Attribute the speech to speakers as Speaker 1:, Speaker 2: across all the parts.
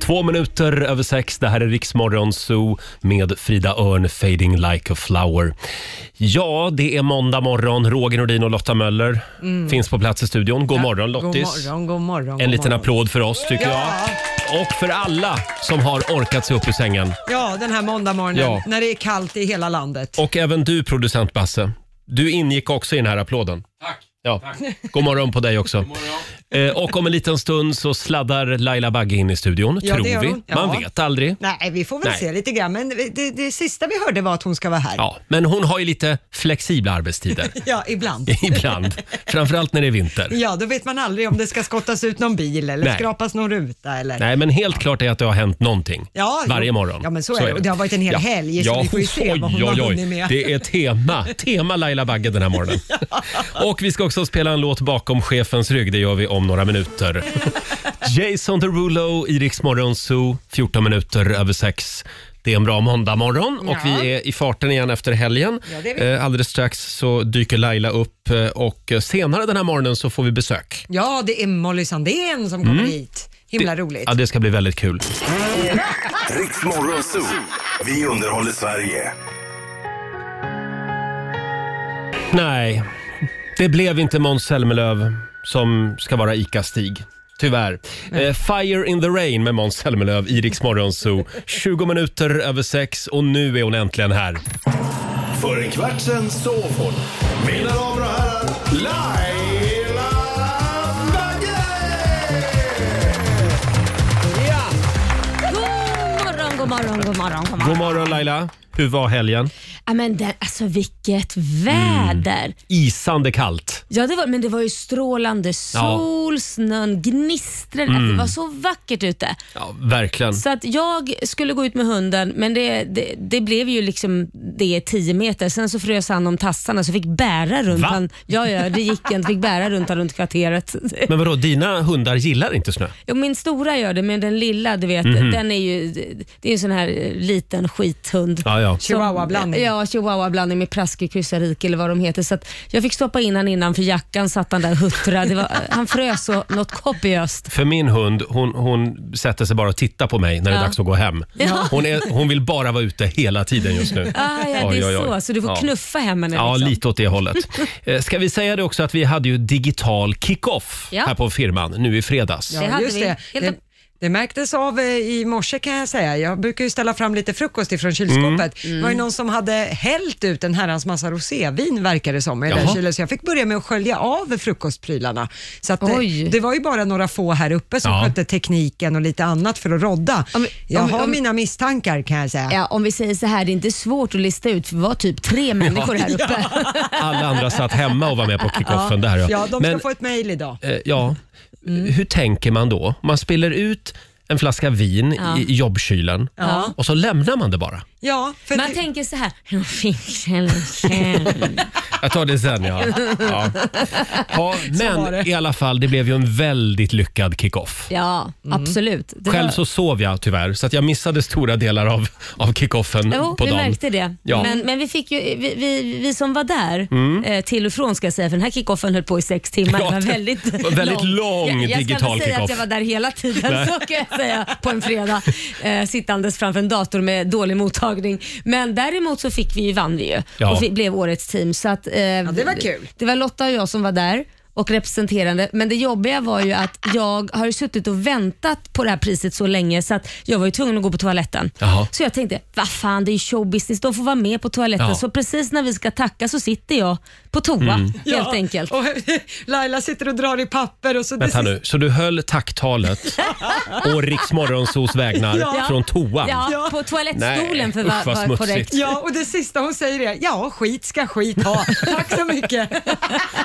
Speaker 1: Två minuter över sex, det här är Riksmorgon Zoo med Frida Örn, Fading like a flower. Ja, det är måndag morgon. Roger Nordin och Lotta Möller finns på plats i studion. God morgon Lottis!
Speaker 2: Mm. God morgon, god morgon. god
Speaker 1: En liten
Speaker 2: morgon.
Speaker 1: applåd för oss tycker jag. Och för alla som har orkat sig upp ur sängen.
Speaker 2: Ja, den här måndagmorgonen
Speaker 1: Ja.
Speaker 2: när det är kallt i hela landet.
Speaker 1: Och även du producent Basse. Du ingick också i den här applåden. Tack. Ja. God morgon på dig också. Eh, och om en liten stund så sladdar Laila Bagge in i studion,
Speaker 2: Ja, det
Speaker 1: tror
Speaker 2: gör
Speaker 1: vi.
Speaker 2: hon. Ja.
Speaker 1: Man vet aldrig.
Speaker 2: Nej, vi får väl
Speaker 1: Nej.
Speaker 2: se lite grann. Men det, det, det sista vi hörde var att hon ska vara här. Ja,
Speaker 1: Ja, men hon har ju lite flexibla arbetstider.
Speaker 2: ibland.
Speaker 1: Ibland. Framförallt när det är vinter.
Speaker 2: Ja, då vet man aldrig om det ska skottas ut någon bil eller
Speaker 1: Nej.
Speaker 2: skrapas någon ruta. Eller.
Speaker 1: Nej, men helt klart är att det har hänt någonting
Speaker 2: Ja, jo.
Speaker 1: varje morgon.
Speaker 2: Ja, men så är det. Och det har varit en hel helg, så vi får ju se vad hon har hunnit med.
Speaker 1: Det är tema, tema Laila Bagge den här morgonen. Och vi ska också spela en låt bakom chefens rygg. Det gör vi om några minuter. Jason Derulo i Rix Morgon Zoo, 14 minuter över sex. Det är en bra måndagmorgon och
Speaker 2: Ja.
Speaker 1: vi är i farten igen efter helgen.
Speaker 2: Ja, det är vi.
Speaker 1: Eh, Alldeles strax så dyker Laila upp eh, och senare den här morgonen så får vi besök.
Speaker 2: Ja, det är Molly Sandén som kommer hit. Himla roligt.
Speaker 1: Ja, Mm. det ska bli väldigt kul.
Speaker 3: Riks Morgonzoo. Vi underhåller Sverige.
Speaker 1: Nej, det blev inte Måns Zelmerlöw som ska vara ICA-Stig. Tyvärr. Eh, Fire in the rain med Måns Zelmerlöw i Rix Morgon Zoo. 20 minuter över sex och nu är hon äntligen här.
Speaker 3: För en kvart sen sov hon. Mina damer och herrar, Laila Bagge!
Speaker 4: morgon, god morgon, god morgon. God
Speaker 1: God
Speaker 4: morgon.
Speaker 1: morgon Laila. Hur var helgen?
Speaker 4: Ja, men den, alltså vilket väder.
Speaker 1: Isande kallt.
Speaker 4: Ja, det var, men det var ju strålande sol, snön gnistrade. Alltså, det var så vackert ute.
Speaker 1: Ja, verkligen.
Speaker 4: Så att jag skulle gå ut med hunden, men det, det, det blev ju liksom det 10 meter. Sen så frös han om tassarna så fick bära runt
Speaker 1: Va?
Speaker 4: han. Ja, ja, det gick inte. Fick bära runt han runt kvarteret.
Speaker 1: Men vadå, dina hundar gillar inte snö?
Speaker 4: Jo, min stora gör det, men den lilla, du vet, den är ju det är en sån här eh, liten skithund.
Speaker 1: Ja, ja.
Speaker 4: Som-
Speaker 2: Chihuahua-blandning.
Speaker 4: Ja, chihuahua-blandning med praskig kyssarik eller vad de heter. Så att jag fick stoppa in han innanför jackan, satt han där och huttrade. Det var, han frös så något kopiöst.
Speaker 1: För min hund, hon, hon sätter sig bara och tittar på mig när det är
Speaker 4: Ja.
Speaker 1: dags att gå hem.
Speaker 4: Ja.
Speaker 1: Hon, är, hon vill bara vara ute hela tiden just nu.
Speaker 4: Ah, ja, det
Speaker 1: Oj,
Speaker 4: är
Speaker 1: oj, oj.
Speaker 4: så. Så du får
Speaker 1: Ja.
Speaker 4: knuffa hem henne.
Speaker 1: Ja,
Speaker 4: liksom.
Speaker 1: lite åt det hållet. Eh, Ska vi säga det också att vi hade ju digital kick-off
Speaker 4: Ja.
Speaker 1: här på firman nu i fredags.
Speaker 2: Ja,
Speaker 4: Det hade
Speaker 2: just
Speaker 4: vi.
Speaker 2: det.
Speaker 4: Helt
Speaker 2: Det,
Speaker 4: upp-
Speaker 2: det märktes av eh, i morse kan jag säga. Jag brukar ju ställa fram lite frukost ifrån
Speaker 4: Mm.
Speaker 2: kylskåpet. Det var ju någon som hade hällt ut en herrans massa rosévin verkar det som i den
Speaker 1: Jaha.
Speaker 2: kylen, så jag fick börja med att skölja av frukostprylarna. Så att, eh,
Speaker 4: Oj.
Speaker 2: det var ju bara några få här uppe som
Speaker 1: Ja.
Speaker 2: skötte tekniken och lite annat för att rodda.
Speaker 4: Om- om-
Speaker 2: jag har
Speaker 4: om-
Speaker 2: mina misstankar kan jag säga.
Speaker 4: Ja, om vi säger så här, det är inte svårt att lista ut, för vi var typ tre människor här uppe.
Speaker 1: Alla andra satt hemma och var med på kickoffen. Där, ja.
Speaker 2: Ja, de ska
Speaker 1: Men,
Speaker 2: få ett mejl idag.
Speaker 1: eh, ja, hur tänker man då? Man spiller ut en flaska vin i i jobbkylen
Speaker 2: Ja.
Speaker 1: och så lämnar man det bara.
Speaker 2: Ja, för
Speaker 4: Man
Speaker 2: det-
Speaker 4: tänker så här, "Jag fick en känsla."
Speaker 1: Jag tar det sen, ja. ja. ja
Speaker 2: var
Speaker 1: men
Speaker 2: det.
Speaker 1: i alla fall, det blev ju en väldigt lyckad kick-off.
Speaker 4: Ja, absolut. Det
Speaker 1: Mm. Själv
Speaker 4: var-
Speaker 1: så sov jag tyvärr, så att jag missade stora delar av, av kickoffen
Speaker 4: Jo,
Speaker 1: på
Speaker 4: vi
Speaker 1: dagen.
Speaker 4: märkte det.
Speaker 1: Ja. Mm.
Speaker 4: Men, men vi, fick ju, vi, vi, vi som var där, eh, till och från ska jag säga, för den här kickoffen höll på i sex timmar.
Speaker 1: Ja,
Speaker 4: det var
Speaker 1: det
Speaker 4: väldigt
Speaker 1: var väldigt lång
Speaker 4: jag, jag
Speaker 1: digital
Speaker 4: ska inte säga
Speaker 1: kickoff.
Speaker 4: att jag var där hela tiden, så kan jag säga, på en fredag. Eh, sittandes framför en dator med dålig mottagning. Men däremot så fick vi ju, vann vi ju
Speaker 1: Ja.
Speaker 4: och vi blev årets team. Så att, eh, ja,
Speaker 2: det var kul.
Speaker 4: Det var Lotta och jag som var där och representerande. Men det jobbiga var ju att jag har ju suttit och väntat på det här priset så länge så att jag var ju tvungen att gå på toaletten.
Speaker 1: Jaha.
Speaker 4: Så jag tänkte, vad fan det är ju showbusiness, de får vara med på toaletten.
Speaker 1: Ja. Mm.
Speaker 4: Så precis när vi ska tacka så sitter jag på toa helt
Speaker 2: ja,
Speaker 4: enkelt.
Speaker 2: Och Laila sitter och drar i papper och så...
Speaker 1: Vänta nu, så du höll tacktalet å Riks Morgonzos vägnar
Speaker 2: Ja.
Speaker 1: från toan?
Speaker 4: Ja,
Speaker 2: Ja.
Speaker 4: på toalettstolen
Speaker 1: Nej,
Speaker 4: för att
Speaker 1: usch, vad
Speaker 4: vara
Speaker 1: smutsigt.
Speaker 4: korrekt.
Speaker 2: Ja, och det sista hon säger är ja, skit ska skit ha. Tack så mycket.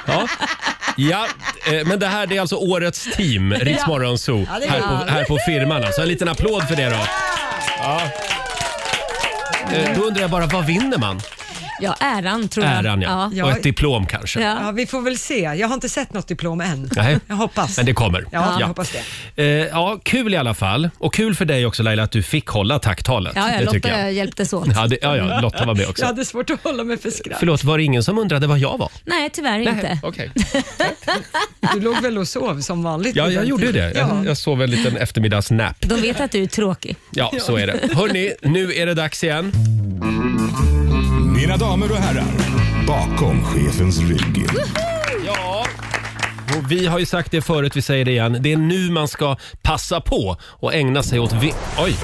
Speaker 1: Ja. ja, eh, men det här det är alltså årets team, Riks
Speaker 2: Ja.
Speaker 1: Morgonzoo,
Speaker 2: Ja, det är
Speaker 1: här,
Speaker 2: bra.
Speaker 1: på, här på firman. Alltså. En liten applåd för det då. Ja. Eh, Då undrar jag bara, vad vinner man?
Speaker 4: Ja, äran tror jag.
Speaker 1: Äran ja.
Speaker 4: ja.
Speaker 1: Och ett diplom kanske.
Speaker 4: Ja.
Speaker 2: Ja, vi får väl se. Jag har inte sett något diplom än.
Speaker 1: Nej.
Speaker 2: Jag hoppas.
Speaker 1: Men det kommer.
Speaker 2: Ja, jag hoppas det.
Speaker 1: Eh, ja, kul i alla fall. Och kul för dig också Laila att du fick hålla tacktalet.
Speaker 4: Ja, ja,
Speaker 1: det tycker
Speaker 4: Lotta
Speaker 1: jag.
Speaker 4: hjälptes åt.
Speaker 1: Ja, det, ja, ja, Lotta var med också.
Speaker 2: Jag hade svårt att hålla mig för skratt.
Speaker 1: Förlåt, var det ingen som undrade vad jag var?
Speaker 4: Nej, tyvärr inte.
Speaker 1: Okej.
Speaker 2: Du låg väl och sov som vanligt?
Speaker 1: Ja,
Speaker 2: vid
Speaker 1: jag
Speaker 2: den
Speaker 1: gjorde ju
Speaker 2: tiden.
Speaker 1: det.
Speaker 2: Ja.
Speaker 1: Jag, jag sov en liten eftermiddagsnap.
Speaker 4: De vet att du är tråkig.
Speaker 1: Ja, så är det. Hörni, nu är det dags igen.
Speaker 3: Mina damer och herrar, bakom chefens rygg.
Speaker 1: Ja. Och vi har ju sagt det förut, vi säger det igen. Det är nu man ska passa på och ägna sig åt... Vi- Oj,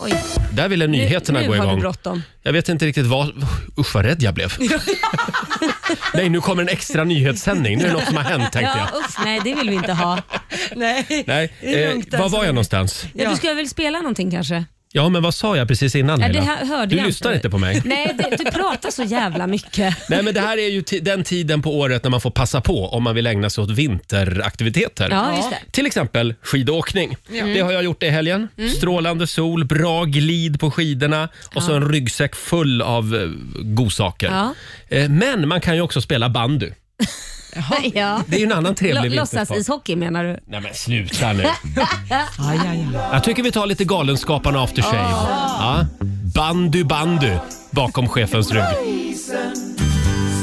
Speaker 4: Oj.
Speaker 1: där ville nyheterna
Speaker 4: nu
Speaker 1: gå
Speaker 4: har du
Speaker 1: igång.
Speaker 4: bråttom.
Speaker 1: Jag vet inte riktigt vad... Usch, vad rädd jag blev. Nej, nu kommer en extra nyhetssändning. Nu är det något som har hänt, tänkte
Speaker 4: Ja,
Speaker 1: jag.
Speaker 4: uff, nej, det vill vi inte ha.
Speaker 2: Nej,
Speaker 1: Nej,
Speaker 2: det är
Speaker 1: eh,
Speaker 2: lugnt
Speaker 1: var
Speaker 2: alltså.
Speaker 1: var jag någonstans?
Speaker 4: Ja.
Speaker 2: Ja.
Speaker 4: Du ska väl spela någonting kanske?
Speaker 1: Ja, men vad sa jag precis innan,
Speaker 4: Ja, det
Speaker 1: Laila?
Speaker 4: här hörde
Speaker 1: Du
Speaker 4: jag
Speaker 1: lyssnar inte på mig.
Speaker 4: Nej, det, du pratar så jävla mycket.
Speaker 1: Nej, men det här är ju ti- den tiden på året när man får passa på om man vill ägna sig åt vinteraktiviteter.
Speaker 4: Ja, just det. Mm.
Speaker 1: Till exempel skidåkning. Det har jag gjort i helgen. Strålande sol, bra glid på skidorna och så en ryggsäck full av eh, godsaker.
Speaker 4: Ja.
Speaker 1: Eh, Men man kan ju också spela bandy.
Speaker 4: Ja.
Speaker 1: Det är ju en annan trevlig
Speaker 4: Lå-
Speaker 1: vintersport.
Speaker 4: Låtsas-ishockey menar du?
Speaker 1: Nej men sluta nu.
Speaker 2: Aj, aj, aj.
Speaker 1: Jag tycker vi tar lite Galenskaparna After Shave.
Speaker 3: Ah.
Speaker 1: Ja. Bandy, bandy bakom chefens rygg.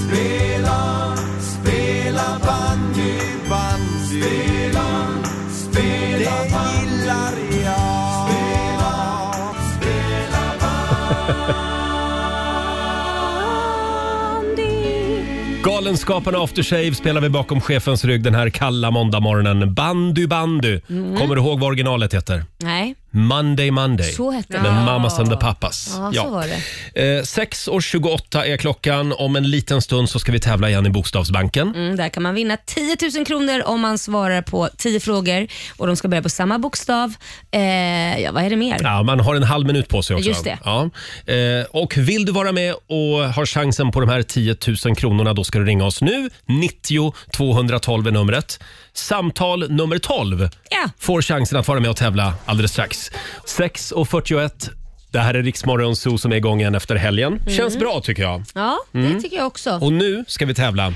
Speaker 3: Spela, spela bandy, bandy. Spela, spela Det gillar jag. Spela, spela
Speaker 1: Galenskaparna After Shave spelar vi bakom chefens rygg den här kalla måndagmorgonen. Bandy bandy.
Speaker 3: Mm.
Speaker 1: Kommer du ihåg vad originalet heter?
Speaker 4: Nej.
Speaker 1: Monday Monday.
Speaker 4: Så hette
Speaker 1: Med
Speaker 4: det.
Speaker 1: Mamas and the Papas.
Speaker 4: Ja, så var det.
Speaker 1: Eh, 6.28 är klockan. Om en liten stund så ska vi tävla igen i Bokstavsbanken.
Speaker 4: Mm, där kan man vinna 10 000 kronor om man svarar på 10 frågor och de ska börja på samma bokstav. Eh, ja, vad är det mer?
Speaker 1: Ja, man har en halv minut på sig också.
Speaker 4: Just det.
Speaker 1: Ja. Eh, och vill du vara med och har chansen på de här 10 000 kronorna, då ska du ringa oss nu. 90 212 är numret. Samtal nummer 12
Speaker 4: Ja.
Speaker 1: får chansen att vara med och tävla alldeles strax. 6.41. Det här är Riksmorgon Zoo som är igång igen efter helgen.
Speaker 4: Mm.
Speaker 1: Känns bra tycker jag.
Speaker 4: Ja, det tycker jag också.
Speaker 1: Mm. Och nu ska vi tävla.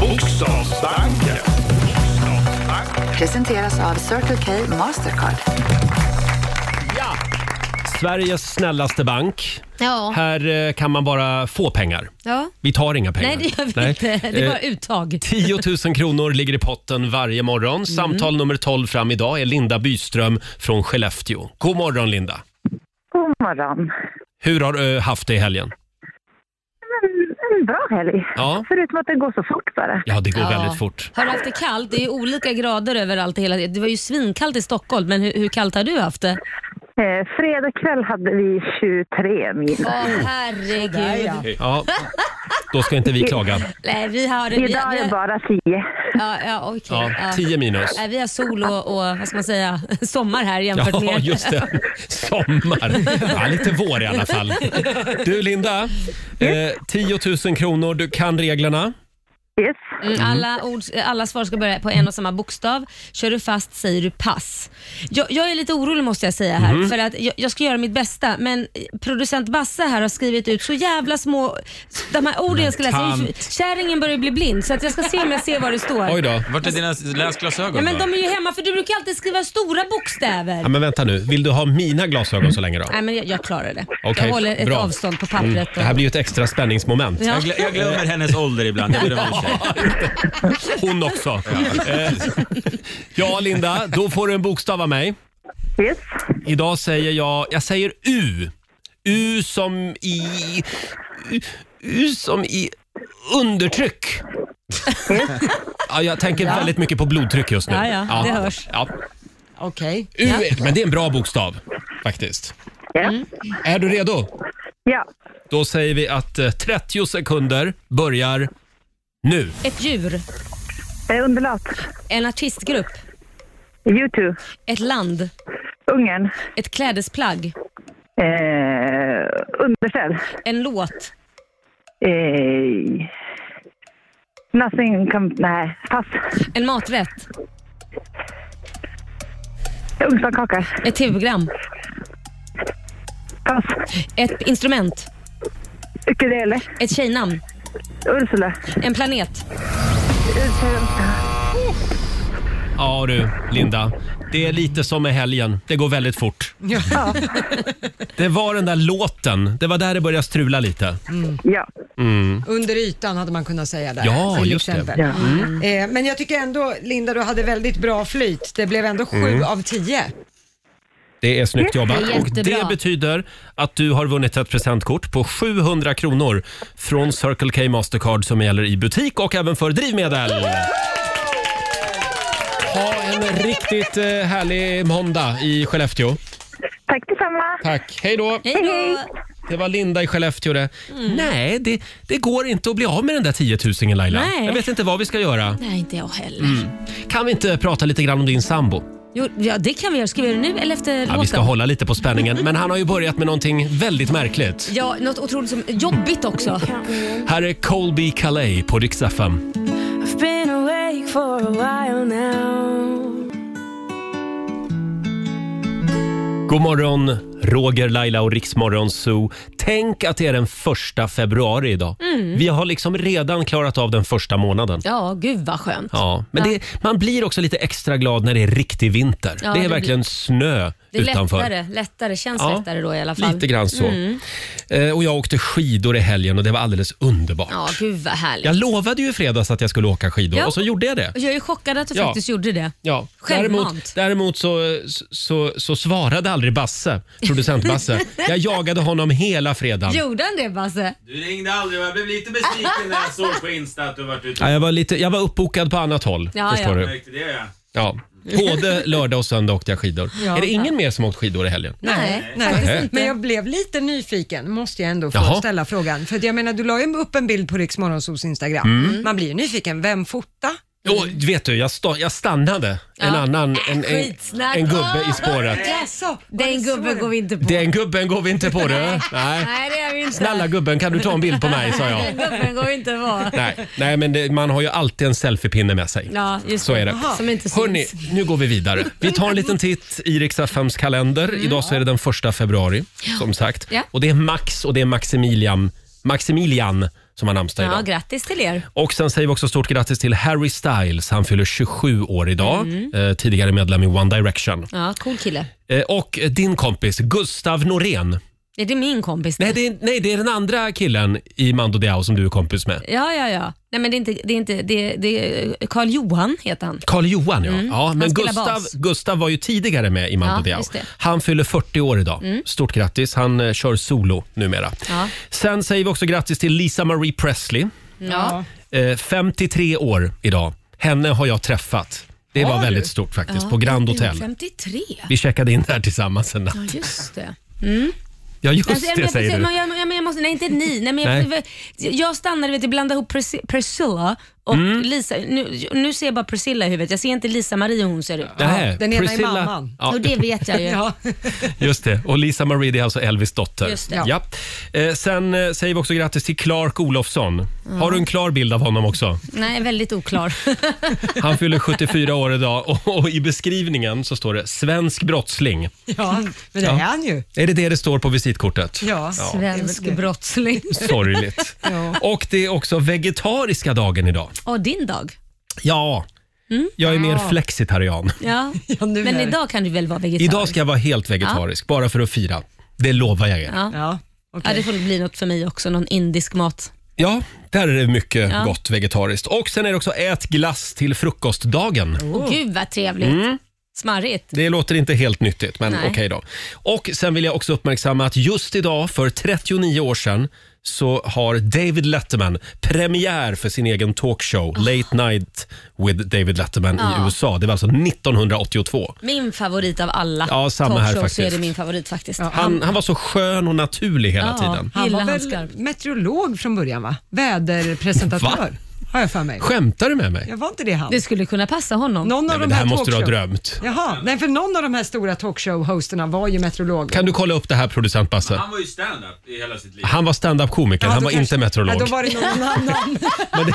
Speaker 3: Bokstavsbanken.
Speaker 5: Presenteras av Circle K Mastercard.
Speaker 1: Ja! Sveriges snällaste bank.
Speaker 4: Ja.
Speaker 1: Här eh, kan man bara få pengar.
Speaker 4: ja.
Speaker 1: Vi tar inga pengar.
Speaker 4: Nej, det gör vi
Speaker 1: Nej.
Speaker 4: inte. Det
Speaker 1: Eh,
Speaker 4: är bara uttag.
Speaker 1: 10 000 kronor ligger i potten varje
Speaker 4: Mm.
Speaker 1: morgon. Samtal nummer 12 fram idag är Linda Byström från Skellefteå. God morgon Linda!
Speaker 6: God morgon.
Speaker 1: Hur har du haft det i helgen?
Speaker 6: En, en bra helg.
Speaker 1: Ja.
Speaker 6: Förutom att det går så fort bara.
Speaker 1: Ja, det går
Speaker 4: Ja.
Speaker 1: väldigt fort.
Speaker 4: Har du haft det kallt? Det är olika grader överallt. i Hela... Det var ju svinkallt i Stockholm, men hur, hur kallt har du haft det?
Speaker 6: Eh, fredag kväll hade vi 23 minus.
Speaker 4: Åh herregud.
Speaker 2: Där, ja.
Speaker 1: Ja. Då ska inte vi klaga.
Speaker 4: Nej, vi har det. Vi,
Speaker 6: Idag är
Speaker 4: vi
Speaker 6: det
Speaker 4: har...
Speaker 6: bara 10.
Speaker 4: Ja, ja, okej.
Speaker 1: Ja,
Speaker 4: ja.
Speaker 1: 10 minus.
Speaker 4: Nej, vi har sol och, och vad ska man säga, sommar här jämfört
Speaker 1: Ja,
Speaker 4: med...
Speaker 1: just det. Sommar. Ja, lite vår i alla fall. Du Linda, eh, 10 000 kronor. Du kan reglerna.
Speaker 6: Yes.
Speaker 4: Mm, Alla, ord, alla svar ska börja på en och samma bokstav. Kör du fast säger du pass. Jag, jag är lite orolig måste jag säga
Speaker 1: Mm.
Speaker 4: här, för att jag, jag ska göra mitt bästa, men producent Basse här har skrivit ut så jävla små... De här orden jag ska läsa,
Speaker 7: tant.
Speaker 4: kärringen börjar bli blind, så att jag ska se om jag ser vad det står.
Speaker 1: Oj då.
Speaker 7: Vart är dina läsglasögon
Speaker 4: Nej, men
Speaker 7: då?
Speaker 4: de är ju hemma, för du brukar alltid skriva stora bokstäver.
Speaker 1: Ja, men vänta nu. Vill du ha mina glasögon så länge då?
Speaker 4: Nej, men jag, jag klarar det.
Speaker 1: Okej,
Speaker 4: jag håller ett
Speaker 1: bra.
Speaker 4: avstånd på pappret.
Speaker 1: Mm. Det här
Speaker 4: och-
Speaker 1: blir ju ett extra spänningsmoment.
Speaker 4: Ja.
Speaker 7: Jag, glö- jag glömmer hennes ålder ibland. Jag ber om ursäkt.
Speaker 1: Hon också. Eh, Ja, Linda, då får du en bokstav av mig.
Speaker 7: Mm.
Speaker 6: Yes.
Speaker 1: Idag säger jag, jag säger U. U som i... U, U som i undertryck. Ja, jag tänker väldigt mycket på blodtryck just nu.
Speaker 4: Ja, ja, det hörs.
Speaker 1: Ja.
Speaker 2: Okej.
Speaker 1: U, men det är en bra bokstav faktiskt.
Speaker 6: Ja.
Speaker 7: Mm.
Speaker 1: Är du redo?
Speaker 6: ja.
Speaker 1: Då säger vi att eh, 30 sekunder börjar nu.
Speaker 4: Ett djur,
Speaker 6: Eh, underlat.
Speaker 4: en artistgrupp,
Speaker 6: YouTube.
Speaker 4: ett land,
Speaker 6: Ungern.
Speaker 4: ett klädesplagg,
Speaker 6: Eh, underställ.
Speaker 4: en låt.
Speaker 6: Eh, nothing come... Nej, pass.
Speaker 4: En maträtt,
Speaker 6: Ugnspannkaka.
Speaker 4: ett tv-program,
Speaker 6: Pass.
Speaker 4: Ett instrument.
Speaker 6: Ukulele.
Speaker 4: Ett tjejnamn.
Speaker 6: Ursula.
Speaker 4: En planet.
Speaker 1: Ja du, Linda. Det är lite som med helgen. Det går väldigt fort.
Speaker 2: Ja.
Speaker 1: Mm. Det var den där låten. Det var där det började strula lite.
Speaker 6: Ja.
Speaker 2: Under ytan hade man kunnat säga där.
Speaker 1: Ja,
Speaker 2: till
Speaker 1: just det.
Speaker 2: exempel.
Speaker 6: Ja.
Speaker 2: Eh, Men jag tycker ändå, Linda, du hade väldigt bra flyt. Det blev ändå sju
Speaker 1: Mm.
Speaker 2: av tio.
Speaker 1: Det är snyggt jobbat.
Speaker 4: Det är
Speaker 1: Och
Speaker 4: jättebra.
Speaker 1: det betyder att du har vunnit ett presentkort på 700 kronor från Circle K Mastercard som gäller i butik och även för drivmedel. Ha en riktigt eh, härlig måndag i Skellefteå.
Speaker 6: Tack detsamma.
Speaker 1: Tack. Hej då.
Speaker 4: Hej Mm. då!
Speaker 1: Det var Linda i Skellefteå det. Nej, det, det går inte att bli av med den där 10 000 Laila.
Speaker 4: Nej.
Speaker 1: Jag vet inte vad vi ska göra.
Speaker 4: Nej, inte jag heller.
Speaker 1: Mm. Kan vi inte prata lite grann om din sambo?
Speaker 4: Jo, ja, det kan vi göra. Ska vi göra det nu eller efter
Speaker 1: Ja,
Speaker 4: låten?
Speaker 1: vi ska hålla lite på spänningen, men han har ju börjat med någonting väldigt märkligt.
Speaker 4: Ja, något otroligt som jobbigt också.
Speaker 1: Här är Colby Calais på Rix FM. God morgon, Roger, Laila och Riksmorgon Zoo. Tänk att det är den första februari idag.
Speaker 4: Mm.
Speaker 1: Vi har liksom redan klarat av den första månaden.
Speaker 4: Ja, gud vad skönt.
Speaker 1: Ja, men det, man blir också lite extra glad när det är riktig vinter.
Speaker 4: Ja,
Speaker 1: det är
Speaker 4: det
Speaker 1: verkligen snö
Speaker 4: Det är
Speaker 1: utanför.
Speaker 4: lättare, lättare, känns
Speaker 1: Ja,
Speaker 4: lättare då i alla fall. Mm.
Speaker 1: Lite grann så. Eh, och jag åkte skidor i helgen och det var alldeles underbart.
Speaker 4: Ja, gud vad härligt.
Speaker 1: Jag lovade ju i fredags att jag skulle åka skidor
Speaker 4: Ja.
Speaker 1: och så gjorde jag det.
Speaker 4: Och Jag är chockad att du
Speaker 1: Ja.
Speaker 4: faktiskt gjorde det.
Speaker 1: Ja.
Speaker 4: Självmant.
Speaker 1: Däremot, däremot så, så, så svarade aldrig Basse, producent Basse. Jag jagade honom hela fredagen.
Speaker 4: Gjorde han det Basse?
Speaker 7: Du ringde aldrig och jag blev lite besviken när jag såg på Insta att du varit ute.
Speaker 1: Ja, jag, var lite, jag var uppbokad på annat håll.
Speaker 4: Ja,
Speaker 1: förstår
Speaker 4: ja.
Speaker 1: du?
Speaker 7: Märkte det ja.
Speaker 1: Ja. Både lördag och söndag åkte jag skidor.
Speaker 2: Ja.
Speaker 1: är det ingen mer som åkt skidor i helgen?
Speaker 4: Nej,
Speaker 2: Nej.
Speaker 4: faktiskt
Speaker 1: Nej.
Speaker 4: inte.
Speaker 2: Men jag blev lite nyfiken, måste jag ändå få
Speaker 1: Jaha.
Speaker 2: ställa frågan. För att jag menar, du la ju upp en bild på Rix Morgonzoos Instagram.
Speaker 1: Mm.
Speaker 2: Man blir ju nyfiken, vem fotar?
Speaker 1: Och, vet du, jag, sta- jag stannade en
Speaker 4: Mm. Ja. Äh,
Speaker 1: annan en, en,
Speaker 4: Skitsnack.
Speaker 1: en gubbe i spåret.
Speaker 2: Jaså, var det
Speaker 4: Den
Speaker 2: så
Speaker 4: gubben
Speaker 2: det-
Speaker 4: går vi inte på.
Speaker 1: Den gubben går vi inte på du. Nej.
Speaker 4: Nej, det är vi inte.
Speaker 1: Snälla gubben, kan du ta en bild på mig? sa jag.
Speaker 4: Den gubben går vi inte på.
Speaker 1: Nej, nej men det, man har ju alltid en selfiepinne med sig.
Speaker 4: Ja, just
Speaker 1: Så är det.
Speaker 4: Som inte syns.
Speaker 1: Hörni, nu går vi vidare. Vi tar en liten titt i Riks-FMs kalender. Idag så är det den första februari, som sagt.
Speaker 4: Mm. Ja.
Speaker 1: Och det är Max och det är Maximilian, Maximilian som har namnsdag
Speaker 4: Ja,
Speaker 1: idag.
Speaker 4: grattis till er.
Speaker 1: Och sen säger vi också stort grattis till Harry Styles. Han fyller 27 år idag.
Speaker 4: Mm.
Speaker 1: Eh, tidigare medlem i One Direction.
Speaker 4: Ja, cool kille.
Speaker 1: Eh, och din kompis Gustav Norén.
Speaker 4: Är det min kompis?
Speaker 1: Nej det, är, nej, det är den andra killen i Mando Diao som du är kompis med.
Speaker 4: Ja, ja, ja. Nej, men det är inte... Det är inte det, det, Carl Johan heter han.
Speaker 1: Carl Johan ja. ja men
Speaker 4: Mm. spelar
Speaker 1: Gustav,
Speaker 4: bas.
Speaker 1: Gustav var ju tidigare med i Mando
Speaker 4: Ja,
Speaker 1: Diao.
Speaker 4: just det. Mm.
Speaker 1: Han fyller 40 år idag. Stort grattis. Han eh, kör solo numera.
Speaker 4: Ja.
Speaker 1: Sen säger vi också grattis till Lisa Marie Presley.
Speaker 4: Ja.
Speaker 1: Eh, 53 år idag. Henne har jag träffat. Det var väldigt stort faktiskt på Grand Hotel.
Speaker 4: 53.
Speaker 1: Vi checkade in där tillsammans en natt.
Speaker 4: Ja, just det.
Speaker 1: Ja just
Speaker 4: Alltså, jag,
Speaker 1: det
Speaker 4: jag,
Speaker 1: säger du.
Speaker 4: jag, jag, jag, jag måste, nej, inte ni. Nej, men
Speaker 1: Nej.
Speaker 4: jag, jag stannade vid att blanda ihop Pris- Priscilla och
Speaker 1: Mm.
Speaker 4: Lisa. Nu, nu ser jag bara Priscilla i huvudet. Jag ser inte Lisa Marie hur hon ser ut.
Speaker 1: Nej,
Speaker 2: Den ena är
Speaker 1: Priscilla-
Speaker 2: mamman.
Speaker 1: Ja,
Speaker 4: Och det vet jag ju.
Speaker 2: Ja.
Speaker 1: Just det. Och Lisa Marie, det är alltså Elvis dotter.
Speaker 4: Just det.
Speaker 1: Ja. Eh, sen eh, säger vi också grattis till Clark Olofsson.
Speaker 4: Mm.
Speaker 1: Har du en klar bild av honom också?
Speaker 4: Nej, väldigt oklar.
Speaker 1: Han fyller 74 år idag och, och i beskrivningen så står det “svensk brottsling”.
Speaker 2: ja,
Speaker 4: Mm.
Speaker 2: men det är han ju.
Speaker 1: Är det det det står på visitkortet?
Speaker 2: Ja.
Speaker 4: Svensk brottsling.
Speaker 1: Sorgligt.
Speaker 2: Ja.
Speaker 1: Och det är också vegetariska dagen idag.
Speaker 4: Och din dag.
Speaker 1: Ja,
Speaker 4: Mm.
Speaker 1: jag är mer flexitarian.
Speaker 4: Ja.
Speaker 2: nu
Speaker 4: men
Speaker 2: är det.
Speaker 4: idag kan du väl vara vegetarisk?
Speaker 1: Idag ska jag vara helt vegetarisk, bara för att fira. Det lovar jag er.
Speaker 4: Ja.
Speaker 2: Ja, okej.
Speaker 4: Ja, det får bli något för mig också. Någon indisk mat.
Speaker 1: Ja, där är det mycket
Speaker 4: Ja.
Speaker 1: gott vegetariskt. Och sen är det också ät glass till frukostdagen.
Speaker 4: Åh gud vad trevligt.
Speaker 1: Mm.
Speaker 4: Smarrigt.
Speaker 1: Det låter inte helt nyttigt, men okej
Speaker 4: Nej.
Speaker 1: då. Och sen vill jag också uppmärksamma att just idag för 39 år sedan så har David Letterman premiär för sin egen talkshow Late Night with David Letterman i
Speaker 4: Ja.
Speaker 1: USA. Det var alltså 1982.
Speaker 4: Min favorit av alla
Speaker 1: Ja, samma här
Speaker 4: talkshows så är det
Speaker 1: faktiskt.
Speaker 4: min favorit faktiskt.
Speaker 1: Han, han var så skön och naturlig hela
Speaker 4: Ja.
Speaker 1: tiden.
Speaker 2: han
Speaker 4: Gillar
Speaker 2: var
Speaker 4: han
Speaker 2: väl
Speaker 4: skarpt.
Speaker 2: meteorolog från början va? Väderpresentatör.
Speaker 1: Va?
Speaker 2: har jag för mig.
Speaker 1: Skämtar du med mig?
Speaker 2: Jag var inte det han?
Speaker 4: Det skulle kunna passa honom.
Speaker 2: Någon
Speaker 1: Nej,
Speaker 2: av
Speaker 1: men
Speaker 2: de
Speaker 1: det här
Speaker 2: här
Speaker 1: måste du ha
Speaker 2: talkshow-
Speaker 1: drömt.
Speaker 2: Jaha, nej för någon av de här stora talkshow-hosterna var ju meteorolog.
Speaker 1: Kan du kolla upp det här producent Basse?
Speaker 7: Han var ju stand-up i hela sitt liv.
Speaker 1: Han var standup-komiker,
Speaker 2: Ja,
Speaker 1: han
Speaker 2: då
Speaker 1: var
Speaker 2: kanske-
Speaker 1: inte meteorolog.
Speaker 2: Ja, då var det någon annan.
Speaker 1: Men det,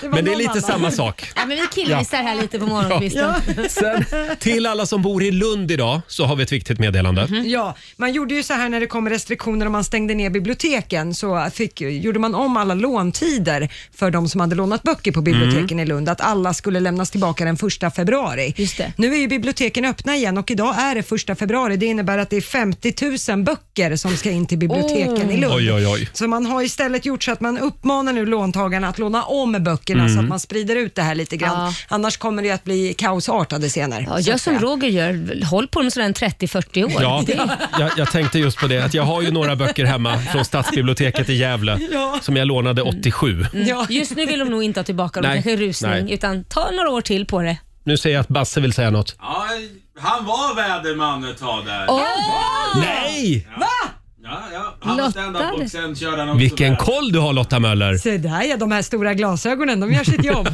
Speaker 2: Det var
Speaker 1: men det är
Speaker 2: någon
Speaker 1: lite
Speaker 2: annan.
Speaker 1: samma sak.
Speaker 4: Ja, men vi killgissar här lite på morgonkvisten.
Speaker 1: Sen, till alla som bor i Lund idag så har vi ett viktigt meddelande.
Speaker 2: Ja, man gjorde ju så här när det kom restriktioner och man stängde ner biblioteken så fick, gjorde man om alla låntider för de som hade lånat böcker på biblioteken i Lund, att alla skulle lämnas tillbaka den 1 februari.
Speaker 4: Mm. Just det.
Speaker 2: Nu är ju biblioteken öppna igen och idag är det 1 februari. Det innebär att det är 50 000 böcker som ska in till biblioteken i Lund.
Speaker 1: Oj, oj, oj.
Speaker 2: Så man har istället gjort så att man uppmanar nu låntagarna att låna om böckerna så att man sprider ut det här lite grann.
Speaker 4: Mm. Ja.
Speaker 2: Annars kommer det ju att bli kaosartade scener.
Speaker 4: Ja,
Speaker 2: så
Speaker 4: gör
Speaker 2: att säga.
Speaker 4: som Roger gör, håll på dem sådär en 30-40 år.
Speaker 1: Ja,
Speaker 4: Det-
Speaker 1: jag, jag tänkte just på det att jag har ju några böcker hemma från stadsbiblioteket i Gävle
Speaker 2: Ja.
Speaker 1: som jag lånade 87.
Speaker 2: Ja.
Speaker 4: Just nu vill de nog inte ha tillbaka dem,
Speaker 1: Nej,
Speaker 4: kanske rusning,
Speaker 1: nej.
Speaker 4: utan ta några år till på det.
Speaker 1: Nu ser jag att Basse vill säga något.
Speaker 7: Ja, han var väderman ett tag där.
Speaker 1: Nej!
Speaker 7: Ja, ja. Han var
Speaker 4: Lotta
Speaker 7: stand-up
Speaker 4: det.
Speaker 7: och sen körde han också
Speaker 1: Vilken
Speaker 7: väder.
Speaker 1: koll du har Lotta Möller!
Speaker 2: Se där ja, de här stora glasögonen, de gör sitt jobb.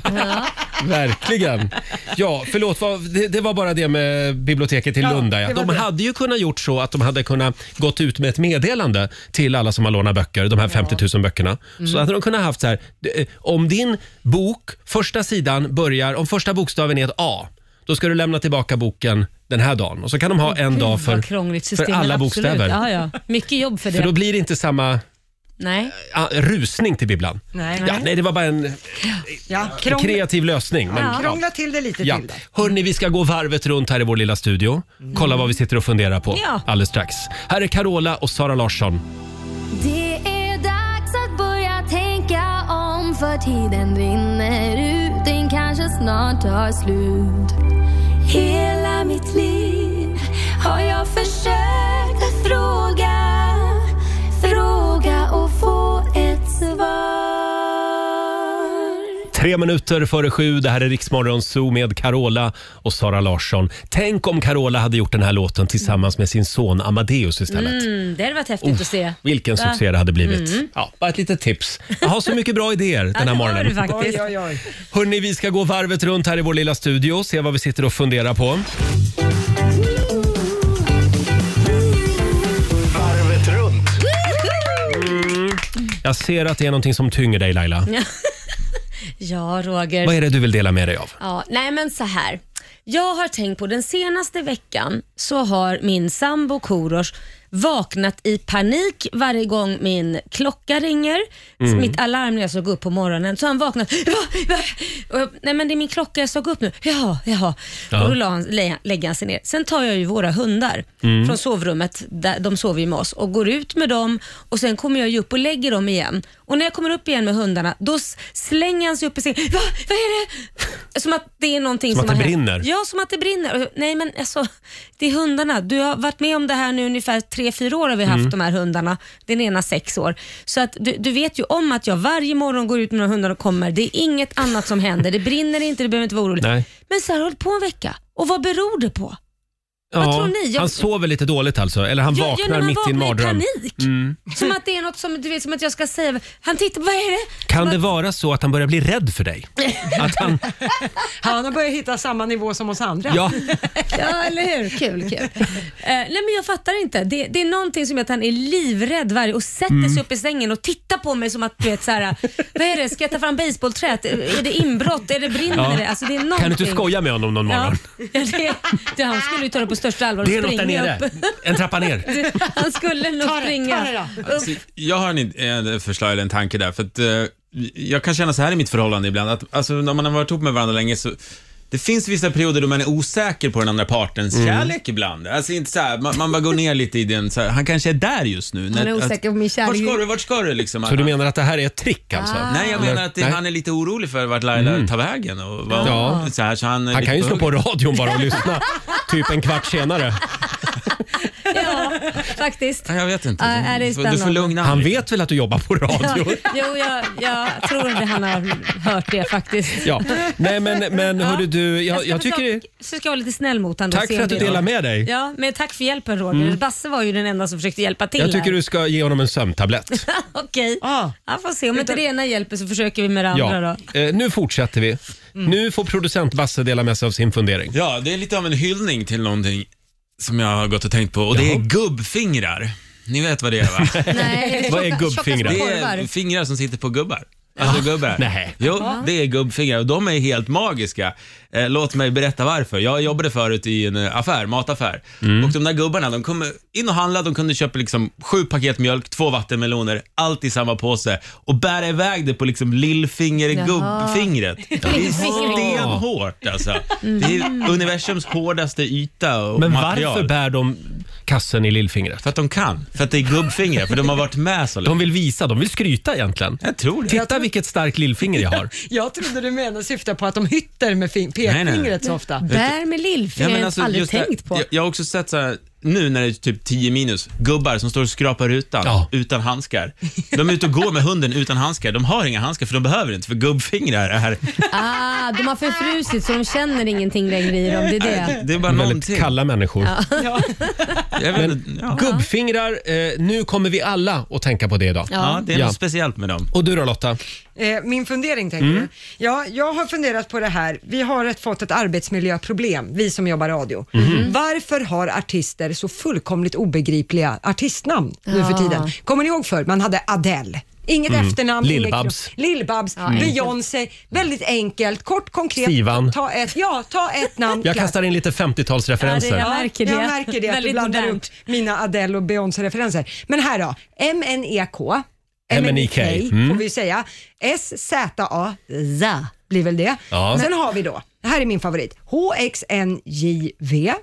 Speaker 1: Verkligen. Ja, förlåt. vad- Det, det var bara det med biblioteket i
Speaker 2: Ja,
Speaker 1: Lund. där, Ja.
Speaker 2: det var
Speaker 1: De
Speaker 2: det.
Speaker 1: hade ju kunnat gjort så att de hade kunnat gått ut med ett meddelande till alla som har lånat böcker, de här 50 000 böckerna. Så hade de kunnat haft så här, d- eh, om din bok, första sidan börjar, om första bokstaven är ett A, då ska du lämna tillbaka boken den här dagen. Och så kan de ha en dag för,
Speaker 4: Vad krångligt system.
Speaker 1: för alla
Speaker 4: men absolut.
Speaker 1: bokstäver.
Speaker 4: Ja, ja. Mycket jobb för det.
Speaker 1: För då blir det inte samma
Speaker 4: Nej.
Speaker 1: ah, rusning till bibblan.
Speaker 2: Nej.
Speaker 1: Ja, nej, det var bara en,
Speaker 2: Ja,
Speaker 1: en
Speaker 2: krångla,
Speaker 1: kreativ lösning. Men, ja.
Speaker 2: krångla till det lite
Speaker 1: Ja.
Speaker 2: till. Då.
Speaker 1: Hörni, vi ska gå varvet runt här i vår lilla studio. Kolla vad vi sitter och funderar på
Speaker 4: Ja.
Speaker 1: alldeles strax. Här är Carola och Sara Larsson.
Speaker 8: Det är dags att börja tänka om för tiden rinner ut, den kanske snart tar slut. Hela mitt liv har jag försökt att fråga, fråga och få ett svar.
Speaker 1: Tre minuter före sju, det här är Riksmorgon Zoo med Carola och Sara Larsson. Tänk om Carola hade gjort den här låten tillsammans med sin son Amadeus istället.
Speaker 4: Mm, det hade varit häftigt att se.
Speaker 1: Vilken
Speaker 4: Va? Mm.
Speaker 1: succé det hade blivit. Ja, bara ett litet tips. Jag har så mycket bra idéer den här
Speaker 4: det har
Speaker 1: morgonen.
Speaker 4: du faktiskt.
Speaker 2: Oj, oj, oj.
Speaker 1: Hörni, vi ska gå varvet runt här i vår lilla studio se vad vi sitter och funderar på.
Speaker 3: Varvet runt.
Speaker 1: Mm. Jag ser att det är någonting som tynger dig Laila.
Speaker 4: Ja, Roger.
Speaker 1: Vad är det du vill dela med dig av?
Speaker 4: Ja, nej men så här. Jag har tänkt på den senaste veckan så har min sambo Korosh vaknat i panik varje gång min klocka ringer.
Speaker 1: Mm.
Speaker 4: Mitt alarm när jag ska gå upp på morgonen. Så har han vaknat. Va? Va? Och jag, Nej men det är min klocka jag ska gå upp nu. Jaha, jaha.
Speaker 1: Ja.
Speaker 4: Och då la han, lä- lägger han sig ner. Sen tar jag ju våra hundar
Speaker 1: Mm.
Speaker 4: från sovrummet, där de sover ju med oss, och går ut med dem och sen kommer jag ju upp och lägger dem igen. Och när jag kommer upp igen med hundarna, då s- slänger han sig upp i sängen. Va? Vad är det? Som att det är någonting
Speaker 1: Som
Speaker 4: som,
Speaker 1: att det
Speaker 4: har hänt.
Speaker 1: brinner.
Speaker 4: Ja, som att det brinner. Och jag, Nej men alltså, det är hundarna. Du har varit med om det här nu ungefär tre fyra år har vi haft
Speaker 1: Mm.
Speaker 4: de här hundarna. Den ena sex år. Så att du, du vet ju om att jag varje morgon går ut med några hundar och kommer. Det är inget annat som händer. Det brinner inte, du behöver inte vara orolig.
Speaker 1: Nej.
Speaker 4: Men så här har hållit på en vecka. Och vad beror det på?
Speaker 1: Ja,
Speaker 4: Vad tror ni? Jag-
Speaker 1: Han sover lite dåligt alltså, eller han vaknar
Speaker 4: när man
Speaker 1: mitt i en
Speaker 4: vaknar
Speaker 1: mardröm. Mm.
Speaker 4: panik. Som att det är något som, du vet, som att jag ska säga, han tittar, vad är det?
Speaker 1: Kan det vara så att han börjar bli rädd för dig? Att han,
Speaker 2: Han har börjat hitta samma nivå som oss andra.
Speaker 1: ja,
Speaker 4: Ja, eller hur? Kul, kul. Eh, nej, men jag fattar inte. Det, det är någonting som gör att han är livrädd varje och sätter
Speaker 1: Mm.
Speaker 4: sig upp i sängen och tittar på mig som att, du vet så här, vad är det? Ska jag ta fram basebollträet? Är det inbrott? Är det brinner?
Speaker 1: Ja.
Speaker 4: Ja. Alltså, det är någonting.
Speaker 1: kan du inte skoja med honom någon
Speaker 4: Ja,
Speaker 1: morgon?
Speaker 4: ja, det, det, han skulle ju ta det på största allvar och
Speaker 1: Det är något där
Speaker 4: springa
Speaker 1: nere.
Speaker 4: upp.
Speaker 1: En trappa ner.
Speaker 4: Han skulle nog springa. upp.
Speaker 7: Jag har en, en förslag eller en tanke där, för att eh, jag kan känna så här i mitt förhållande ibland, att alltså, när man har varit ihop med varandra länge så det finns vissa perioder då man är osäker på den andra partens
Speaker 1: Mm.
Speaker 7: kärlek ibland. Alltså inte så här, man, man bara går ner lite i den, så här, han kanske är där just nu.
Speaker 4: är osäker på min
Speaker 7: Vart
Speaker 4: kärlek.
Speaker 7: ska du, vart ska du liksom?
Speaker 1: Så du menar att det här är ett trick alltså?
Speaker 7: Nej, jag menar att det,
Speaker 1: Nej.
Speaker 7: han är lite orolig för vart Laila tar vägen. Och vad,
Speaker 1: Ja.
Speaker 7: så här, så han, är
Speaker 1: Han
Speaker 7: lite
Speaker 1: kan ju slå
Speaker 7: hugg.
Speaker 1: på radion bara och lyssna typ en kvart senare.
Speaker 4: Ja, Faktiskt.
Speaker 7: Nej, Jag vet inte.
Speaker 4: Ja, är det
Speaker 7: Du får- du får
Speaker 4: spännande?
Speaker 7: lugna
Speaker 1: Han
Speaker 7: ner dig.
Speaker 1: vet väl att du jobbar på
Speaker 4: Ja,
Speaker 1: radio?
Speaker 4: jo, jag, jag tror inte han har hört det faktiskt.
Speaker 1: Ja. Nej men, men hörde du, jag, jag
Speaker 4: ska
Speaker 1: tycker det...
Speaker 4: försöka- Så ska jag vara lite snäll mot honom.
Speaker 1: Tack för att du delar med dig. Mm.
Speaker 4: Ja, men tack för hjälpen Roger. Basse var ju den enda som försökte hjälpa till
Speaker 1: Jag tycker
Speaker 4: här.
Speaker 1: du ska ge honom en sömntablett.
Speaker 4: Okej,
Speaker 2: Ah.
Speaker 4: ja, får se. Om inte det ena hjälper så försöker vi med det andra
Speaker 1: Ja.
Speaker 4: då.
Speaker 1: Eh, nu fortsätter vi.
Speaker 7: Mm.
Speaker 1: Nu får producent Basse dela med sig av sin fundering.
Speaker 7: Ja, det är lite av en hyllning till någonting som jag har gått och tänkt på och det är gubbfingrar. Ni vet vad det är va?
Speaker 4: Nej,
Speaker 1: Vad är
Speaker 4: tjocka- tjocka
Speaker 1: gubbfingrar?
Speaker 4: små
Speaker 7: Det
Speaker 4: korvar.
Speaker 7: är fingrar som sitter på gubbar. Alltså gubbar.
Speaker 1: Nej.
Speaker 7: Jo, det är gubbfingrar och de är helt magiska. Eh, låt mig berätta varför. Jag jobbade förut i en eh, affär, mataffär.
Speaker 1: Mm.
Speaker 7: Och de där gubbarna, de kom in och handlade. De kunde köpa liksom sju paket mjölk, två vattenmeloner, allt i samma påse och bära iväg det på liksom lillfinger-gubbfingret. Det är stenhårt alltså. Det är universums hårdaste yta och
Speaker 1: Mm. Men
Speaker 7: material.
Speaker 1: varför bär de kassen i lillfingret?
Speaker 7: För att de kan. För att det är gubbfingrar. För de har varit med så länge.
Speaker 1: De vill visa, de vill skryta egentligen.
Speaker 7: Jag tror det.
Speaker 1: Titta vilket starkt lillfinger jag har.
Speaker 2: Jag trodde du menade syfta på att de hytter med fin-
Speaker 7: nej.
Speaker 2: pekfingret så ofta.
Speaker 4: Bär med lillfingret,
Speaker 7: men alltså,
Speaker 4: jag har aldrig
Speaker 7: just det här-
Speaker 4: tänkt på.
Speaker 7: Jag, jag har också sett så här, nu när det är typ 10 minus, gubbar som står och skrapar rutan
Speaker 1: Ja.
Speaker 7: utan handskar. De är ute och går med hunden utan handskar. De har inga handskar för de behöver inte, för gubbfingrar är...
Speaker 4: Ah, de har förfrusit så de känner ingenting längre i dem. Det är det.
Speaker 7: Det är bara någonting.
Speaker 1: Väldigt kalla människor.
Speaker 7: Jag vet, inte, ja.
Speaker 1: Gubbfingrar, eh, nu kommer vi alla att tänka på det idag.
Speaker 7: ja, det är
Speaker 1: Ja.
Speaker 7: något speciellt med dem.
Speaker 1: Och du då Lotta?
Speaker 2: Eh, min fundering tänker
Speaker 1: Mm.
Speaker 2: du? Ja, jag har funderat på det här. Vi har ett, fått ett arbetsmiljöproblem, vi som jobbar radio.
Speaker 1: Mhm. Mm.
Speaker 2: Varför har artister så fullkomligt obegripliga artistnamn nu för tiden? Kommer ni ihåg förr? Man hade Adele. Inget efternamn. inget
Speaker 1: Mm. Lill-Babs.
Speaker 2: kro- Lill-Babs, Beyoncé. Väldigt enkelt, kort, konkret.
Speaker 1: Stivan.
Speaker 2: Ta ett, ja, ta ett namn.
Speaker 1: Jag
Speaker 2: klart.
Speaker 1: kastar in lite
Speaker 4: Ja, det
Speaker 1: 50-talsreferenser.
Speaker 4: jag märker det.
Speaker 2: Jag märker det att du
Speaker 4: Väldigt
Speaker 2: blandar
Speaker 4: modernt.
Speaker 2: upp mina Adele och Beyoncé-referenser. Men här då, E MNEK.
Speaker 1: MNEK,
Speaker 2: E får vi ju säga. SZA, ZA blir väl det.
Speaker 1: Ja.
Speaker 2: Sen har vi då, det här är min favorit, HXNJV. Eh, H-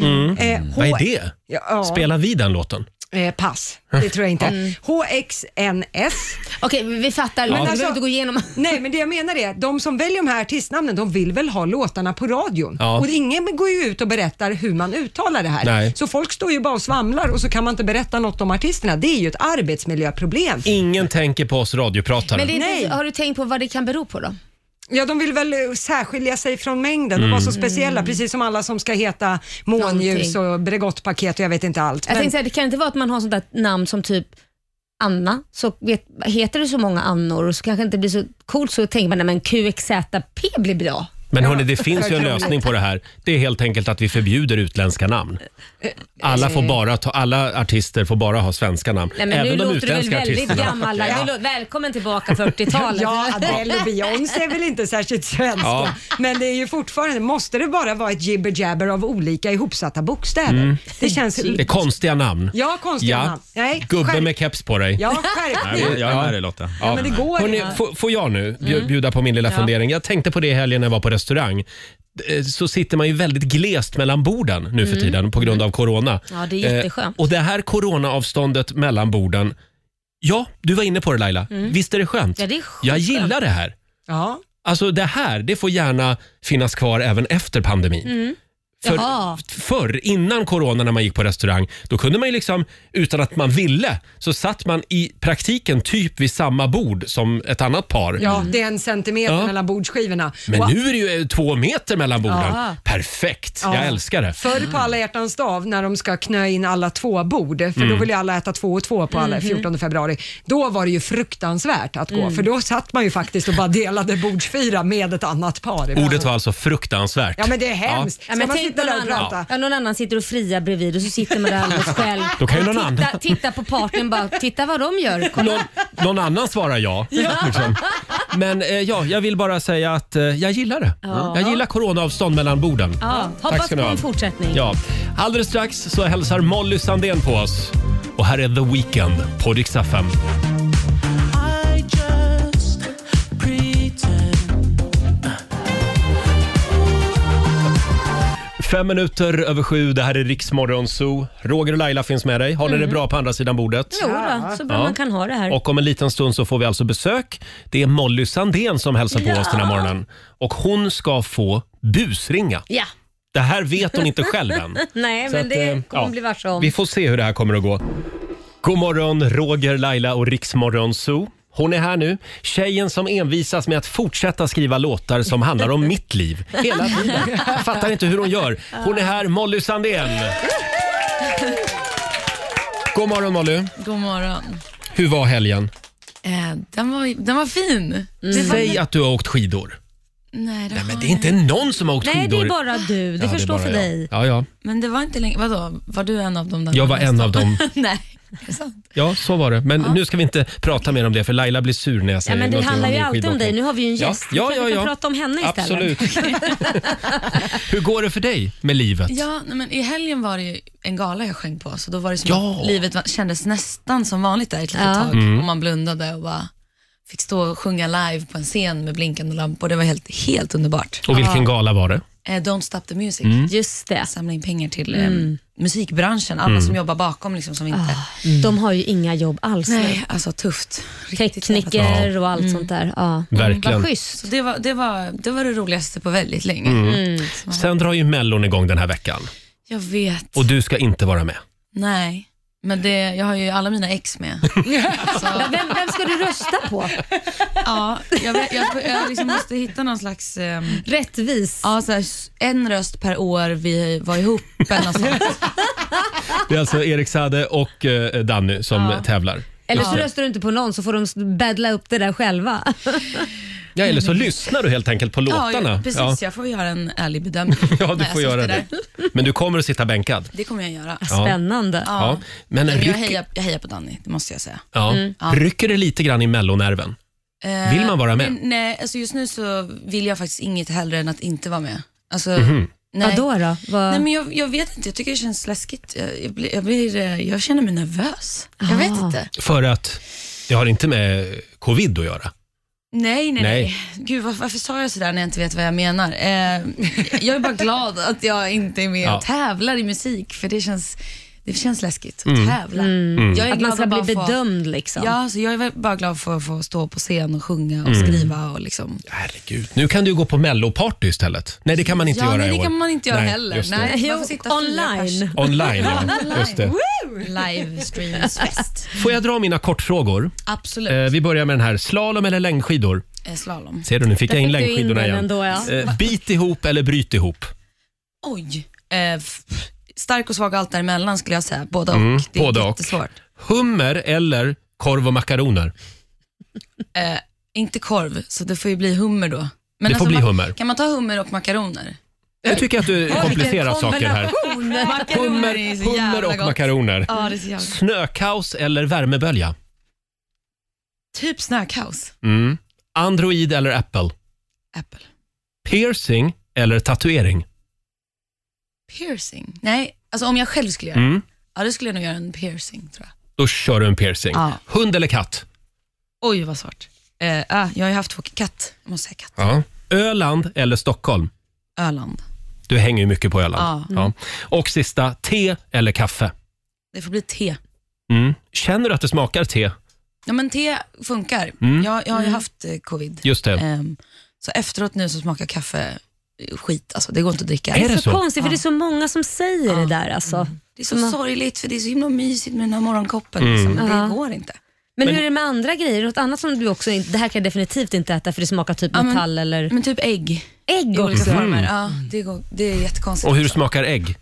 Speaker 1: Mm. Vad är det?
Speaker 2: Ja, ja,
Speaker 1: Spelar vi den låten?
Speaker 2: eh, pass, det tror jag inte.
Speaker 1: Mm.
Speaker 2: HXNS.
Speaker 4: Okej, vi fattar. Men
Speaker 2: alltså-
Speaker 4: vi behöver inte gå igenom.
Speaker 2: Nej, men det jag menar är, de som väljer de här artistnamnen, de vill väl ha låtarna på radion?
Speaker 1: Ja.
Speaker 2: Och ingen går ju ut och berättar hur man uttalar det här.
Speaker 1: Nej.
Speaker 2: Så folk står ju bara och svamlar och så kan man inte berätta något om artisterna. Det är ju ett arbetsmiljöproblem.
Speaker 1: Ingen tänker på oss
Speaker 4: Men
Speaker 1: radiopratare.
Speaker 4: det är
Speaker 2: Nej.
Speaker 4: inte, har du tänkt på vad det kan bero på då?
Speaker 2: Ja, de vill väl eh, särskilja sig från mängden och vara
Speaker 1: Mm.
Speaker 2: så speciella, precis som alla som ska heta månljus
Speaker 4: Någonting.
Speaker 2: och Bregottpaket och jag vet inte allt.
Speaker 4: Jag
Speaker 2: Men-
Speaker 4: tänkte säga, det kan inte vara att man har sånt där namn som typ Anna, så vet, heter det så många Annor och så kanske det inte blir så coolt så tänker man nej men QXZP blir bra.
Speaker 1: Men hörni, det finns ju en lösning på det här. Det är helt enkelt att vi förbjuder utländska namn.
Speaker 4: Eh,
Speaker 1: Alla, får bara ta, alla artister får bara ha svenska namn.
Speaker 4: Nej, men
Speaker 1: Även
Speaker 4: nu
Speaker 1: de
Speaker 4: låter du väl
Speaker 1: utländska
Speaker 4: väldigt
Speaker 1: artisterna.
Speaker 4: gammal. Ja. Välkommen tillbaka 40-talet.
Speaker 2: Ja, Adele och Beyoncé är väl inte särskilt svenska.
Speaker 1: Ja.
Speaker 2: Men det är ju fortfarande, måste det bara vara ett jibber-jabber av olika ihopsatta bokstäver?
Speaker 1: Mm.
Speaker 2: Det känns...
Speaker 1: Det är konstiga namn.
Speaker 2: Ja, konstiga
Speaker 1: Ja.
Speaker 2: namn. Nej,
Speaker 1: Gubbe
Speaker 2: skärp-
Speaker 1: med keps på dig.
Speaker 2: Ja,
Speaker 7: Nej,
Speaker 2: skärpning.
Speaker 7: Jag jag är med dig Lotta.
Speaker 2: Ja, men det går
Speaker 1: Hörrni,
Speaker 2: inte.
Speaker 1: får, får jag nu bju-
Speaker 4: Mm.
Speaker 1: bjuda på min lilla fundering? Jag tänkte på det i helgen när jag var på restaurang. Eh, Så sitter man ju väldigt glest mellan borden nu för tiden på grund av corona.
Speaker 4: Mm. Ja, det är jätteskönt.
Speaker 1: Eh, och det här coronaavståndet mellan borden. Ja, du var inne på det Laila. Visst är det skönt?
Speaker 4: Mm. Ja, det är skönt.
Speaker 1: jag gillar det här.
Speaker 2: Ja.
Speaker 1: Alltså det här, det får gärna finnas kvar även efter pandemin.
Speaker 2: Mm.
Speaker 1: För,
Speaker 4: Jaha.
Speaker 1: förr, innan corona, när man gick på restaurang, då kunde man ju liksom, utan att man ville, så satt man i praktiken typ vid samma bord som ett annat par.
Speaker 2: ja, det är en centimeter
Speaker 1: Ja.
Speaker 2: mellan bordsskivorna.
Speaker 1: Men
Speaker 2: Och
Speaker 1: nu är det ju eh, två meter mellan borden.
Speaker 4: Ja.
Speaker 1: Perfekt,
Speaker 2: Ja.
Speaker 1: jag älskar det.
Speaker 2: Förr på alla hjärtans dag när de ska knö in alla två bord, för då vill ju alla äta två och två på alla 14 februari. Då var det ju fruktansvärt att gå, för då satt man ju faktiskt och bara delade bordsfyra med ett annat par.
Speaker 1: Ordet var alltså fruktansvärt.
Speaker 2: Ja men det är hemskt.
Speaker 4: Ja,
Speaker 2: Ska
Speaker 4: men
Speaker 2: man
Speaker 4: tänk
Speaker 2: sitta
Speaker 4: någon,
Speaker 2: där och
Speaker 4: annan,
Speaker 2: prata?
Speaker 4: ja, någon annan sitter och friar bredvid och så sitter man där alldeles själv.
Speaker 1: Då kan ju någon
Speaker 4: titta,
Speaker 1: annan-
Speaker 4: titta på partnern bara, titta vad de gör. Kolla.
Speaker 1: Någon, någon annan svarar ja. Liksom. Men eh, ja, jag vill bara säga att eh, jag gillar det. Jag gillar coronaavstånd mellan borden.
Speaker 4: Ja,
Speaker 1: Tack
Speaker 4: hoppas
Speaker 1: ska
Speaker 4: på
Speaker 1: ni ha.
Speaker 4: en fortsättning.
Speaker 1: Ja. Alldeles strax så hälsar Molly Sandén på oss. Och här är The Weeknd på Dix FM. Fem minuter över sju, det här är Riksmorgon Zoo. Roger och Laila finns med dig. Har ni
Speaker 4: Mm.
Speaker 1: det bra på andra sidan bordet?
Speaker 4: Jo då, så bra
Speaker 1: Ja.
Speaker 4: man kan ha det här.
Speaker 1: Och om en liten stund så får vi alltså besök. Det är Molly Sandén som hälsar på oss den här morgonen. Och hon ska få busringa.
Speaker 4: Ja.
Speaker 1: Det här vet hon inte själv än.
Speaker 4: Nej,
Speaker 1: Så
Speaker 4: men
Speaker 1: att,
Speaker 4: det
Speaker 1: eh,
Speaker 4: kommer
Speaker 1: ja,
Speaker 4: bli varse om.
Speaker 1: Vi får se hur det här kommer att gå. God morgon, Roger, Laila och Riksmorgon Zoo. Hon är här nu, tjejen som envisas med att fortsätta skriva låtar som handlar om mitt liv. Hela tiden. Jag fattar inte hur hon gör. Hon är här, Molly Sandén. God morgon Molly.
Speaker 7: God morgon.
Speaker 1: Hur var helgen?
Speaker 7: Eh, den, var, den var fin. Det var,
Speaker 1: Mm. Säg att du har åkt skidor.
Speaker 7: nej, den
Speaker 1: Men
Speaker 7: var,
Speaker 1: det är inte någon som har åkt
Speaker 4: Nej, det
Speaker 1: skidor.
Speaker 4: är bara du. Det
Speaker 1: Ja, är
Speaker 4: förstår
Speaker 1: bara
Speaker 4: för
Speaker 1: jag.
Speaker 4: dig.
Speaker 1: Ja, ja.
Speaker 7: men det var inte länge. Vadå, var du en av dem? Där
Speaker 1: Jag var en av dem.
Speaker 7: nej, är det sant?
Speaker 1: ja, så var det. Men nu ska vi inte prata mer om det för Laila blir sur när jag
Speaker 4: Ja,
Speaker 1: säger
Speaker 4: men det
Speaker 1: någonting
Speaker 4: handlar ju
Speaker 1: min
Speaker 4: alltid om
Speaker 1: skidåkning.
Speaker 4: dig. Nu har vi ju en gäst. Vi
Speaker 1: Ja,
Speaker 4: kan-
Speaker 1: ja,
Speaker 4: vi kan
Speaker 1: ja.
Speaker 4: prata om henne istället.
Speaker 1: Absolut. Hur går det för dig med livet?
Speaker 7: Ja, nej, men I helgen var det ju en gala jag sjöng på, så då var det som
Speaker 1: Ja.
Speaker 7: att livet var, kändes nästan som vanligt där ett litet
Speaker 4: Ja.
Speaker 7: tag.
Speaker 1: Mm.
Speaker 7: Och man blundade och bara fick stå och sjunga live på en scen med blinkande lampor. Det var helt, helt underbart.
Speaker 1: Och vilken gala var
Speaker 4: Mm,
Speaker 1: det?
Speaker 7: Eh, Don't stop the music.
Speaker 4: Just det.
Speaker 7: Samla in pengar till eh, musikbranschen, alla
Speaker 1: Mm.
Speaker 7: som jobbar bakom liksom, som inte...
Speaker 4: Ah. De har ju inga jobb alls.
Speaker 7: Nej, alltså tufft. Riktigt Mm. jävla tufft.
Speaker 4: Tekniker och allt sånt där. Ja.
Speaker 1: Verkligen.
Speaker 4: Vad schysst.
Speaker 7: Så det var, det, var, det var det roligaste på väldigt länge.
Speaker 1: Mm.
Speaker 7: Så,
Speaker 1: Sen drar ju Mellon igång den här veckan
Speaker 7: jag vet.
Speaker 1: och du ska inte vara med.
Speaker 7: Nej, men det, jag har ju alla mina ex med.
Speaker 4: Ja, Vem, vem ska du rösta på?
Speaker 7: ja, jag vet, jag, jag liksom måste hitta någon slags... ehm,
Speaker 4: Rättvis.
Speaker 7: ja, så här, s- en röst per år vi var ihop. Eller något sånt.
Speaker 1: Det är alltså Erik Sade och eh, Danny som tävlar.
Speaker 4: Eller
Speaker 1: Just
Speaker 4: så
Speaker 1: det.
Speaker 4: röstar du inte på någon så får de s- baddla upp det där själva.
Speaker 1: Ja, eller så lyssnar du helt enkelt på
Speaker 7: ja,
Speaker 1: låtarna.
Speaker 7: jag, precis.
Speaker 1: Ja.
Speaker 7: Jag får göra en ärlig bedömning.
Speaker 1: Ja,
Speaker 7: när
Speaker 1: du
Speaker 7: jag
Speaker 1: får göra
Speaker 7: sitter
Speaker 1: det.
Speaker 7: där.
Speaker 1: Men du kommer att sitta bänkad.
Speaker 7: Det kommer jag göra.
Speaker 4: Spännande.
Speaker 1: Ja. Men
Speaker 7: Men Jag,
Speaker 1: ryck,
Speaker 7: hejar, jag hejar på Danny, det måste jag säga. Mm.
Speaker 1: ja, rycker det lite grann i mellonerven?
Speaker 7: Eh,
Speaker 1: Vill man vara med?
Speaker 7: Men, nej, alltså just nu så vill jag faktiskt inget hellre än att inte vara med. Alltså,
Speaker 1: Mhm.
Speaker 7: nej.
Speaker 4: Vadå då? Vad...
Speaker 7: Nej, men jag, jag vet inte, jag tycker det känns läskigt. Jag, jag, blir, jag, blir, eh, jag känner mig nervös. Jag vet inte.
Speaker 1: För att det har inte med covid att göra.
Speaker 7: Nej, nej, nej.
Speaker 1: Nej.
Speaker 7: Gud, var, varför sa jag sådär när jag inte vet vad jag menar? Eh, jag är bara glad att jag inte är med
Speaker 1: Ja.
Speaker 7: och tävlar i musik, för det känns, det känns läskigt att tävla. Mm.
Speaker 1: Mm.
Speaker 7: Jag är
Speaker 4: Att man ska
Speaker 7: bara
Speaker 4: bli
Speaker 7: få-
Speaker 4: bedömd liksom.
Speaker 7: Ja, så jag är väl bara glad för att få stå på scen och sjunga och skriva och liksom.
Speaker 1: Herregud. Nu kan du gå på melloparty istället. Nej, det kan man inte
Speaker 7: ja,
Speaker 1: göra
Speaker 7: nej,
Speaker 1: i
Speaker 7: det
Speaker 1: år.
Speaker 7: kan man inte göra
Speaker 1: Nej,
Speaker 7: heller.
Speaker 1: just det.
Speaker 7: Nej, man
Speaker 4: Jo,
Speaker 7: får sitta fyra pers.
Speaker 4: online.
Speaker 1: Online, ja.
Speaker 7: Online.
Speaker 1: Just det.
Speaker 7: Livestreamsfest.
Speaker 1: Får jag dra mina kortfrågor?
Speaker 7: Absolut.
Speaker 1: Eh, vi börjar med den här. Slalom eller längdskidor?
Speaker 7: Eh, Slalom.
Speaker 1: Ser du, nu fick
Speaker 4: Där
Speaker 1: jag in
Speaker 4: fick du in
Speaker 1: längdskidorna
Speaker 4: den
Speaker 1: igen.
Speaker 4: ändå, ja.
Speaker 1: Eh, bit ihop eller bryt ihop?
Speaker 7: Oj. Eh, f- stark och svag allt däremellan skulle jag säga. Både och. det är
Speaker 1: Mm. både och.
Speaker 7: jättesvårt.
Speaker 1: Hummer eller korv och makaroner?
Speaker 7: Eh, inte korv, så det får ju bli hummer då. Men alltså
Speaker 1: Det får bli
Speaker 7: ma-
Speaker 1: hummer.
Speaker 7: Kan man ta hummer och makaroner?
Speaker 1: Jag tycker att du komplicerar saker här. Hummer,
Speaker 7: är så
Speaker 1: hummer
Speaker 7: jävla
Speaker 1: och
Speaker 7: gott.
Speaker 1: makaroner.
Speaker 7: Ja, det är så jävla gott.
Speaker 1: Snökaos eller värmebölja?
Speaker 7: Typ snökaos.
Speaker 1: Mm. Android eller Apple?
Speaker 7: Apple.
Speaker 1: Piercing eller tatuering?
Speaker 7: Piercing? Nej, alltså om jag själv skulle göra
Speaker 1: Mm.
Speaker 7: Ja, då skulle jag nog göra en piercing tror jag.
Speaker 1: Då kör du en piercing.
Speaker 7: Ja.
Speaker 1: Hund eller katt?
Speaker 7: Oj, vad svårt. Eh, ah, jag har ju haft två katt. Jag måste säga katt.
Speaker 1: Öland eller Stockholm?
Speaker 7: Öland.
Speaker 1: Du hänger ju mycket på Öland.
Speaker 7: Ja.
Speaker 1: Ja. Och sista, te eller kaffe?
Speaker 7: Det får bli te.
Speaker 1: Mm. Känner du att det smakar te?
Speaker 7: Ja, men te funkar.
Speaker 1: Mm.
Speaker 7: Jag, jag har ju haft eh, covid.
Speaker 1: Just det.
Speaker 7: Ehm, så efteråt nu så smakar kaffe eh, skit. Alltså, det går inte att dricka.
Speaker 1: Är det
Speaker 4: Så
Speaker 1: så?
Speaker 4: konstigt för det är så många som säger det där alltså.
Speaker 7: Det är så sorgligt för det är så himla mysigt med den här morgonkoppen. Liksom.
Speaker 1: Mm.
Speaker 7: Men
Speaker 4: Ja.
Speaker 7: Det går inte.
Speaker 4: Men, hur är det med andra grejer? Något annat som du också inte, det här kan jag definitivt inte äta för det smakar typ
Speaker 7: Ja, men-
Speaker 4: metall eller
Speaker 7: Men typ ägg
Speaker 4: ägg
Speaker 7: i olika
Speaker 4: också.
Speaker 7: former. Ja, det, går, det är jättekonstigt.
Speaker 1: Och hur
Speaker 7: också.
Speaker 1: smakar ägg?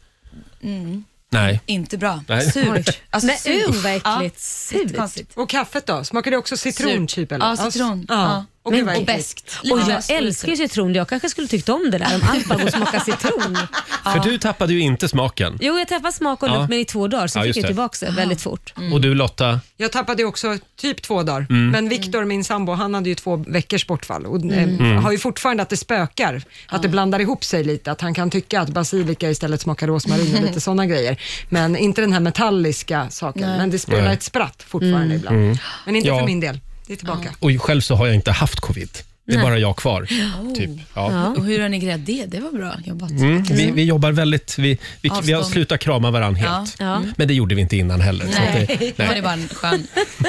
Speaker 7: Mm.
Speaker 1: Nej.
Speaker 7: Inte bra.
Speaker 1: Nej.
Speaker 7: Surt. Alltså,
Speaker 4: Nej,
Speaker 7: surt.
Speaker 4: uh, vad äckligt.
Speaker 7: Ja,
Speaker 4: Surt.
Speaker 7: jättekonstigt.
Speaker 2: Och kaffet då? Smakar det också citron
Speaker 7: Surt.
Speaker 2: typ? Eller?
Speaker 7: Ja, citron.
Speaker 2: Ja.
Speaker 7: Ja.
Speaker 2: Och,
Speaker 4: Men-
Speaker 2: gud, vad
Speaker 4: och
Speaker 2: äckligt.
Speaker 7: Bäst.
Speaker 4: Och
Speaker 7: Ja,
Speaker 4: jag
Speaker 7: surt.
Speaker 4: älskar ju citron. Jag kanske skulle tyckt om det där om allt bara går och smakar citron.
Speaker 1: För du tappade ju inte smaken.
Speaker 4: Jo, jag tappade smak och
Speaker 1: Ja.
Speaker 4: lukt men i två dagar så
Speaker 1: Ja,
Speaker 4: fick
Speaker 1: just
Speaker 4: jag
Speaker 1: det.
Speaker 4: tillbaka det väldigt fort.
Speaker 1: Och du Lotta,
Speaker 2: Jag tappade ju också typ två dagar,
Speaker 1: Mm.
Speaker 2: men Viktor, min sambo, han hade ju två veckors bortfall och eh,
Speaker 1: Mm.
Speaker 2: har ju fortfarande att det spökar, att
Speaker 1: Ah.
Speaker 2: det blandar ihop sig lite, att han kan tycka att basilika istället smakar rosmarin och lite sådana grejer. Men inte den här metalliska saken, men det spelar
Speaker 1: Nej. Mm.
Speaker 2: ett spratt fortfarande ibland. Men inte
Speaker 1: Ja.
Speaker 2: för min del, det är tillbaka.
Speaker 1: och själv så har jag inte haft covid. Det är bara jag kvar. Typ. Ja.
Speaker 7: Och hur har ni grejat det? Det var bra jobbat.
Speaker 1: Mm, vi, vi jobbar väldigt... Vi, vi, vi har
Speaker 7: Avstånd.
Speaker 1: slutat krama varandra
Speaker 7: Ja.
Speaker 1: helt. Mm. Men det gjorde vi inte innan heller. Så att det,
Speaker 7: Det var det bara en skön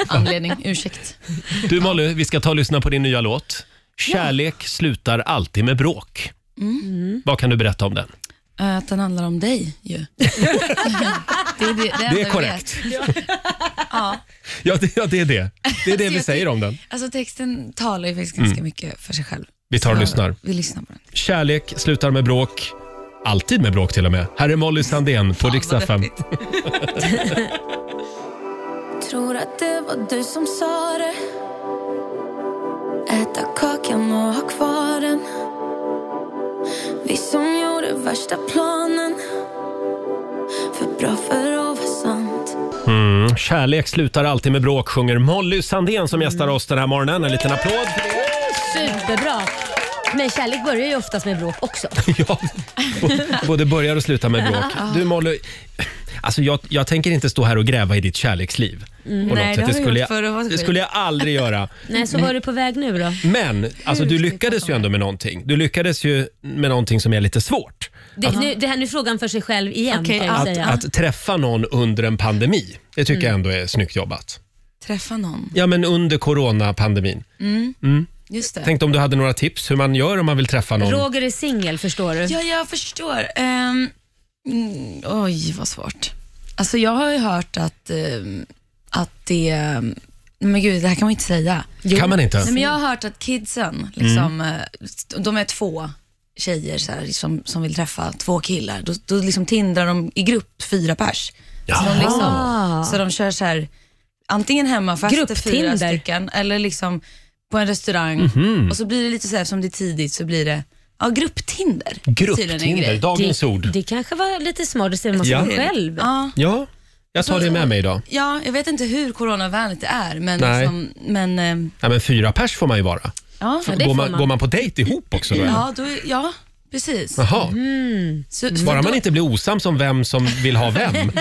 Speaker 7: anledning. Ursäkt.
Speaker 1: Du Molly, vi ska ta och lyssna på din nya låt. Kärlek slutar alltid med bråk. Vad kan du berätta om den?
Speaker 9: Eh, Att den handlar om dig ju. det, är det, enda
Speaker 1: Det
Speaker 9: jag
Speaker 1: är
Speaker 9: vet.
Speaker 1: korrekt.
Speaker 9: Ja.
Speaker 1: Ja, det, ja, det är det. Det är det vi
Speaker 9: jag
Speaker 1: säger
Speaker 9: tyck-
Speaker 1: om den. Mm.
Speaker 9: Alltså texten talar ju faktiskt ganska mycket för sig själv.
Speaker 1: Vi tar och
Speaker 9: Så
Speaker 1: lyssnar.
Speaker 9: Vi lyssnar på den.
Speaker 1: Kärlek slutar med bråk. Alltid med bråk till och med. Här är Molly Sandén på riksdag 5.
Speaker 8: Tror att det var du som sa det Äta kakan och ha kvar den Vi som gjorde värsta planen För bra för att vara sant
Speaker 1: Mm. Kärlek slutar alltid med bråk sjunger Molly Sandén som gästar oss den här morgonen. En liten applåd för det.
Speaker 4: Superbra. Men kärlek börjar ju oftast med bråk också.
Speaker 1: Ja, b- både börjar och slutar med bråk. Du Molly, alltså jag, jag tänker inte stå här och gräva i ditt kärleksliv. på
Speaker 9: Nej,
Speaker 1: något
Speaker 9: det har vi
Speaker 1: skulle
Speaker 9: gjort förr och var
Speaker 1: jag,
Speaker 9: skit.
Speaker 1: det skulle jag aldrig göra.
Speaker 4: Nej, så var du på väg nu då?
Speaker 1: Men alltså, du
Speaker 9: ska vi
Speaker 1: lyckades
Speaker 9: prata
Speaker 1: ju
Speaker 9: om
Speaker 1: ändå med någonting. Du lyckades ju med någonting som är lite svårt.
Speaker 4: Det, nu, det här nu är frågan för sig själv igen
Speaker 9: Okej,
Speaker 4: kan jag
Speaker 9: att-
Speaker 4: säga.
Speaker 1: Att träffa någon under en pandemi, det tycker
Speaker 9: Mm.
Speaker 1: jag ändå är snyggt jobbat.
Speaker 9: Träffa någon.
Speaker 1: Ja, men under coronapandemin.
Speaker 9: Just det.
Speaker 1: Tänk om du hade några tips hur man gör om man vill träffa någon.
Speaker 4: Roger är singel förstår du.
Speaker 9: Ja, jag förstår. Ehm, mm, oj, vad svårt. Alltså, jag har ju hört att, ehm, att det... ehm, Men gud, det här kan man inte säga.
Speaker 1: Kan man inte?
Speaker 9: Nej, men jag har hört att kidsen, liksom, eh, st- de är två tjejer så här, som, som vill träffa två killar. Då, då liksom tindrar de i grupp, fyra pers. Så de, liksom, så de kör så här, antingen hemmafester fyra
Speaker 4: Grupptinder.
Speaker 9: stycken eller liksom på en restaurang.
Speaker 1: Mhm.
Speaker 9: Och så blir det lite så här, som det är tidigt så blir det ja, grupptinder. Tydligen en
Speaker 1: Grupptinder,
Speaker 9: grej.
Speaker 1: dagens ord.
Speaker 4: det, det kanske var lite smart att se vad man
Speaker 1: Ja.
Speaker 4: ska ja. själv.
Speaker 9: Ja,
Speaker 1: Ja, jag tar det med mig idag.
Speaker 9: ja, jag vet inte hur coronavänligt det är, men,
Speaker 1: Nej.
Speaker 9: liksom, men eh,
Speaker 1: Ja, men fyra pers får man ju vara.
Speaker 9: ja.
Speaker 4: det
Speaker 1: går,
Speaker 4: får
Speaker 1: man,
Speaker 4: man.
Speaker 1: går man på dejt ihop också? Då, eller?
Speaker 9: Ja, Mm. då, ja, precis.
Speaker 1: Jaha,
Speaker 9: Så,
Speaker 1: bara
Speaker 9: för
Speaker 1: man
Speaker 9: då-
Speaker 1: inte blir osams om vem som vill ha vem.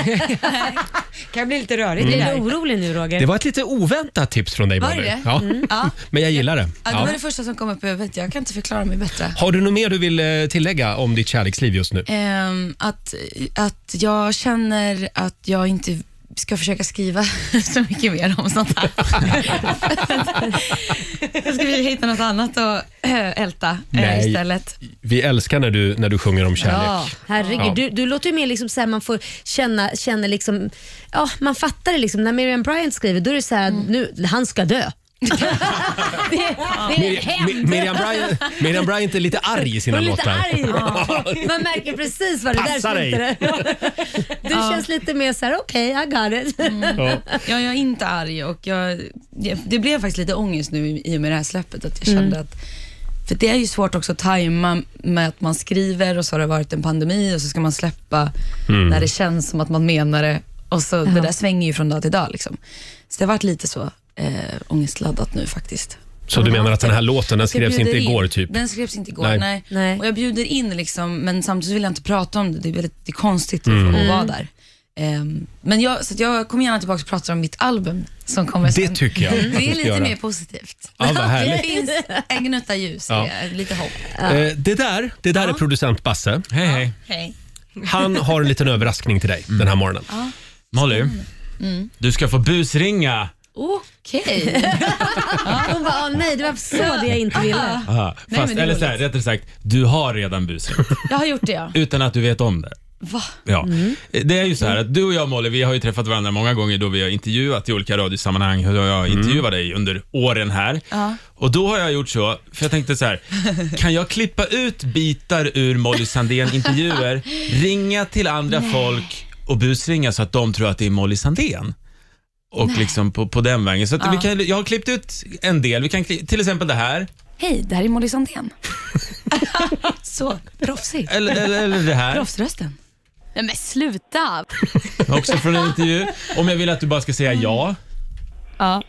Speaker 2: kan bli lite rörigt det
Speaker 4: Blir du
Speaker 2: där.
Speaker 4: orolig nu Roger?
Speaker 1: Mm. Det var ett lite oväntat tips från dig
Speaker 9: Var
Speaker 1: Molly.
Speaker 9: det? Mm,
Speaker 1: Ja.
Speaker 9: Ja.
Speaker 1: Men jag gillar det.
Speaker 9: Ja, det var
Speaker 1: Ja.
Speaker 9: det första som kom upp i huvudet. Jag kan inte förklara mig bättre.
Speaker 1: Har du något mer du vill eh, tillägga om ditt kärleksliv just nu?
Speaker 9: Ehm, att, att jag känner att jag inte ska försöka skriva så mycket mer om sånt här. jag ska försöka hitta något annat att äh, älta eh,
Speaker 1: Nej.
Speaker 9: istället.
Speaker 1: Vi älskar när du, när du sjunger om kärlek.
Speaker 9: Ja.
Speaker 4: Herregud,
Speaker 1: Ja.
Speaker 4: du, du låter ju mer liksom så här, man får känna, känna liksom, ja man fattar det liksom. När Miriam Bryant skriver då är det så här, nu, han ska dö. det, det
Speaker 1: Mir- Mi-
Speaker 4: hände.
Speaker 1: Miriam Bryant, Miriam Bryant är lite arg i sina
Speaker 4: Och lite
Speaker 1: låtar.
Speaker 4: arg. Man märker precis vad det där
Speaker 1: Passa dig.
Speaker 4: slutade. Du känns lite mer så här: okej, I got it.
Speaker 1: Ja.
Speaker 9: Jag, jag är inte arg och jag, det- det blev faktiskt lite ångest nu i- i och med det här släppet. Att jag kände att, för det är ju svårt också att tajma med att man skriver och så har det varit en pandemi och så ska man släppa när det känns som att man menar det. Och så, Det där svänger ju från dag till dag. Liksom. Så det har varit lite så eh, ångestladdat nu faktiskt.
Speaker 1: Så du menar att den här låten den
Speaker 9: Jag
Speaker 1: skrevs
Speaker 9: bjuder
Speaker 1: inte
Speaker 9: in.
Speaker 1: igår typ?
Speaker 9: Den skrevs inte igår,
Speaker 1: Nej.
Speaker 9: nej.
Speaker 4: Nej.
Speaker 9: Och jag bjuder in liksom, men samtidigt vill jag inte prata om det. Det är väldigt det är konstigt mm. att vara där. Ehm, men jag, så att jag kommer gärna tillbaka och prata om mitt album som kommer
Speaker 1: Det
Speaker 9: sen.
Speaker 1: tycker jag att
Speaker 9: Det
Speaker 1: vi
Speaker 9: är
Speaker 1: ska
Speaker 9: lite
Speaker 1: göra.
Speaker 9: mer positivt.
Speaker 1: Ja, vad
Speaker 9: det
Speaker 1: härligt.
Speaker 9: finns en gnutta ljus,
Speaker 1: Ja.
Speaker 9: det är lite hopp.
Speaker 1: Eh, Det där, det där är producent Basse.
Speaker 7: Hej, hej.
Speaker 9: Hej.
Speaker 1: Han har en liten överraskning till dig den här morgonen.
Speaker 7: Molly, du ska få busringa.
Speaker 9: Okej.
Speaker 4: Hon bara, "Åh, nej det var så det jag inte ville.
Speaker 7: Aha,
Speaker 9: Nej,
Speaker 7: fast,
Speaker 9: men det är
Speaker 7: eller så här, rättare sagt, du har redan busringt
Speaker 9: Jag har gjort det ja.
Speaker 7: utan att du vet om det.
Speaker 9: Va?
Speaker 7: Ja. Eh, Det är ju så här att du och jag Molly, vi har ju träffat varandra många gånger då vi har intervjuat i olika radiosammanhang. Hur jag intervjuat dig under åren här. Och då har jag gjort så, för jag tänkte så här, kan jag klippa ut bitar ur Molly Sandén-intervjuer, ringa till andra folk och busringa så att de tror att det är Molly Sandén? Och liksom på, på den vägen. Så att vi kan, jag har klippt ut en del, vi kan, kli- till exempel det här,
Speaker 9: Hej, det här är Molly Sandén. så proffsigt.
Speaker 7: eller, eller, eller det här.
Speaker 9: Proffsrösten. Men sluta.
Speaker 7: Också från en intervju. Om jag vill att du bara ska säga ja.
Speaker 9: Ja.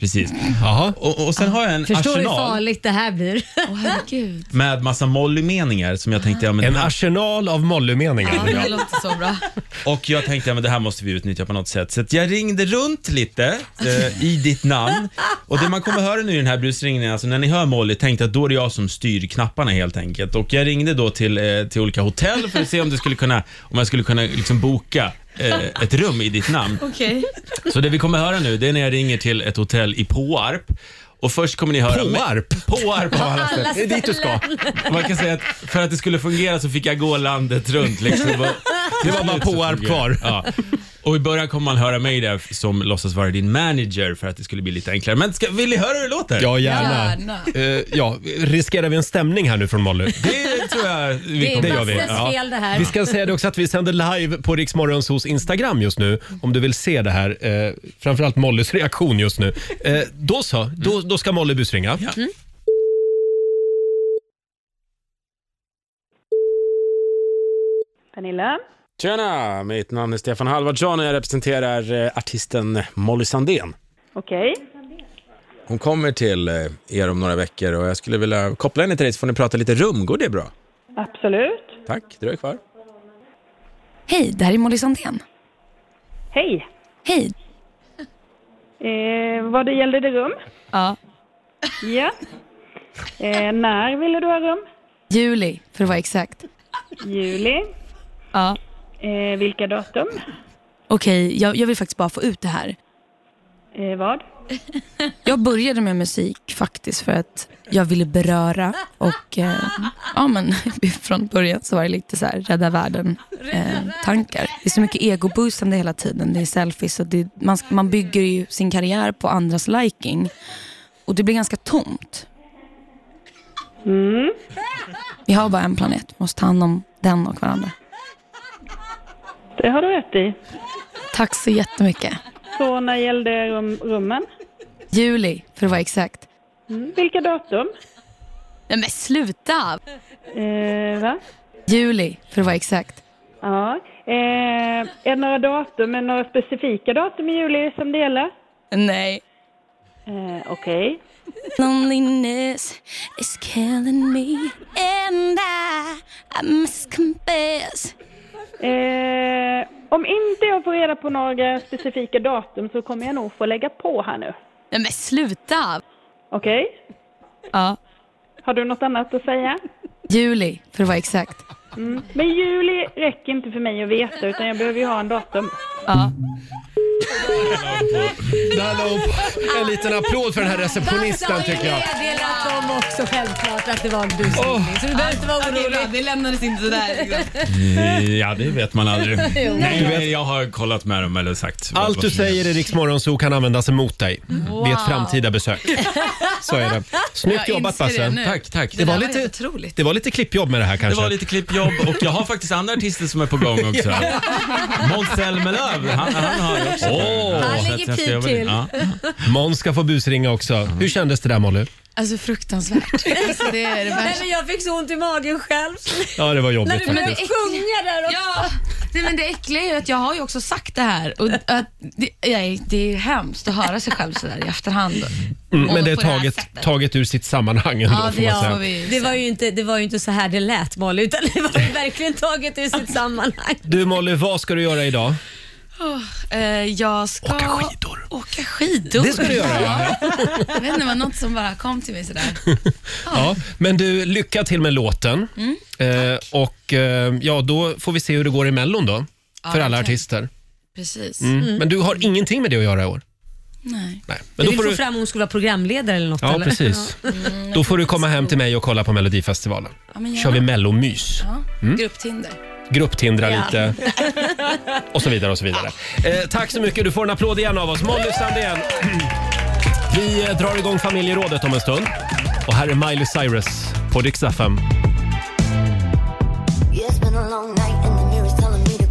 Speaker 7: Precis.
Speaker 1: Jaha.
Speaker 7: Och, och sen har jag en
Speaker 4: Förstår du hur
Speaker 7: arsenal
Speaker 4: farligt det här blir?
Speaker 9: Åh herregud.
Speaker 7: med massa Molly-meningar som jag tänkte, ja, men
Speaker 1: En
Speaker 7: här,
Speaker 1: arsenal av
Speaker 9: Ja,
Speaker 1: Molly-meningar.
Speaker 9: det låter så bra.
Speaker 7: och jag tänkte, ja, men det här måste vi utnyttja på något sätt. Så att jag ringde runt lite eh, i ditt namn och det man kommer höra nu i den här busringningen, alltså när ni hör Molly, tänkte att då är det jag som styr knapparna helt enkelt. Och jag ringde då till, eh, till olika hotell för att se om, det skulle kunna, om jag skulle kunna liksom boka eh, ett rum i ditt namn.
Speaker 9: Okej.
Speaker 7: Så det vi kommer höra nu, det är när jag ringer till ett hotell i Påarp Och först kommer ni höra... mig-
Speaker 1: Påarp.
Speaker 7: Påarp av alla ställen.
Speaker 4: Alla
Speaker 1: Det är dit du ska.
Speaker 7: Man kan säga att för att det skulle fungera så fick jag gå landet runt. Liksom. Och-
Speaker 1: Det var bara Påarp kvar.
Speaker 7: Ja. Och i början kommer man höra mig där som låtsas vara din manager för att det skulle bli lite enklare. Men ska, vill ni höra hur det låter?
Speaker 1: Ja, gärna.
Speaker 9: Gärna.
Speaker 1: Eh, ja, riskerar vi en stämning här nu från Molly?
Speaker 7: Det tror jag vi
Speaker 4: Det är
Speaker 7: kommer
Speaker 1: gör vi.
Speaker 4: Basses
Speaker 1: Ja.
Speaker 4: fel det här.
Speaker 1: Vi ska säga det också att vi sänder live på Riksmorgons hos Instagram just nu. Om du vill se det här, eh, framförallt Mollys reaktion just nu. Eh, då så, då, då ska Molly busringa.
Speaker 7: Ja.
Speaker 6: Pernilla?
Speaker 10: Tjena, mitt namn är Stefan Halvardsson och jag representerar eh, artisten Molly Sandén.
Speaker 6: Okej.
Speaker 7: Hon kommer till eh, er om några veckor och jag skulle vilja koppla henne till dig så får ni prata lite rum. Går det bra?
Speaker 6: Absolut.
Speaker 7: Tack, dröj kvar.
Speaker 9: Hej, det här är Molly Sandén.
Speaker 6: Hej.
Speaker 9: Hej.
Speaker 6: Eh, vad det gällde det rum?
Speaker 4: Ja.
Speaker 6: Ja. Eh, när ville du ha rum?
Speaker 9: Juli, för att vara exakt.
Speaker 6: Juli.
Speaker 9: Ja.
Speaker 6: Eh, vilka datum?
Speaker 9: Okej, jag, jag vill faktiskt bara få ut det här.
Speaker 6: Eh, vad?
Speaker 9: Jag började med musik faktiskt för att jag ville beröra och eh, ja, men, från början så var det lite så här rädda världen-tankar. det är så mycket egoboostande hela tiden. Det är selfies och det, man, sk- man bygger ju sin karriär på andras liking och det blir ganska tomt.
Speaker 6: Mm.
Speaker 9: Vi har bara en planet, vi måste ta hand om den och varandra.
Speaker 6: Det har du rätt i.
Speaker 9: Tack så jättemycket.
Speaker 6: Så när gällde rum, rummen?
Speaker 9: Juli, för att vara exakt.
Speaker 6: Mm, vilka datum?
Speaker 9: Nej men sluta!
Speaker 6: Eh, va?
Speaker 9: Juli, för att vara exakt.
Speaker 6: Ja. Eh, är det några datum, är det några specifika datum i juli som det gäller?
Speaker 9: Nej.
Speaker 6: Eh, Okej.
Speaker 9: Loneliness is killing me and I, I must confess.
Speaker 6: Eh, om inte jag får reda på några specifika datum så kommer jag nog få lägga på här nu.
Speaker 9: Nej men sluta!
Speaker 6: Okej?
Speaker 9: Ja.
Speaker 6: Har du något annat att säga?
Speaker 9: Juli, för att vara exakt.
Speaker 6: Men juli räcker inte för mig att veta utan jag behöver ju ha en datum.
Speaker 9: Ja.
Speaker 1: Där la hon på- En liten applåd för den här receptionisten tycker jag.
Speaker 4: meddelat dem också självklart att det var du som ringde, så du behöver inte vara orolig.
Speaker 9: det lämnades inte sådär.
Speaker 7: Ja, det vet man aldrig. Nej, jag har kollat med dem eller sagt. vad-
Speaker 1: Allt
Speaker 7: vad
Speaker 1: du
Speaker 7: som
Speaker 1: säger i
Speaker 7: gäller.
Speaker 1: Riksmorgon så kan användas emot dig vid ett framtida besök. Så är det. Snyggt
Speaker 9: Jag
Speaker 1: jobbat
Speaker 9: inser det
Speaker 1: Basse.
Speaker 9: nu.
Speaker 7: Tack, tack.
Speaker 1: Det var,
Speaker 9: där var
Speaker 1: lite,
Speaker 9: helt otroligt.
Speaker 1: det var lite klippjobb med det här
Speaker 7: Det
Speaker 1: kanske.
Speaker 7: var lite klippjobb och jag har faktiskt andra artister som är på gång också. Måns Zelmerlöw, han, han har också.
Speaker 1: Åh.
Speaker 4: Han
Speaker 7: Så att
Speaker 4: ligger
Speaker 7: jag ska
Speaker 4: pigg
Speaker 7: jobba lite.
Speaker 4: till.
Speaker 7: Ja.
Speaker 1: Måns ska få busringa också.
Speaker 7: Mm.
Speaker 1: Hur kändes det där Molly?
Speaker 9: Alltså fruktansvärt. Alltså, det är det
Speaker 4: Nej
Speaker 9: värsta.
Speaker 4: men jag fick så ont i magen själv.
Speaker 1: Ja, det var jobbigt
Speaker 4: Men
Speaker 1: faktiskt.
Speaker 4: det sjunga där och...
Speaker 9: Ja, nej, men det äckliga är ju att jag har ju också sagt det här och att det, nej, det är hemskt att höra sig själv sådär i efterhand.
Speaker 1: Mm, men det är
Speaker 9: på det här
Speaker 1: taget,
Speaker 9: sättet.
Speaker 1: taget ur sitt sammanhang ändå
Speaker 9: Ja,
Speaker 1: får
Speaker 9: det
Speaker 1: man
Speaker 9: gör
Speaker 1: säga.
Speaker 9: vi.
Speaker 4: Det var, ju inte, det var ju inte så här det lät Molly, utan det var ju verkligen taget ur sitt sammanhang.
Speaker 1: Du Molly, vad ska du göra idag?
Speaker 9: Eh, jag ska åka skidor. Åka skidor.
Speaker 1: Det ska du göra ja.
Speaker 9: Jag vet inte, det var något som bara kom till mig sådär.
Speaker 1: ja. Men du, lycka till med låten. eh, och eh, ja, då får vi se hur det går i Mellon då. För alla
Speaker 9: verkligen.
Speaker 1: artister.
Speaker 9: Precis.
Speaker 1: Mm. Men du har ingenting med det att göra i år?
Speaker 9: Nej.
Speaker 1: Nej.
Speaker 4: Du
Speaker 1: Men då
Speaker 4: vill
Speaker 1: får
Speaker 4: få
Speaker 1: du...
Speaker 4: fram om hon skulle vara programledare eller något
Speaker 1: Ja, Mm,
Speaker 4: eller?
Speaker 1: precis. Då får du komma hem till mig och kolla på Melodifestivalen.
Speaker 9: Ja, men gärna.
Speaker 1: kör vi mellomys.
Speaker 9: Ja. Grupptinder.
Speaker 1: Grupptindra lite. Och så vidare och så vidare. Eh, tack så mycket. Du får en applåd igen av oss. Molly Sandén. Vi eh, drar igång familjerådet om en stund. Och här är Miley Cyrus på Dix FM.
Speaker 5: Hej!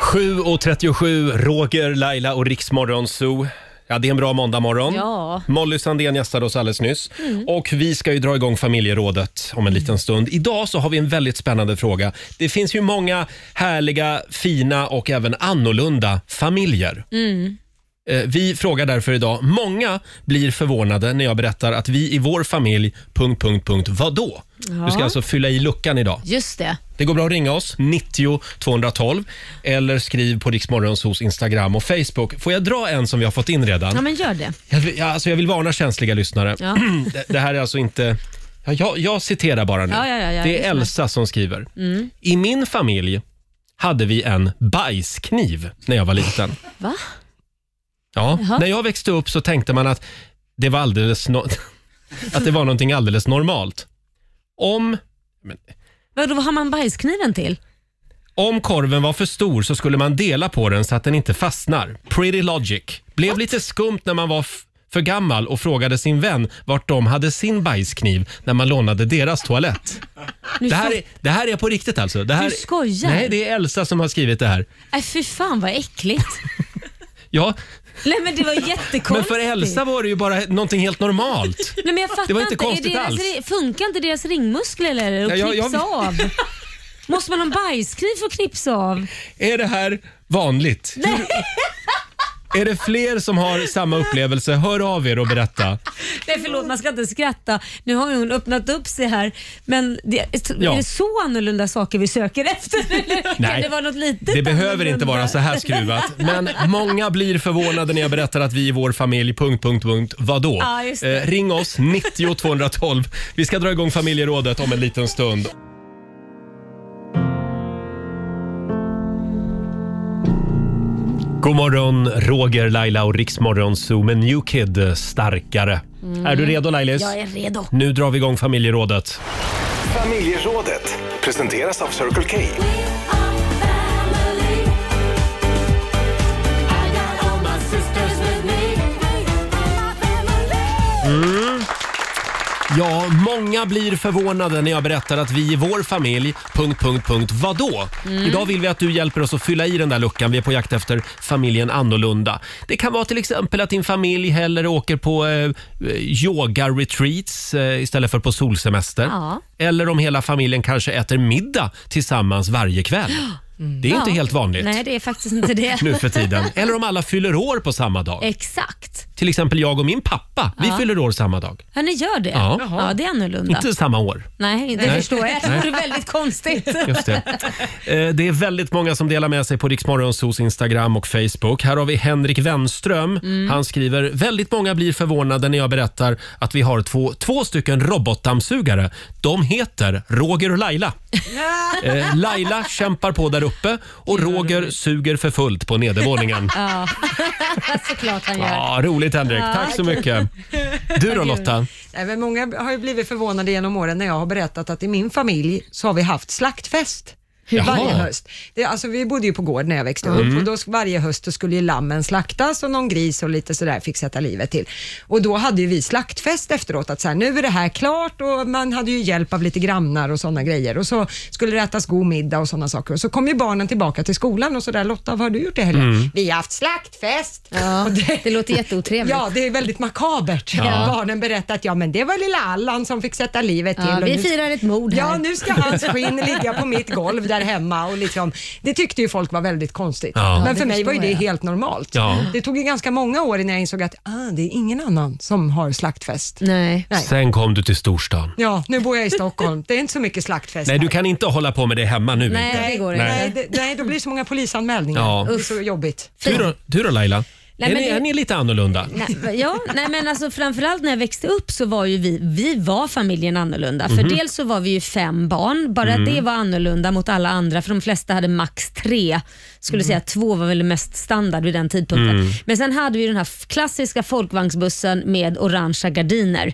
Speaker 1: 7.37, Roger, Laila och Riksmorgon Zoo. Ja, det är en bra måndagmorgon.
Speaker 4: Ja.
Speaker 1: Molly Sandén gästade oss alldeles nyss. Och vi ska ju dra igång familjerådet om en liten stund. Idag så har vi en väldigt spännande fråga. Det finns ju många härliga, fina och även annorlunda familjer. Eh, Vi frågar därför idag, många blir förvånade när jag berättar att vi i vår familj... Punkt, punkt, punkt, vadå? Du ska alltså fylla i luckan idag.
Speaker 4: Just det.
Speaker 1: Det går bra att ringa oss, 90 212 eller skriv på Riksmorgons hos Instagram och Facebook. Får jag dra en som vi har fått in redan?
Speaker 4: Ja men gör det.
Speaker 1: Jag, vill- jag, alltså jag vill varna känsliga lyssnare.
Speaker 4: Ja.
Speaker 1: Det, det här är alltså inte... Ja, jag, jag citerar bara nu.
Speaker 4: Ja, ja, ja, ja,
Speaker 1: det
Speaker 4: lyssna. Mm.
Speaker 1: är Elsa som skriver. I min familj hade vi en bajskniv när jag var liten.
Speaker 4: Va?
Speaker 1: Ja,
Speaker 4: Jaha.
Speaker 1: när jag växte upp så tänkte man att det var alldeles no- att det var någonting alldeles normalt. Om,
Speaker 4: Vadå, vad har man bajskniven till?
Speaker 1: om korven var för stor så skulle man dela på den så att den inte fastnar. Pretty logic. Blev lite skumt när man var f- för gammal och frågade sin vän vart de hade sin bajskniv när man lånade deras toalett.
Speaker 4: Nu
Speaker 1: Det här
Speaker 4: fa-
Speaker 1: är, det här är på riktigt alltså. Det här,
Speaker 4: Du skojar.
Speaker 1: Nej, det är Elsa som har skrivit det här.
Speaker 4: Nej, Äh, fy fan vad äckligt.
Speaker 1: Ja,
Speaker 4: Nej men det var jättekonstigt.
Speaker 1: men för Elsa var det ju bara någonting helt normalt.
Speaker 4: Nej, men jag fattar
Speaker 1: Det var inte
Speaker 4: Är
Speaker 1: konstigt
Speaker 4: deras,
Speaker 1: alls.
Speaker 4: re- Funkar inte deras ringmuskler eller?
Speaker 1: Ja,
Speaker 4: Att
Speaker 1: jag- jag-
Speaker 4: knipsa av? Måste man ha en bajskniv för att knipsa av?
Speaker 1: Är det här vanligt?
Speaker 4: Nej.
Speaker 1: Är det fler som har samma upplevelse? Hör av er och berätta.
Speaker 4: Nej förlåt, man ska inte skratta. Nu har ju hon öppnat upp sig här. Men det,
Speaker 1: Ja.
Speaker 4: är det så annorlunda saker vi söker efter? Eller Kan
Speaker 1: Nej,
Speaker 4: det vara något litet
Speaker 1: Det behöver
Speaker 4: annorlunda?
Speaker 1: inte vara så här skruvat, men många blir förvånade när jag berättar att vi i vår familj... Punkt, punkt, punkt, vadå?
Speaker 4: Ja, just det.
Speaker 1: Eh, ring oss, 90 212. Vi ska dra igång familjerådet om en liten stund. God morgon, Roger, Laila och Riksmorgon Zoo med New Kid eh, Starkare.
Speaker 4: Mm.
Speaker 1: Är du redo Lailis?
Speaker 4: Jag är redo.
Speaker 1: Nu drar vi igång familjerådet.
Speaker 3: Familjerådet presenteras av Circle K.
Speaker 1: Mm. Ja, många blir förvånade när jag berättar att vi i vår familj... Punkt, punkt, punkt, vadå?
Speaker 11: Mm.
Speaker 1: Idag vill vi att du hjälper oss att fylla i den där luckan. Vi är på jakt efter familjen annorlunda. Det kan vara till exempel att din familj hellre åker på eh, yoga-retreats eh, istället för på solsemester.
Speaker 4: Ja.
Speaker 1: Eller om hela familjen kanske äter middag tillsammans varje kväll. Det är inte
Speaker 4: Mm. Ja.
Speaker 1: helt vanligt
Speaker 4: Nej, det är faktiskt inte det.
Speaker 1: nu för tiden. Eller om alla fyller år på samma dag.
Speaker 4: Exakt.
Speaker 1: Till exempel jag och min pappa, vi
Speaker 4: Eh. Ja.
Speaker 1: fyller år samma dag.
Speaker 4: Ja, ni gör det?
Speaker 1: Ja.
Speaker 4: ja det är annorlunda.
Speaker 1: Inte samma år.
Speaker 4: Nej, det
Speaker 1: Nej.
Speaker 4: förstår jag. Jag tror
Speaker 1: Nej.
Speaker 4: det är väldigt konstigt.
Speaker 1: Just det. Eh, det är väldigt många som delar med sig på Riksmorgonsos Instagram och Facebook. Här har vi Henrik Wenström.
Speaker 11: Mm.
Speaker 1: Han skriver “Väldigt många blir förvånade när jag berättar att vi har två, två stycken robotdammsugare. De heter Roger och Laila. Eh, Laila kämpar på där uppe och Roger suger för fullt på nedervåningen.”
Speaker 4: Ja, såklart han gör.
Speaker 1: Ja, roligt Henrik.
Speaker 2: Ja.
Speaker 1: Tack så mycket. Du då Lotta?
Speaker 2: Nej, men många har ju blivit förvånade genom åren när jag har berättat att i min familj så har vi haft slaktfest.
Speaker 11: Jaha.
Speaker 2: Varje höst. Det, alltså, vi bodde ju på gård när jag växte upp
Speaker 11: Mm.
Speaker 2: och då, varje höst så skulle ju lammen slaktas och någon gris och lite sådär fick sätta livet till. Och då hade ju vi slaktfest efteråt att så här, nu är det här klart och man hade ju hjälp av lite grannar och sådana grejer och så skulle det ätas god middag och sådana saker och så kom ju barnen tillbaka till skolan och sådär Lotta, vad har du gjort i helgen?
Speaker 11: Mm.
Speaker 2: Vi har haft slaktfest.
Speaker 4: Ja,
Speaker 2: det,
Speaker 4: låter jätteotrevligt.
Speaker 2: Ja, det är väldigt makabert.
Speaker 11: Ja.
Speaker 2: Barnen berättar att ja, men det var lilla Allan som fick sätta livet till.
Speaker 4: Ja,
Speaker 2: och
Speaker 4: vi
Speaker 2: nu-
Speaker 4: firar ett mord
Speaker 2: Ja,
Speaker 4: här.
Speaker 2: nu ska hans skinn ligga på mitt golv där hemma. Och liksom, det tyckte ju folk var väldigt konstigt.
Speaker 11: Ja. Ja,
Speaker 2: Men
Speaker 11: det
Speaker 2: för mig var ju
Speaker 11: förstår
Speaker 2: det
Speaker 11: jag.
Speaker 2: helt normalt.
Speaker 11: Ja.
Speaker 2: Det tog ju ganska många år innan jag insåg att ah, det är ingen annan som har slaktfest.
Speaker 4: Nej.
Speaker 1: Sen kom du till storstan.
Speaker 2: Ja, nu bor jag i Stockholm. Det är inte så mycket slaktfest
Speaker 1: Nej,
Speaker 2: här.
Speaker 1: du kan inte hålla på med det hemma nu. inte.
Speaker 2: Nej, nej, det- nej, då blir det så många polisanmälningar.
Speaker 1: Ja.
Speaker 2: Det är så jobbigt.
Speaker 1: Du då, du då Laila?
Speaker 4: Nej,
Speaker 1: är,
Speaker 4: men
Speaker 1: ni,
Speaker 4: det-
Speaker 1: är ni lite annorlunda?
Speaker 4: Nej, ja, nej men alltså framförallt när jag växte upp så var ju vi, vi var familjen annorlunda. För
Speaker 1: Mhm.
Speaker 4: dels så var vi ju fem barn, bara
Speaker 11: Mm.
Speaker 4: det var annorlunda mot alla andra för de flesta hade max tre. Skulle
Speaker 11: Mm.
Speaker 4: säga att två var väl mest standard vid den tidpunkten.
Speaker 11: Mm.
Speaker 4: Men sen hade vi ju den här f- klassiska folkvagnsbussen med orangea gardiner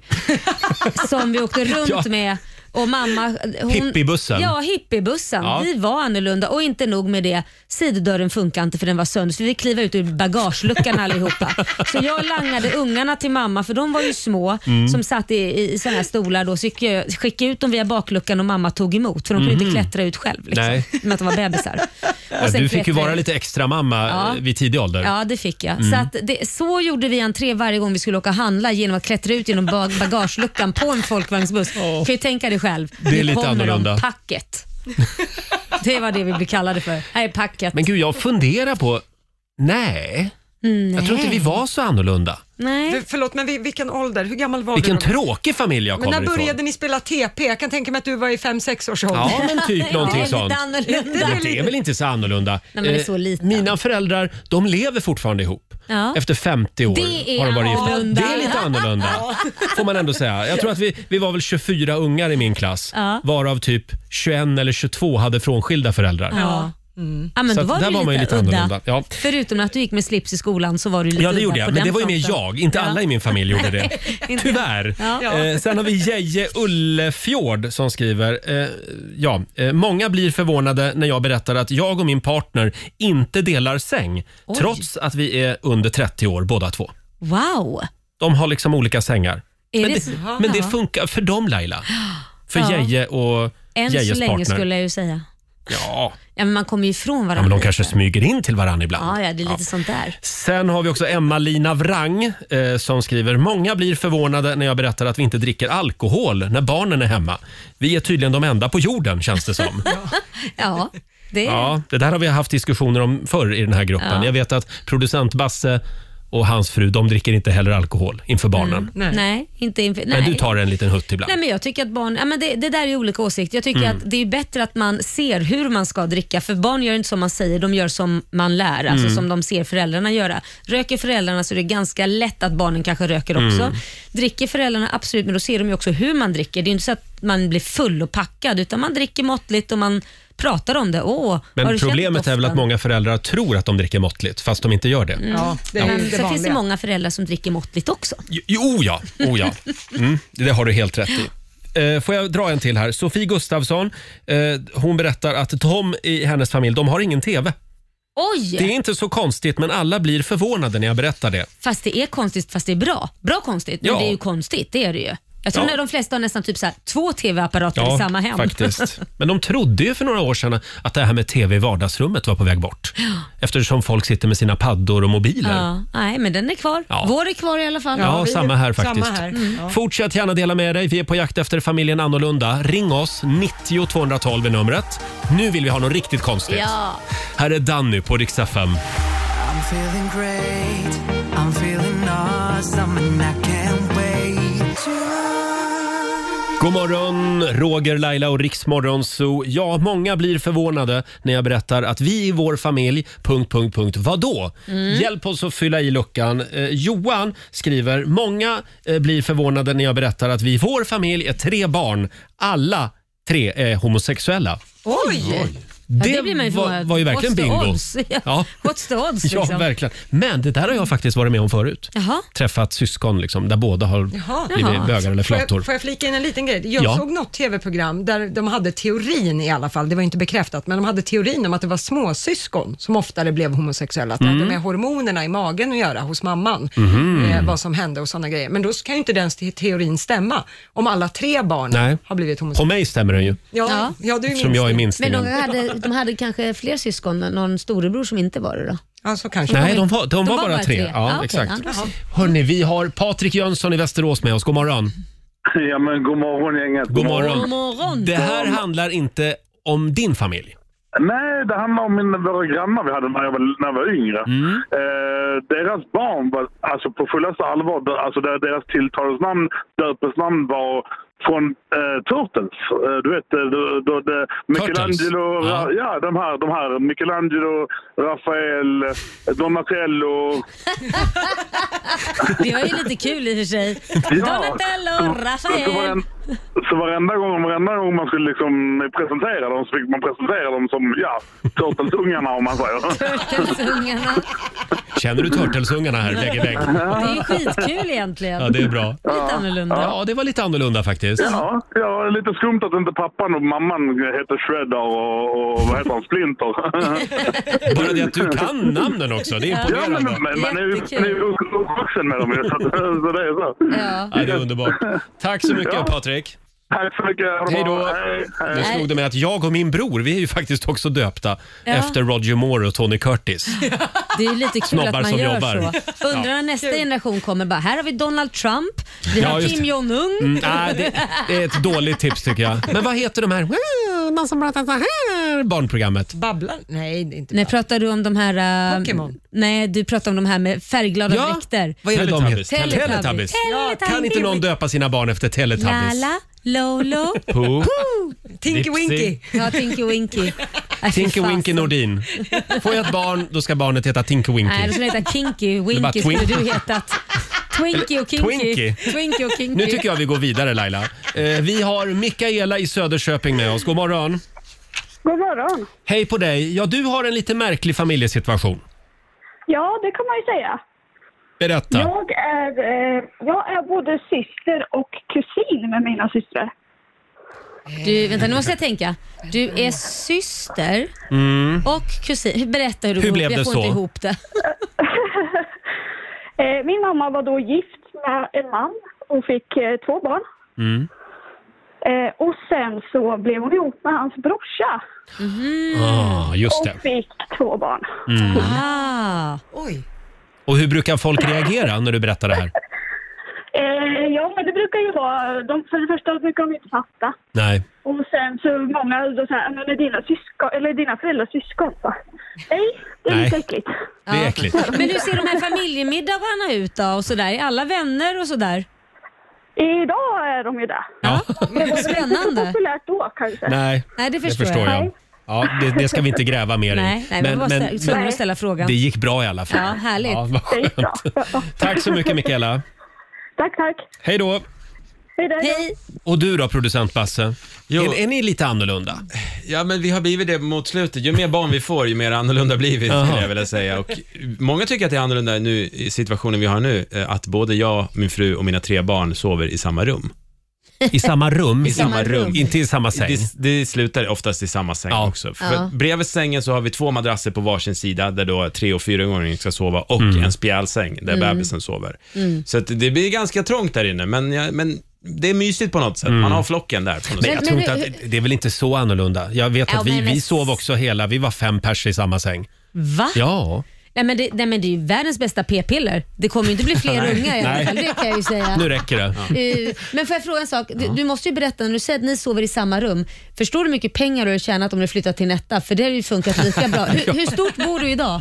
Speaker 4: som vi åkte runt
Speaker 11: Ja.
Speaker 4: med. Och mamma, hon,
Speaker 11: Hippiebussen.
Speaker 4: Ja, hippiebussen.
Speaker 11: Ja.
Speaker 4: Vi var annorlunda och inte nog med det. Sidodörren funkar inte för den var sönder så vi klev ut ur bagageluckan allihopa. Så jag langade ungarna till mamma för de var ju små
Speaker 11: Mm.
Speaker 4: som satt i, i, i såna här stolar då. Så gick jag, skickade ut dem via bakluckan och mamma tog emot för de kunde
Speaker 1: Mhm.
Speaker 4: inte klättra ut själv. Liksom,
Speaker 1: Nej.
Speaker 4: Med att de var bebisar.
Speaker 1: Ja,
Speaker 4: Och sen
Speaker 1: Alltså, du fick ju
Speaker 4: klättrade-
Speaker 1: vara lite extra mamma
Speaker 4: Ja.
Speaker 1: eh, vid tidig ålder.
Speaker 4: Ja, det fick jag.
Speaker 1: Mm.
Speaker 4: Så, att det, så gjorde vi entré varje gång vi skulle åka och handla genom att klättra ut genom ba- bagageluckan på en folkvagnsbuss. Kan ju tänka dig själv.
Speaker 1: Det är
Speaker 4: Nu
Speaker 1: lite
Speaker 4: kommer de,
Speaker 1: annorlunda.
Speaker 4: packet. det var det vi blev kallade för. Här är packet.
Speaker 1: Men gud, jag funderar på... Nej.
Speaker 4: Nej.
Speaker 1: Jag tror inte vi var så annorlunda.
Speaker 4: Nej.
Speaker 2: Du, förlåt, men vi- vilken ålder? Hur gammal var
Speaker 1: Vilken
Speaker 2: du? då?
Speaker 1: tråkig familj jag
Speaker 2: Men när
Speaker 1: kommer
Speaker 2: började
Speaker 1: ifrån.
Speaker 2: ni spela TP? Jag kan tänka mig att du var i 5-6 års ålder.
Speaker 1: Ja, men typ någonting sånt. Men det är väl inte så annorlunda?
Speaker 4: Nej, men det är
Speaker 1: Eh,
Speaker 4: så
Speaker 1: Mina föräldrar, de lever fortfarande ihop.
Speaker 4: Ja.
Speaker 1: Efter 50 år
Speaker 4: Det är
Speaker 1: har de varit
Speaker 4: annorlunda.
Speaker 1: Det är lite annorlunda. Får man ändå säga. Jag tror att vi, vi var väl 24 ungar i min klass.
Speaker 4: Ja.
Speaker 1: Varav typ 21 eller 22 hade frånskilda föräldrar.
Speaker 4: Ja. Ja, men
Speaker 1: Så
Speaker 4: då
Speaker 1: att
Speaker 4: var
Speaker 1: där
Speaker 4: du
Speaker 1: var man ju lite
Speaker 4: udda.
Speaker 1: annorlunda. Ja.
Speaker 4: Förutom att du gick med slips i skolan så var du lite
Speaker 1: Ja, det
Speaker 4: udda
Speaker 1: gjorde
Speaker 4: på
Speaker 1: jag. Men det
Speaker 4: den
Speaker 1: var ju mer
Speaker 4: fronten.
Speaker 1: jag. Inte
Speaker 4: Ja.
Speaker 1: alla i min familj gjorde det.
Speaker 4: Inte-
Speaker 1: Tyvärr.
Speaker 4: Ja.
Speaker 1: Eh, sen har vi Geje Ullefjord som skriver. Eh, ja, eh, många blir förvånade när jag berättar att jag och min partner inte delar säng
Speaker 4: Oj.
Speaker 1: trots att vi är under 30 år båda två.
Speaker 4: Wow!
Speaker 1: De har liksom olika sängar.
Speaker 4: Är
Speaker 1: Men
Speaker 4: det
Speaker 1: det,
Speaker 4: så?
Speaker 1: men det
Speaker 4: Ja.
Speaker 1: funkar för dem Laila. För
Speaker 4: Ja.
Speaker 1: Geje och
Speaker 4: Än så
Speaker 1: Gejes
Speaker 4: länge
Speaker 1: partner.
Speaker 4: skulle jag ju säga.
Speaker 1: Ja.
Speaker 4: Ja, men man kommer ju ifrån
Speaker 1: ja,
Speaker 4: varandra.
Speaker 1: men de kanske smyger in till varandra ibland.
Speaker 4: Ja, ja, det är lite sånt där.
Speaker 1: Sen har vi också Emma-Lina Wrang eh, som skriver “Många blir förvånade när jag berättar att vi inte dricker alkohol när barnen är hemma. Vi är tydligen de enda på jorden känns det som.”
Speaker 4: Ja, det är...
Speaker 1: ja, Det där har vi haft diskussioner om förr i den här gruppen.
Speaker 4: Ja.
Speaker 1: Jag vet att producent Basse och hans fru de dricker inte heller alkohol inför barnen.
Speaker 4: Nej. inte inför...
Speaker 1: Men
Speaker 4: Mm. nej.
Speaker 1: du tar en liten hutt ibland.
Speaker 4: Nej, men jag tycker att barn, ja, men det, det där är olika åsikter. Jag tycker
Speaker 1: Mm.
Speaker 4: att det är bättre att man ser hur man ska dricka, för barn gör inte som man säger, de gör som man lär, alltså
Speaker 11: Mm.
Speaker 4: som de ser föräldrarna göra. Röker föräldrarna så är det ganska lätt att barnen kanske röker också.
Speaker 11: Mm.
Speaker 4: Dricker föräldrarna, absolut, men då ser de ju också hur man dricker. Det är ju inte så att man blir full och packad, utan man dricker måttligt och man pratar om det. Åh, har
Speaker 1: Men
Speaker 4: du känt
Speaker 1: problemet är väl att
Speaker 4: doften?
Speaker 1: många föräldrar tror att de dricker måttligt fast de inte gör det.
Speaker 4: Mm. men sen finns det många föräldrar som dricker måttligt också.
Speaker 1: Jo ja, oh, ja. Mm, det har du helt rätt i. Eh, Får jag dra en till här? Sofie Gustafsson eh, hon berättar att de i hennes familj de har ingen TV.
Speaker 4: Oj!
Speaker 1: Det är inte så konstigt, men alla blir förvånade när jag berättar det.
Speaker 4: Fast det är konstigt, fast det är bra. Bra konstigt, men
Speaker 1: Ja.
Speaker 4: det är ju konstigt. Det är det ju. Jag tror
Speaker 1: Ja.
Speaker 4: när de flesta har nästan typ så här, två TV-apparater i samma hem.
Speaker 1: faktiskt. Men de trodde ju för några år sedan att det här med TV i vardagsrummet var på väg bort. Eftersom folk sitter med sina paddor och mobiler.
Speaker 4: ja, nej, men den är kvar.
Speaker 1: Ja.
Speaker 4: Vår är kvar i alla fall.
Speaker 1: Ja, samma här faktiskt.
Speaker 4: Mm.
Speaker 1: Fortsätt gärna dela med dig. Vi är på jakt efter familjen Annorlunda. Ring oss, 90 212 är numret. Nu vill vi ha något riktigt konstigt.
Speaker 11: Ja.
Speaker 1: Här är Danny på Rix FM.
Speaker 11: I'm feeling great, I'm feeling awesome and I can't wait
Speaker 1: God morgon, Roger, Laila och Riksmorgon Zoo. Ja, många blir förvånade när jag berättar att vi i vår familj... Punkt, punkt, punkt. Vadå?
Speaker 11: Mm.
Speaker 1: Hjälp oss att fylla i luckan. Eh, Johan skriver, många eh, blir förvånade när jag berättar att vi i vår familj är tre barn. Alla tre är homosexuella.
Speaker 4: Oj! Ja, det blir man ju
Speaker 1: var,
Speaker 4: förvånad.
Speaker 1: var ju verkligen
Speaker 4: What's the
Speaker 1: bingo.
Speaker 4: odds? Ja.
Speaker 1: Ja.
Speaker 4: What's the odds?
Speaker 1: Ja,
Speaker 4: Liksom?
Speaker 1: verkligen. Men det där har jag faktiskt varit med om förut.
Speaker 4: Jaha.
Speaker 1: Träffat syskon liksom, där båda har blivit bögar eller
Speaker 2: Får
Speaker 1: flator.
Speaker 2: jag, får jag flika in en liten grej? Jag
Speaker 1: Ja.
Speaker 2: såg något tv-program där de hade teorin i alla fall, det var inte bekräftat, men de hade teorin om att det var småsyskon som oftare blev homosexuella, att det
Speaker 11: Mm.
Speaker 2: hade med hormonerna i magen att göra hos mamman,
Speaker 11: Mhm.
Speaker 2: eh, vad som hände och sådana grejer. Men då kan ju inte den te- teorin stämma om alla tre barn
Speaker 1: Nej.
Speaker 2: har blivit
Speaker 1: På
Speaker 2: homosexuella.
Speaker 1: mig stämmer den ju.
Speaker 2: Ja, ja. du är
Speaker 1: Eftersom jag är
Speaker 4: Men
Speaker 1: minstingen.
Speaker 4: de hade, de hade kanske fler syskon, någon storebror som inte var det då?
Speaker 2: Ja, så
Speaker 1: Nej, de var, de var, bara, tre. Ah, Ja,
Speaker 4: okej,
Speaker 1: exakt.
Speaker 4: ja, då så.
Speaker 1: Hörni, vi har Patrik Jönsson i Västerås med oss. God morgon.
Speaker 12: Ja, men god morgon gänget.
Speaker 1: God morgon.
Speaker 4: God morgon.
Speaker 1: Det här handlar inte om din familj.
Speaker 12: Nej, det handlar om mina, våra grannar vi hade när jag var, när jag var yngre.
Speaker 1: Mm.
Speaker 12: Eh, deras barn var alltså på fullaste allvar, dö- alltså där deras tilltalsnamn, döpesnamn var från eh, Turtles. Eh, du vet, eh, då, då, det- Michelangelo, ja. ja de här, de här, Michelangelo, Rafael, eh, Donatello.
Speaker 4: Det var ju lite kul i och för sig. Donatello,
Speaker 12: Så,
Speaker 4: Rafael.
Speaker 12: varen, så varenda, gång, varenda gång man skulle liksom presentera dem så fick man presentera dem som, ja, Turtles-ungarna om man säger.
Speaker 4: Turtlesungarna.
Speaker 1: Känner du turtlesungarna här vägg i vägg?
Speaker 4: Det är ju skitkul egentligen.
Speaker 1: Ja, det är bra.
Speaker 4: Lite annorlunda.
Speaker 1: Ja, det var lite annorlunda faktiskt.
Speaker 12: Ja, ja, det är lite skumt att inte pappan och mamman heter Shredder och, och vad heter han, Splinter.
Speaker 1: Bara det att du kan namnen också, det är
Speaker 12: Ja, men,
Speaker 1: imponerande.
Speaker 12: men, men nu
Speaker 1: Jättekul.
Speaker 12: är ju uppvuxen med dem ju, så, att- så det är så.
Speaker 1: Ja, det är underbart. Tack så mycket
Speaker 12: Ja.
Speaker 1: Patrik.
Speaker 12: Tack så mycket.
Speaker 1: Hej då. Nu
Speaker 12: Hej.
Speaker 1: slog det mig att jag och min bror, vi är ju faktiskt också döpta
Speaker 4: Ja.
Speaker 1: efter Roger Moore och Tony Curtis.
Speaker 4: Det är lite kul
Speaker 1: Snobbar
Speaker 4: att man
Speaker 1: som
Speaker 4: gör
Speaker 1: jobbar.
Speaker 4: så. Undrar när nästa generation kommer bara, här har vi Donald Trump, vi
Speaker 1: Ja,
Speaker 4: har
Speaker 1: just
Speaker 4: Kim
Speaker 1: det.
Speaker 4: Jong-Un.
Speaker 1: Mm, nej, det, det är ett dåligt tips tycker jag. Men vad heter de här Man som pratar så här. barnprogrammet?
Speaker 2: Babblar? Nej, det är inte
Speaker 4: Nej, pratar du om de här... äh,
Speaker 2: Pokémon.
Speaker 4: Nej, du pratar om de här med färgglada
Speaker 2: Ja,
Speaker 4: dräkter.
Speaker 1: Vad är det de heter?
Speaker 4: Teletubbies.
Speaker 1: Teletubbies.
Speaker 4: Teletubbies.
Speaker 1: Kan inte någon döpa sina barn efter Teletubbies?
Speaker 4: Lala, Lolo,
Speaker 1: Pooh.
Speaker 4: Tinky
Speaker 1: Dipsy. Winky.
Speaker 4: Ja, Tinky Winky. Nej, fy
Speaker 1: Tinky
Speaker 4: fasen.
Speaker 1: Winky Nordin. Får jag ett barn, då ska barnet heta Tinky
Speaker 4: Nej,
Speaker 1: Winky.
Speaker 4: du skulle heta Kinky
Speaker 1: Det var
Speaker 4: Winky skulle
Speaker 1: Twinky.
Speaker 4: du hetat. Twinky och Kinky.
Speaker 1: Twinky.
Speaker 4: Twinky och Kinky.
Speaker 1: Nu tycker jag vi går vidare Laila. Eh, vi har Mikaela i Söderköping med oss. God morgon.
Speaker 6: God morgon.
Speaker 1: Hej på dig. Ja, du har en lite märklig familjesituation.
Speaker 13: Ja, det kan man ju säga.
Speaker 1: Berätta.
Speaker 13: Jag är, eh, jag är både syster och kusin med mina systrar.
Speaker 4: Du, vänta nu måste jag tänka. Du är syster
Speaker 1: Mm.
Speaker 4: och kusin. Berätta hur du
Speaker 1: Hur
Speaker 4: går
Speaker 1: blev
Speaker 4: ihop.
Speaker 1: det
Speaker 4: jag får inte
Speaker 1: så?
Speaker 4: ihop det.
Speaker 13: Eh, Min mamma var då gift med en man och fick eh, två barn.
Speaker 1: Mm.
Speaker 13: Eh, Och sen så blev hon ihop med hans brorsa.
Speaker 1: Ah, just det.
Speaker 13: Och fick två barn.
Speaker 1: Mm.
Speaker 4: Ah.
Speaker 13: Oj.
Speaker 1: Och hur brukar folk reagera när du berättar det här?
Speaker 13: Eh, ja, men det brukar ju vara... De, för det första brukar de inte fatta.
Speaker 1: Nej.
Speaker 13: Och sen så många då så här, men är dina, syskon, eller är dina föräldrars syskon? Va? Nej, det är
Speaker 4: Nej.
Speaker 13: lite äckligt.
Speaker 1: Det är äckligt.
Speaker 4: Men hur ser de här familjemiddagarna ut då? Och sådär? Är alla vänner och sådär?
Speaker 13: Idag är de ju det.
Speaker 1: Ja.
Speaker 13: Det var väl inte så
Speaker 4: Spännande.
Speaker 13: populärt då kanske.
Speaker 1: Nej,
Speaker 4: Nej, det förstår jag.
Speaker 1: jag.
Speaker 4: Nej.
Speaker 1: Ja, det, det ska vi inte gräva mer i.
Speaker 4: Nej, nej, men, men, men, men, att ställa frågan.
Speaker 1: det gick bra i alla fall.
Speaker 4: Ja, härligt.
Speaker 1: Ja, vad skönt. Tack så mycket Mikaela.
Speaker 13: Tack, tack.
Speaker 1: Hej då.
Speaker 13: Hej då.
Speaker 4: Hej.
Speaker 1: Och du då producent Basse? Är, är ni lite annorlunda?
Speaker 7: Ja, men vi har blivit det mot slutet. Ju mer barn vi får, ju mer annorlunda blir vi,
Speaker 1: Jaha.
Speaker 7: skulle jag vilja säga. Och många tycker att det är annorlunda nu, i situationen vi har nu, eh, att både jag, min fru och mina tre barn sover i samma rum.
Speaker 1: I samma rum?
Speaker 7: I samma rum.
Speaker 1: Inte i samma säng?
Speaker 7: Det, det slutar oftast i samma säng också. För
Speaker 1: Ja.
Speaker 7: Bredvid sängen så har vi två madrasser på varsin sida där då tre och fyraåringen ska sova och
Speaker 1: Mm.
Speaker 7: en spjälsäng där
Speaker 14: Mm.
Speaker 7: bebisen sover.
Speaker 14: Mm.
Speaker 7: Så att det blir ganska trångt där inne, men, jag, men det är mysigt på något sätt.
Speaker 1: Mm.
Speaker 7: Man har flocken där. På något
Speaker 1: Men
Speaker 7: sätt.
Speaker 1: jag tror inte att, det är väl inte så annorlunda. Jag vet
Speaker 4: Ja,
Speaker 1: att vi,
Speaker 4: men-
Speaker 1: vi sov också hela, vi var fem pers i samma säng.
Speaker 4: Va?
Speaker 1: Ja.
Speaker 4: Nej, men det, nej men det är ju världens bästa p-piller. Det kommer ju inte bli fler
Speaker 1: Nej.
Speaker 4: unga i alla
Speaker 1: Nej.
Speaker 4: fall, det kan jag ju säga.
Speaker 1: Nu räcker det.
Speaker 4: Eh, Men får jag fråga en sak? Du, du måste ju berätta, när du säger att ni sover i samma rum, förstår du hur mycket pengar du har tjänat om du flyttat till Netta? För det har ju funkat lika bra. Hur, hur stort bor du idag?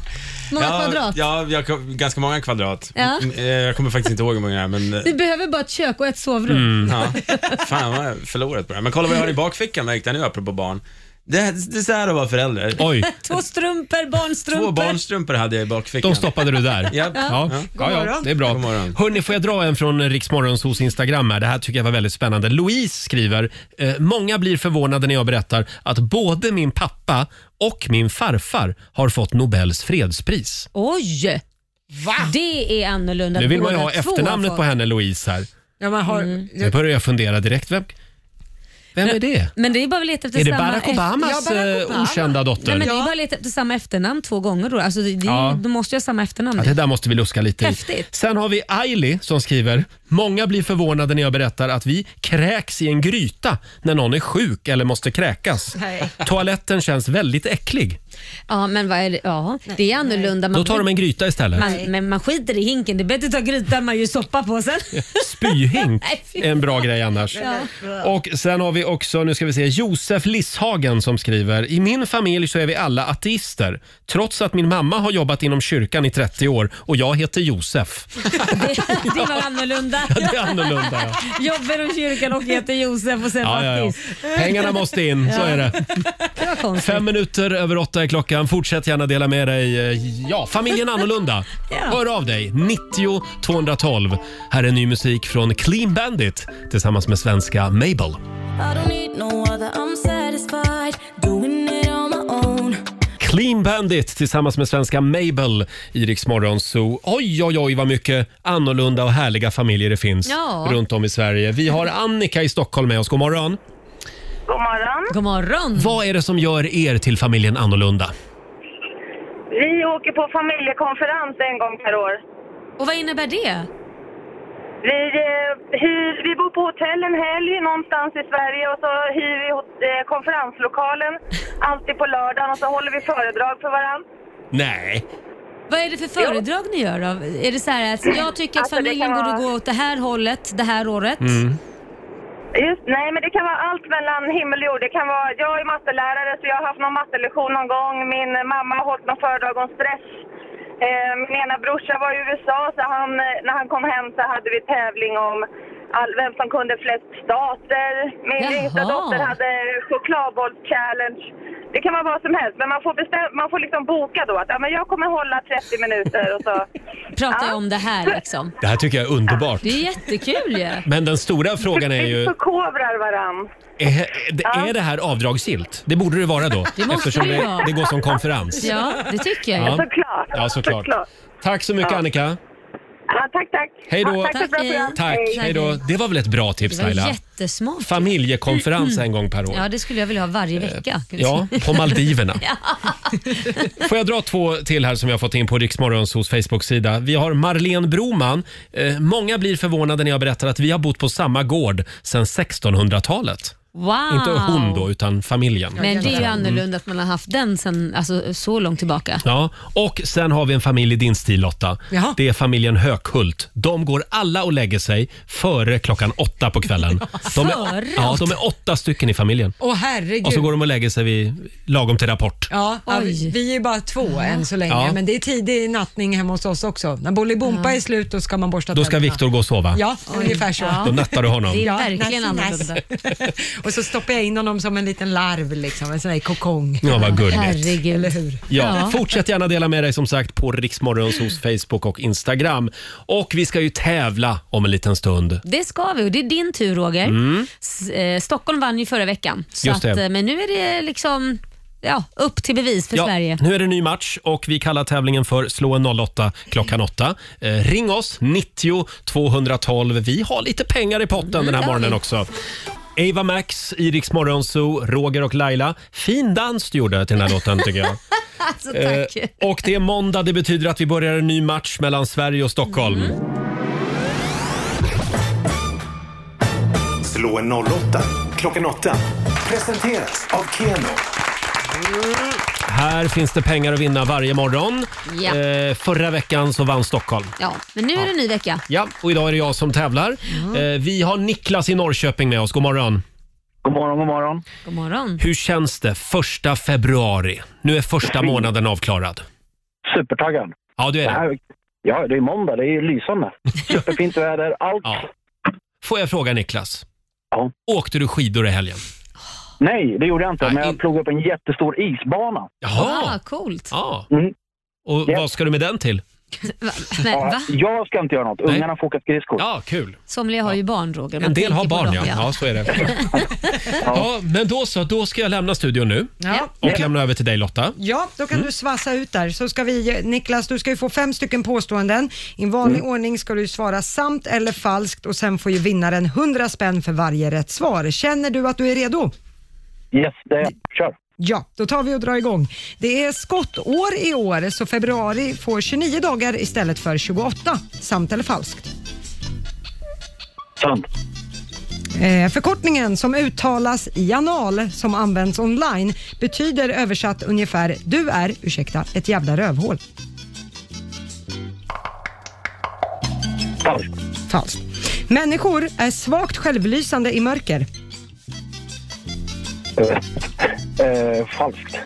Speaker 4: Hur Många
Speaker 7: ja,
Speaker 4: kvadrat?
Speaker 7: Ja, jag, kom- ganska många kvadrat.
Speaker 4: Ja.
Speaker 7: Mm, eh, Jag kommer faktiskt inte ihåg hur många det är, men... eh,
Speaker 4: Du behöver bara ett kök och ett sovrum.
Speaker 7: Mm, ja. Fan vad jag har förlorat på det här. Men kolla vad jag har i bakfickan märkte jag nu apropå barn. Det, det är så här att vara förälder.
Speaker 1: Oj.
Speaker 4: Två strumpor, barnstrumpor.
Speaker 7: Två barnstrumpor hade jag i bakfickan.
Speaker 1: De stoppade du där.
Speaker 7: Ja.
Speaker 1: Ja. Ja, ja, det är bra. Hörni, får jag dra en från Riksmorgonsos Instagram här? Det här tycker jag var väldigt spännande. Louise skriver, eh, många blir förvånade när jag berättar att både min pappa och min farfar har fått Nobels fredspris.
Speaker 4: Oj! Det är annorlunda.
Speaker 1: Nu vill man ju
Speaker 4: Båda
Speaker 1: ha
Speaker 4: två
Speaker 1: efternamnet
Speaker 4: har
Speaker 1: på
Speaker 4: fått.
Speaker 1: henne Louise här.
Speaker 2: Ja, man har,
Speaker 1: Nu börjar jag fundera direkt. Vem, vem är det?
Speaker 4: Men det är bara att leta efter
Speaker 1: Är det
Speaker 4: samma
Speaker 1: Barack Obamas,
Speaker 4: Ja, Barack
Speaker 1: eh, okända dotter?
Speaker 4: Nej, men Det är bara att leta efter samma efternamn två gånger då. Alltså, det, det,
Speaker 1: Ja.
Speaker 4: Då måste jag ha samma efternamn.
Speaker 1: Ja, det där måste vi luska lite i.
Speaker 4: Häftigt.
Speaker 1: Sen har vi Ailey som skriver. Många blir förvånade när jag berättar att vi kräks i en gryta när någon är sjuk eller måste kräkas.
Speaker 4: Nej.
Speaker 1: Toaletten känns väldigt äcklig.
Speaker 4: Ja, men vad är det? Ja, det är annorlunda.
Speaker 1: Då tar de en gryta istället.
Speaker 4: man, men man skiter i hinken. Det är bättre att ta grytan man gör soppa på sen.
Speaker 1: Spyhink
Speaker 4: Nej, fy.
Speaker 1: är en bra grej annars.
Speaker 4: Ja.
Speaker 1: Och Sen har vi också nu ska vi se, Josef Lisshagen som skriver. I min familj så är vi alla ateister trots att min mamma har jobbat inom kyrkan i 30 år och jag heter Josef.
Speaker 4: Det, det var annorlunda.
Speaker 1: Ja, det är annorlunda, ja.
Speaker 4: Jobbar i kyrkan och heter Josef och sen
Speaker 1: Ja, ja, ja.
Speaker 4: Mattis.
Speaker 1: Pengarna måste in, så
Speaker 4: Ja.
Speaker 1: är det.
Speaker 4: Det var konstigt.
Speaker 1: Fem minuter över åtta är klockan. Fortsätt gärna dela med dig. eh, Ja, familjen annorlunda. Hör av dig. 90 212. Här är ny musik från Clean Bandit tillsammans med svenska Mabel.
Speaker 15: I don't need no other, I'm satisfied doing it on my own.
Speaker 1: Clean Bandit tillsammans med svenska Mabel i Rix Morgon Zoo. Oj, oj, oj vad mycket annorlunda och härliga familjer det finns
Speaker 16: Ja.
Speaker 1: runt om i Sverige. Vi har Annika i Stockholm med oss. God morgon.
Speaker 16: God morgon.
Speaker 4: God morgon.
Speaker 1: Vad är det som gör er till familjen annorlunda?
Speaker 16: Vi åker på familjekonferens en gång per år.
Speaker 4: Och vad innebär det?
Speaker 16: Vi, eh, hyr, vi bor på hotell en helg någonstans i Sverige och så hyr vi hot- eh, konferenslokalen alltid på lördagen och så håller vi föredrag för varandra.
Speaker 1: Nej.
Speaker 4: Vad är det för föredrag ni gör då? Är det så här att jag tycker att
Speaker 16: Alltså, det
Speaker 4: familjen
Speaker 16: kan
Speaker 4: borde
Speaker 16: vara-
Speaker 4: gå åt det här hållet det här året?
Speaker 1: Mm.
Speaker 16: Just, nej, men det kan vara allt mellan himmel och jord. Det kan vara, jag är mattelärare så jag har haft någon mattelektion någon gång. Min mamma har hållit någon föredrag om stress. Eh, min ena brorsa var i USA så han, eh, när han kom hem så hade vi tävling om all, vem som kunde flest stater. Min
Speaker 4: Jaha.
Speaker 16: yngsta dotter hade chokladbolls-challenge. Det kan vara vad som helst, men man får, bestäm- man får liksom boka då att ja, men jag kommer hålla 30 minuter och så...
Speaker 4: Pratar jag om det här liksom?
Speaker 1: Det här tycker jag är underbart.
Speaker 4: Det är jättekul ju.
Speaker 1: Men den stora frågan är ju,
Speaker 16: Förkovrar varann.
Speaker 1: är, är det här avdragsgillt? Det borde det vara då,
Speaker 4: Det måste
Speaker 1: eftersom
Speaker 4: det ju
Speaker 1: det,
Speaker 4: vara.
Speaker 1: det går som konferens.
Speaker 4: Ja, det tycker jag.
Speaker 1: Ja. Såklart. Ja, såklart. Tack så mycket Annika.
Speaker 16: Ja, tack, tack.
Speaker 1: Hej då.
Speaker 16: Ja, tack för ett bra program.
Speaker 1: Tack, hej då. Det var väl ett bra tips
Speaker 4: Det var
Speaker 1: Laila?
Speaker 4: jättesmart.
Speaker 1: Familjekonferens en gång per år.
Speaker 4: Ja, det skulle jag vilja ha varje vecka.
Speaker 1: Eh, Ja, på Maldiverna.
Speaker 4: Ja.
Speaker 1: Får jag dra två till här som vi har fått in på Riksmorgons hos Facebook-sida. Vi har Marlene Broman. Eh, många blir förvånade när jag berättar att vi har bott på samma gård sedan 1600-talet.
Speaker 4: Wow.
Speaker 1: Inte hon då, utan familjen.
Speaker 4: Ah. Men det är ju
Speaker 1: Mm.
Speaker 4: annorlunda att man har haft den sen, alltså, så långt tillbaka.
Speaker 1: Ja, och sen har vi en familj i din stil Lotta.
Speaker 4: Jaha.
Speaker 1: Det är familjen Hökhult. De går alla och lägger sig före klockan åtta på kvällen. De är,
Speaker 2: Före?
Speaker 1: ja, de är åtta stycken i familjen.
Speaker 2: Åh herregud.
Speaker 1: Och så går de och lägger sig vid, lagom till Rapport.
Speaker 2: Ja, ja, vi vi är ju bara två än så länge,
Speaker 1: Ja.
Speaker 2: men det är tidig nattning hemma hos oss också. När Bolibompa är slut då ska man borsta
Speaker 1: Då ska
Speaker 2: tänderna.
Speaker 1: Viktor gå och sova.
Speaker 2: Ja, ungefär så.
Speaker 1: Då nattar du honom. Det är
Speaker 4: verkligen annorlunda.
Speaker 2: och så stoppar jag in honom som en liten larv, liksom, en sån där kokong.
Speaker 1: Ja, vad gulligt.
Speaker 4: Herregud.
Speaker 2: Eller hur?
Speaker 1: Ja, Fortsätt gärna dela med dig som sagt på Riksmorgons hos Facebook och Instagram. Och vi ska ju tävla om en liten stund.
Speaker 4: Det ska vi och det är din tur Roger.
Speaker 1: Mm.
Speaker 4: S- eh, Stockholm vann ju förra veckan. Så
Speaker 1: Just det.
Speaker 4: Att, eh, men nu är det liksom ja, upp till bevis för
Speaker 1: ja,
Speaker 4: Sverige.
Speaker 1: Nu är det en ny match och vi kallar tävlingen för Slå en 08 klockan 8. Eh, ring oss, 90 212. Vi har lite pengar i potten den
Speaker 4: det
Speaker 1: här
Speaker 4: har
Speaker 1: morgonen
Speaker 4: vi.
Speaker 1: också. Ava Max, Iriks Morgonzoo, Roger och Laila. Fin dans du gjorde till den här låten tycker jag.
Speaker 4: alltså,
Speaker 1: Eh, och det är måndag, det betyder att vi börjar en ny match mellan Sverige och Stockholm.
Speaker 4: Mm.
Speaker 3: Slå en 08 klockan 8. Presenteras av Keno.
Speaker 1: Här finns det pengar att vinna varje morgon.
Speaker 4: Ja.
Speaker 1: Eh, förra veckan så vann Stockholm.
Speaker 4: Ja, men nu är det en ny vecka.
Speaker 1: Ja, och idag är det jag som tävlar. Eh, vi har Niklas i Norrköping med oss. God morgon. God morgon, god morgon.
Speaker 4: God morgon.
Speaker 1: Hur känns det första februari? Nu är första månaden avklarad.
Speaker 14: Supertaggad.
Speaker 1: Ja, du är det.
Speaker 14: här, ja, det är måndag. Det är ju lysande. Superfint väder. Allt.
Speaker 1: Får jag fråga Niklas? Ja. Åkte du skidor i helgen?
Speaker 14: Nej, det gjorde jag inte. men jag plogade upp en jättestor isbana.
Speaker 1: Jaha.
Speaker 4: Ah, coolt.
Speaker 1: Ja. Och vad ska du med den till?
Speaker 4: Va? Men,
Speaker 14: Ja,
Speaker 4: va?
Speaker 14: Jag ska inte göra något.
Speaker 1: Nej.
Speaker 14: Ungarna får åka skridskor.
Speaker 1: Ja, kul.
Speaker 4: Somliga har ju barn Roger. Man
Speaker 1: En del har
Speaker 4: tänker på
Speaker 1: barn,
Speaker 4: dem,
Speaker 1: ja. Ja, så är det. Ja, men då så. Då ska jag lämna studion nu
Speaker 2: Ja.
Speaker 1: och lämna över till dig Lotta.
Speaker 2: Ja, då kan
Speaker 14: Mm.
Speaker 2: du svassa ut där. Så ska vi, Niklas, du ska ju få fem stycken påståenden. I vanlig
Speaker 14: Mm.
Speaker 2: ordning ska du svara sant eller falskt och sen får ju vinnaren 100 spänn för varje rätt svar. Känner du att du är redo?
Speaker 14: Yes, det kör.
Speaker 2: Ja, då tar vi och drar igång. Det är skottår i år, så februari får 29 dagar istället för 28. Sant eller falskt?
Speaker 14: Sant.
Speaker 2: Eh, förkortningen som uttalas i anal, som används online, betyder översatt ungefär du är, ursäkta, ett jävla rövhål.
Speaker 14: Falskt.
Speaker 2: Falskt. Människor är svagt självlysande i mörker.
Speaker 14: Eh, eh, falskt.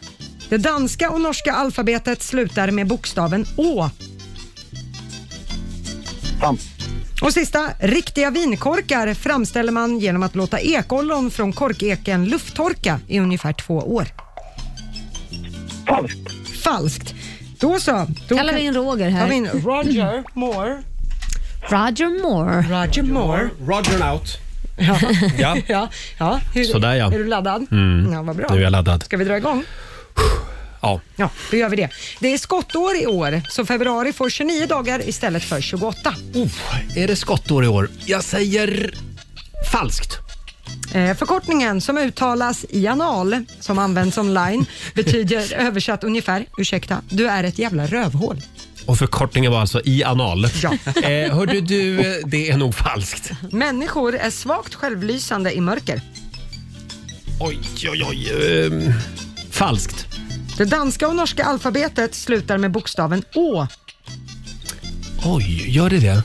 Speaker 2: Det danska och norska alfabetet slutar med bokstaven Å.
Speaker 14: Sant.
Speaker 2: Och sista, riktiga vinkorkar framställer man genom att låta ekollon från korkeken lufttorka i ungefär två år. Falskt. Falskt. Då så. Då
Speaker 4: Kallar vi in Roger här.
Speaker 2: Tar vi in Roger Moore.
Speaker 4: Roger Moore.
Speaker 2: Roger Moore.
Speaker 1: Roger out.
Speaker 2: Ja.
Speaker 1: Ja.
Speaker 2: ja. ja. Hur,
Speaker 1: Sådär, ja.
Speaker 2: Är du laddad?
Speaker 1: Mm.
Speaker 2: Ja, vad bra.
Speaker 1: Nu är jag laddad.
Speaker 2: Ska vi dra igång?
Speaker 1: Ja.
Speaker 2: Ja, då gör vi det. Det är skottår i år, så februari får 29 dagar istället för 28.
Speaker 1: Är det skottår i år? Jag säger falskt.
Speaker 2: Eh, förkortningen som uttalas i anal, som används online, betyder översatt ungefär, ursäkta, du är ett jävla rövhål.
Speaker 1: Och förkortningen var alltså i anal.
Speaker 2: Ja.
Speaker 1: Eh, hörde du, eh, det är nog falskt.
Speaker 2: Människor är svagt självlysande i mörker.
Speaker 1: Oj, oj, oj. ehm, falskt.
Speaker 2: Det danska och norska alfabetet slutar med bokstaven Å.
Speaker 1: Oj, gör det det?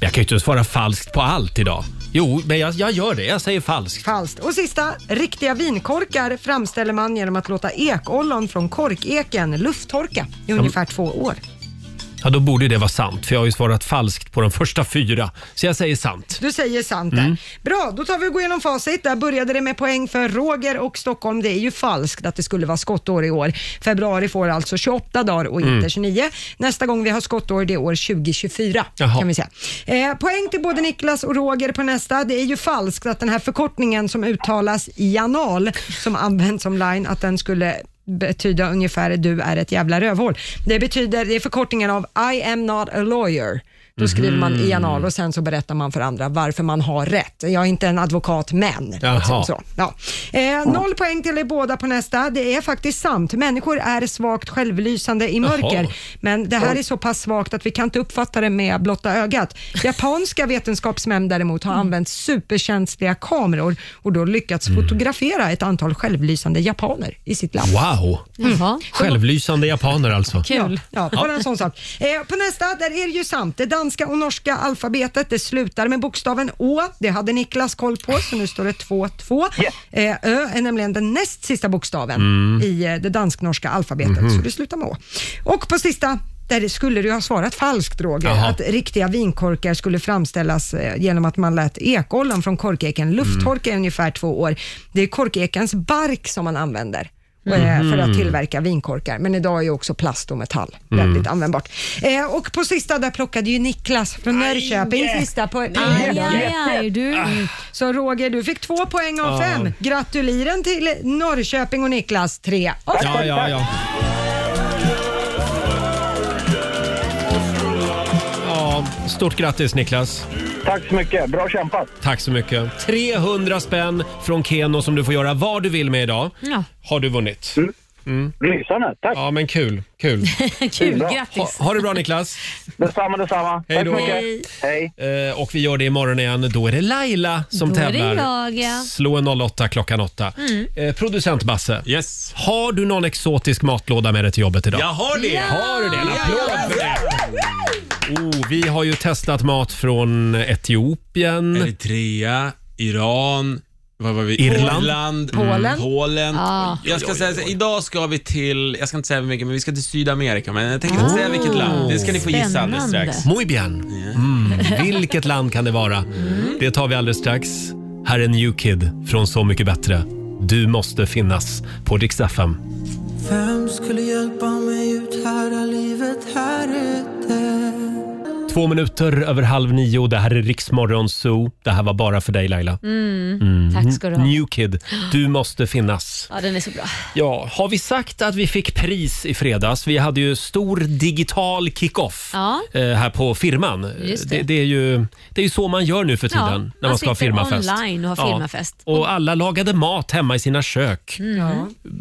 Speaker 1: Jag kan ju inte svara falskt på allt idag. Jo, men jag, jag gör det. Jag säger falskt.
Speaker 2: Falskt. Och sista, riktiga vinkorkar framställer man genom att låta ekollon från korkeken lufttorka i ungefär två år.
Speaker 1: Ja, då borde ju det vara sant, för jag har ju svarat falskt på de första fyra. Så jag säger sant.
Speaker 2: Du säger sant där.
Speaker 1: Mm.
Speaker 2: Bra, då tar vi och går igenom facit. Där började det med poäng för Roger och Stockholm. Det är ju falskt att det skulle vara skottår i år. Februari får alltså 28 dagar och inte
Speaker 17: Mm.
Speaker 2: 29. Nästa gång vi har skottår det är år 2024
Speaker 17: Jaha.
Speaker 2: kan vi säga. Eh, poäng till både Niklas och Roger på nästa. Det är ju falskt att den här förkortningen som uttalas i anal, som används online, att den skulle betyda ungefär du är ett jävla rövhål. Det betyder, det är förkortningen av I am not a lawyer. Då skriver man i
Speaker 17: Mhm.
Speaker 2: anal och sen så berättar man för andra varför man har rätt. Jag är inte en advokat, men.
Speaker 17: Jaha.
Speaker 2: Liksom så. Ja. Eh, noll poäng till er båda på nästa. Det är faktiskt sant. Människor är svagt självlysande i mörker.
Speaker 17: Jaha.
Speaker 2: Men det här är så pass svagt att vi kan inte uppfatta det med blotta ögat. Japanska vetenskapsmän däremot har använt superkänsliga kameror och då lyckats fotografera ett antal självlysande japaner i sitt land.
Speaker 1: Wow! Självlysande japaner alltså.
Speaker 2: Ja, ja, bara en sån sak. Eh, på nästa, där är det ju sant. Det danska och norska alfabetet, det slutar med bokstaven Å. Det hade Niklas koll på, så nu står det 2-2. Eh, ö är nämligen den näst sista bokstaven
Speaker 17: Mm.
Speaker 2: i eh, det dansk-norska alfabetet,
Speaker 17: Mhm.
Speaker 2: så det slutar med Å. Och på sista, där skulle du ha svarat falskt Roger,
Speaker 17: Jaha.
Speaker 2: att riktiga vinkorkar skulle framställas eh, genom att man lät ekollon från korkeken lufttorka i ungefär två år. Det är korkekens bark som man använder eh, för att
Speaker 17: Mhm.
Speaker 2: tillverka tillverka vinkorkar, men idag är ju också plast och metall
Speaker 17: Mm.
Speaker 2: väldigt användbart. Eh, och på sista där plockade ju Niklas från Norrköping sista poäng.
Speaker 17: Aj, aj, aj,
Speaker 2: du. Så Roger, du fick två poäng av
Speaker 1: Ja.
Speaker 2: fem. Gratuliren till Norrköping och Niklas, tre av fem.
Speaker 1: Ja, ja, ja. Ja, stort grattis Niklas.
Speaker 14: Tack så mycket. Bra kämpat.
Speaker 1: Tack så mycket. 300 spänn från Keno som du får göra vad du vill med idag.
Speaker 4: Ja.
Speaker 1: Har du vunnit. Mm.
Speaker 14: Lysande, tack.
Speaker 1: Ja, men kul. Kul.
Speaker 4: Kul, grattis.
Speaker 1: Ha, ha det bra Niklas.
Speaker 14: Detsamma, detsamma.
Speaker 1: Hej då.
Speaker 4: Tack så mycket.
Speaker 1: Eh, och vi gör det imorgon igen. Då är det Laila som
Speaker 4: Då är det
Speaker 1: tävlar.
Speaker 4: jag, ja.
Speaker 1: Slå en 08 klockan 8.
Speaker 4: Mm.
Speaker 1: Eh, producent Basse, yes. har du någon exotisk matlåda med dig till jobbet idag?
Speaker 7: Jag har det!
Speaker 1: Har du det? En applåd för det! Oh, vi har ju testat mat från Etiopien.
Speaker 7: Eritrea, Iran, vad var vi?
Speaker 1: Irland.
Speaker 7: Irland,
Speaker 1: Polen.
Speaker 7: mm, Polen.
Speaker 1: Ah.
Speaker 7: Jag ska säga, så- idag ska vi till, jag ska inte säga hur mycket, men vi ska till Sydamerika. Men jag tänker inte
Speaker 1: Oh.
Speaker 7: säga vilket land. Det ska ni få gissa alldeles strax.
Speaker 1: Muy bien. Mm. Vilket land kan det vara? Det tar vi alldeles strax. Här är New Kid från Så mycket bättre. Du måste finnas på Dix FM.
Speaker 11: Vem skulle hjälpa mig ut här, livet här ute?
Speaker 1: Två minuter över halv nio. Det här är Riksmorgon Zoo. Det här var bara för dig Laila.
Speaker 4: Mm.
Speaker 1: Mm.
Speaker 4: Tack ska du ha.
Speaker 1: New Kid, du måste finnas.
Speaker 4: Ja, den är så bra.
Speaker 1: Ja, har vi sagt att vi fick pris i fredags? Vi hade ju stor digital kick-off
Speaker 4: Ja.
Speaker 1: eh, här på firman.
Speaker 4: Just
Speaker 1: det.
Speaker 4: det.
Speaker 1: Det, är ju, det är ju så man gör nu för tiden
Speaker 4: Ja,
Speaker 1: när man,
Speaker 4: man
Speaker 1: ska ha
Speaker 4: sitter
Speaker 1: firmafest.
Speaker 4: online och har firmafest.
Speaker 1: Och alla lagade mat hemma i sina kök
Speaker 4: Mm.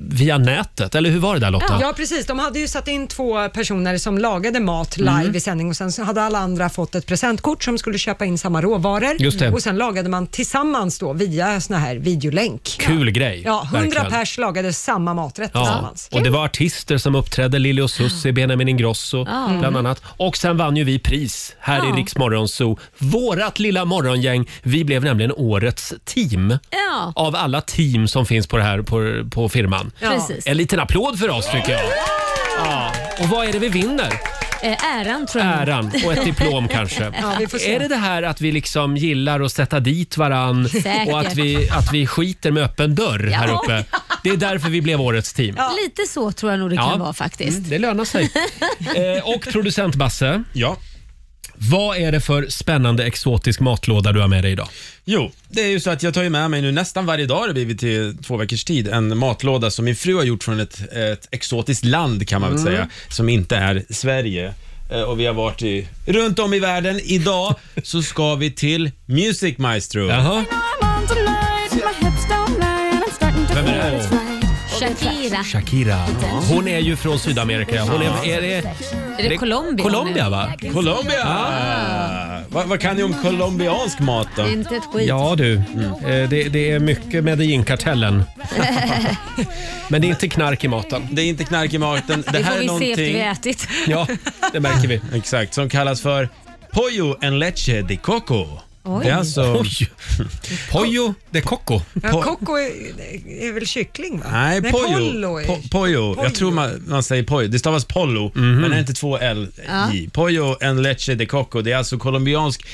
Speaker 1: via nätet. Eller hur var det där Lotta?
Speaker 2: Ja, precis. De hade ju satt in två personer som lagade mat live
Speaker 1: Mm.
Speaker 2: i sändning och sen så hade alla andra fått ett presentkort som skulle köpa in samma råvaror.
Speaker 1: Just det.
Speaker 2: Och sen lagade man tillsammans då via sån här videolänk.
Speaker 1: Kul grej.
Speaker 2: Ja, 100
Speaker 1: verkligen.
Speaker 2: pers lagade samma maträtt
Speaker 1: Ja,
Speaker 2: tillsammans.
Speaker 1: och det var artister som uppträdde, Lili och Susie, Benjamin Ingrosso
Speaker 2: Ja.
Speaker 1: bland annat. Och sen vann ju vi pris här
Speaker 4: Mm. Ja.
Speaker 1: i Rix Morgon Zoo. Vårat lilla morgongäng, vi blev nämligen årets team.
Speaker 4: Ja.
Speaker 1: Av alla team som finns på det här på, på firman.
Speaker 4: Ja. Precis.
Speaker 1: En liten applåd för oss tycker jag. Ja. Och vad är det vi vinner?
Speaker 4: Eh, äran tror jag.
Speaker 1: Äran och ett diplom kanske.
Speaker 4: Ja, vi får se.
Speaker 1: är det det här att vi liksom gillar att sätta dit varann
Speaker 4: Säkert.
Speaker 1: och att vi, att vi skiter med öppen dörr här
Speaker 4: Ja.
Speaker 1: uppe? Det är därför vi blev årets team.
Speaker 4: Lite så tror jag nog det
Speaker 1: Ja.
Speaker 4: kan vara faktiskt.
Speaker 1: Mm, det lönar sig. Eh, och producent Basse. Ja. Vad är det för spännande exotisk matlåda du har med dig idag?
Speaker 7: Jo, det är ju så att jag tar ju med mig nu nästan varje dag har det blivit till två veckors tid en matlåda som min fru har gjort från ett, ett exotiskt land kan man väl
Speaker 1: Mm.
Speaker 7: säga, som inte är Sverige. Eh, Och vi har varit i, runt om i världen. Idag så ska vi till Music Maestro. Vem är det här?
Speaker 4: Mm. Shakira.
Speaker 1: Shakira. Hon är ju från Sydamerika. Hon är, är det,
Speaker 4: Är det Colombia?
Speaker 1: Colombia va?
Speaker 7: Colombia!
Speaker 1: Ah.
Speaker 7: Vad, vad kan ni om colombiansk mat då?
Speaker 4: Inte ett skit.
Speaker 1: Ja du, eh, det, det är mycket Medellinkartellen. Men det är inte knark i maten.
Speaker 7: Det är inte knark i maten. Det,
Speaker 4: Det
Speaker 7: här
Speaker 4: får
Speaker 7: är
Speaker 4: vi se efter
Speaker 7: någonting...
Speaker 4: vi har ätit.
Speaker 1: Ja, det märker vi.
Speaker 7: Exakt, som kallas för Pollo en leche de coco.
Speaker 2: Oj.
Speaker 17: Det är alltså...
Speaker 1: Oj. Pollo de coco.
Speaker 2: Ja, Coco är, är väl kyckling va?
Speaker 7: Nej,
Speaker 2: Pollo
Speaker 7: Pojo.
Speaker 2: är-
Speaker 7: Po- Pojo. Jag tror man, man säger Pojo. Det stavas Pollo, men det är inte två L
Speaker 2: Ja.
Speaker 7: i. Pojo en leche de coco. Det är alltså colombiansk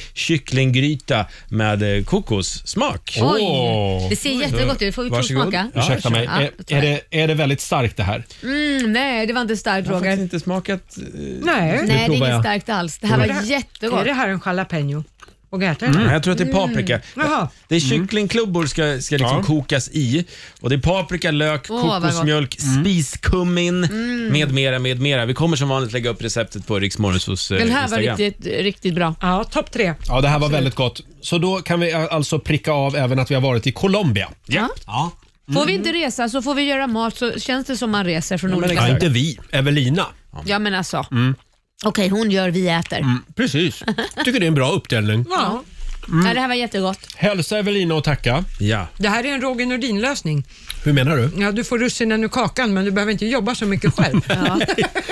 Speaker 7: kycklinggryta med eh, kokossmak.
Speaker 4: Oj, det
Speaker 1: Mm.
Speaker 4: ser jättegott ut. Får vi
Speaker 7: Varsågod.
Speaker 4: provsmaka?
Speaker 7: Ja,
Speaker 1: Ursäkta mig,
Speaker 4: Ja,
Speaker 1: är,
Speaker 4: då tar
Speaker 1: är,
Speaker 4: jag.
Speaker 1: det, är det väldigt starkt det här?
Speaker 4: Mm, nej, det var inte starkt Roger. Jag har
Speaker 7: inte smakat.
Speaker 2: Nej.
Speaker 4: Nej, det är inget starkt alls. Det här var
Speaker 2: Är
Speaker 4: jättegott.
Speaker 2: Är det här en jalapeno? Och äta den?
Speaker 7: Mm. Jag tror att det är paprika.
Speaker 2: Jaha.
Speaker 7: Det är kycklingklubbor ska, ska liksom kokas i. Och det är paprika, lök,
Speaker 2: Åh, vad
Speaker 7: kokosmjölk, spiskummin
Speaker 4: Mm.
Speaker 7: med mera, med mera. Vi kommer som vanligt lägga upp receptet på Riksmorgons hos eh,
Speaker 4: Den här var
Speaker 7: Instagram.
Speaker 4: riktigt, riktigt bra.
Speaker 2: Ja, topp tre.
Speaker 1: Ja, det här var väldigt gott. Så då kan vi eh, alltså pricka av även att vi har varit i Colombia.
Speaker 4: Ja.
Speaker 1: ja.
Speaker 4: Får vi inte resa så får vi göra mat så känns det som man reser från olika
Speaker 1: Ja, inte vi. Evelina.
Speaker 4: Ja men alltså.
Speaker 1: Mm.
Speaker 4: Okej, hon gör, vi äter.
Speaker 1: Mm, precis. tycker det är en bra uppdelning.
Speaker 4: Ja.
Speaker 1: Mm.
Speaker 4: ja, det här var jättegott.
Speaker 1: Hälsa Evelina och tacka.
Speaker 7: Ja.
Speaker 2: Det här är en Roger Nordin-lösning.
Speaker 1: Hur menar du?
Speaker 2: Ja, du får russinen ur kakan men du behöver inte jobba så mycket själv.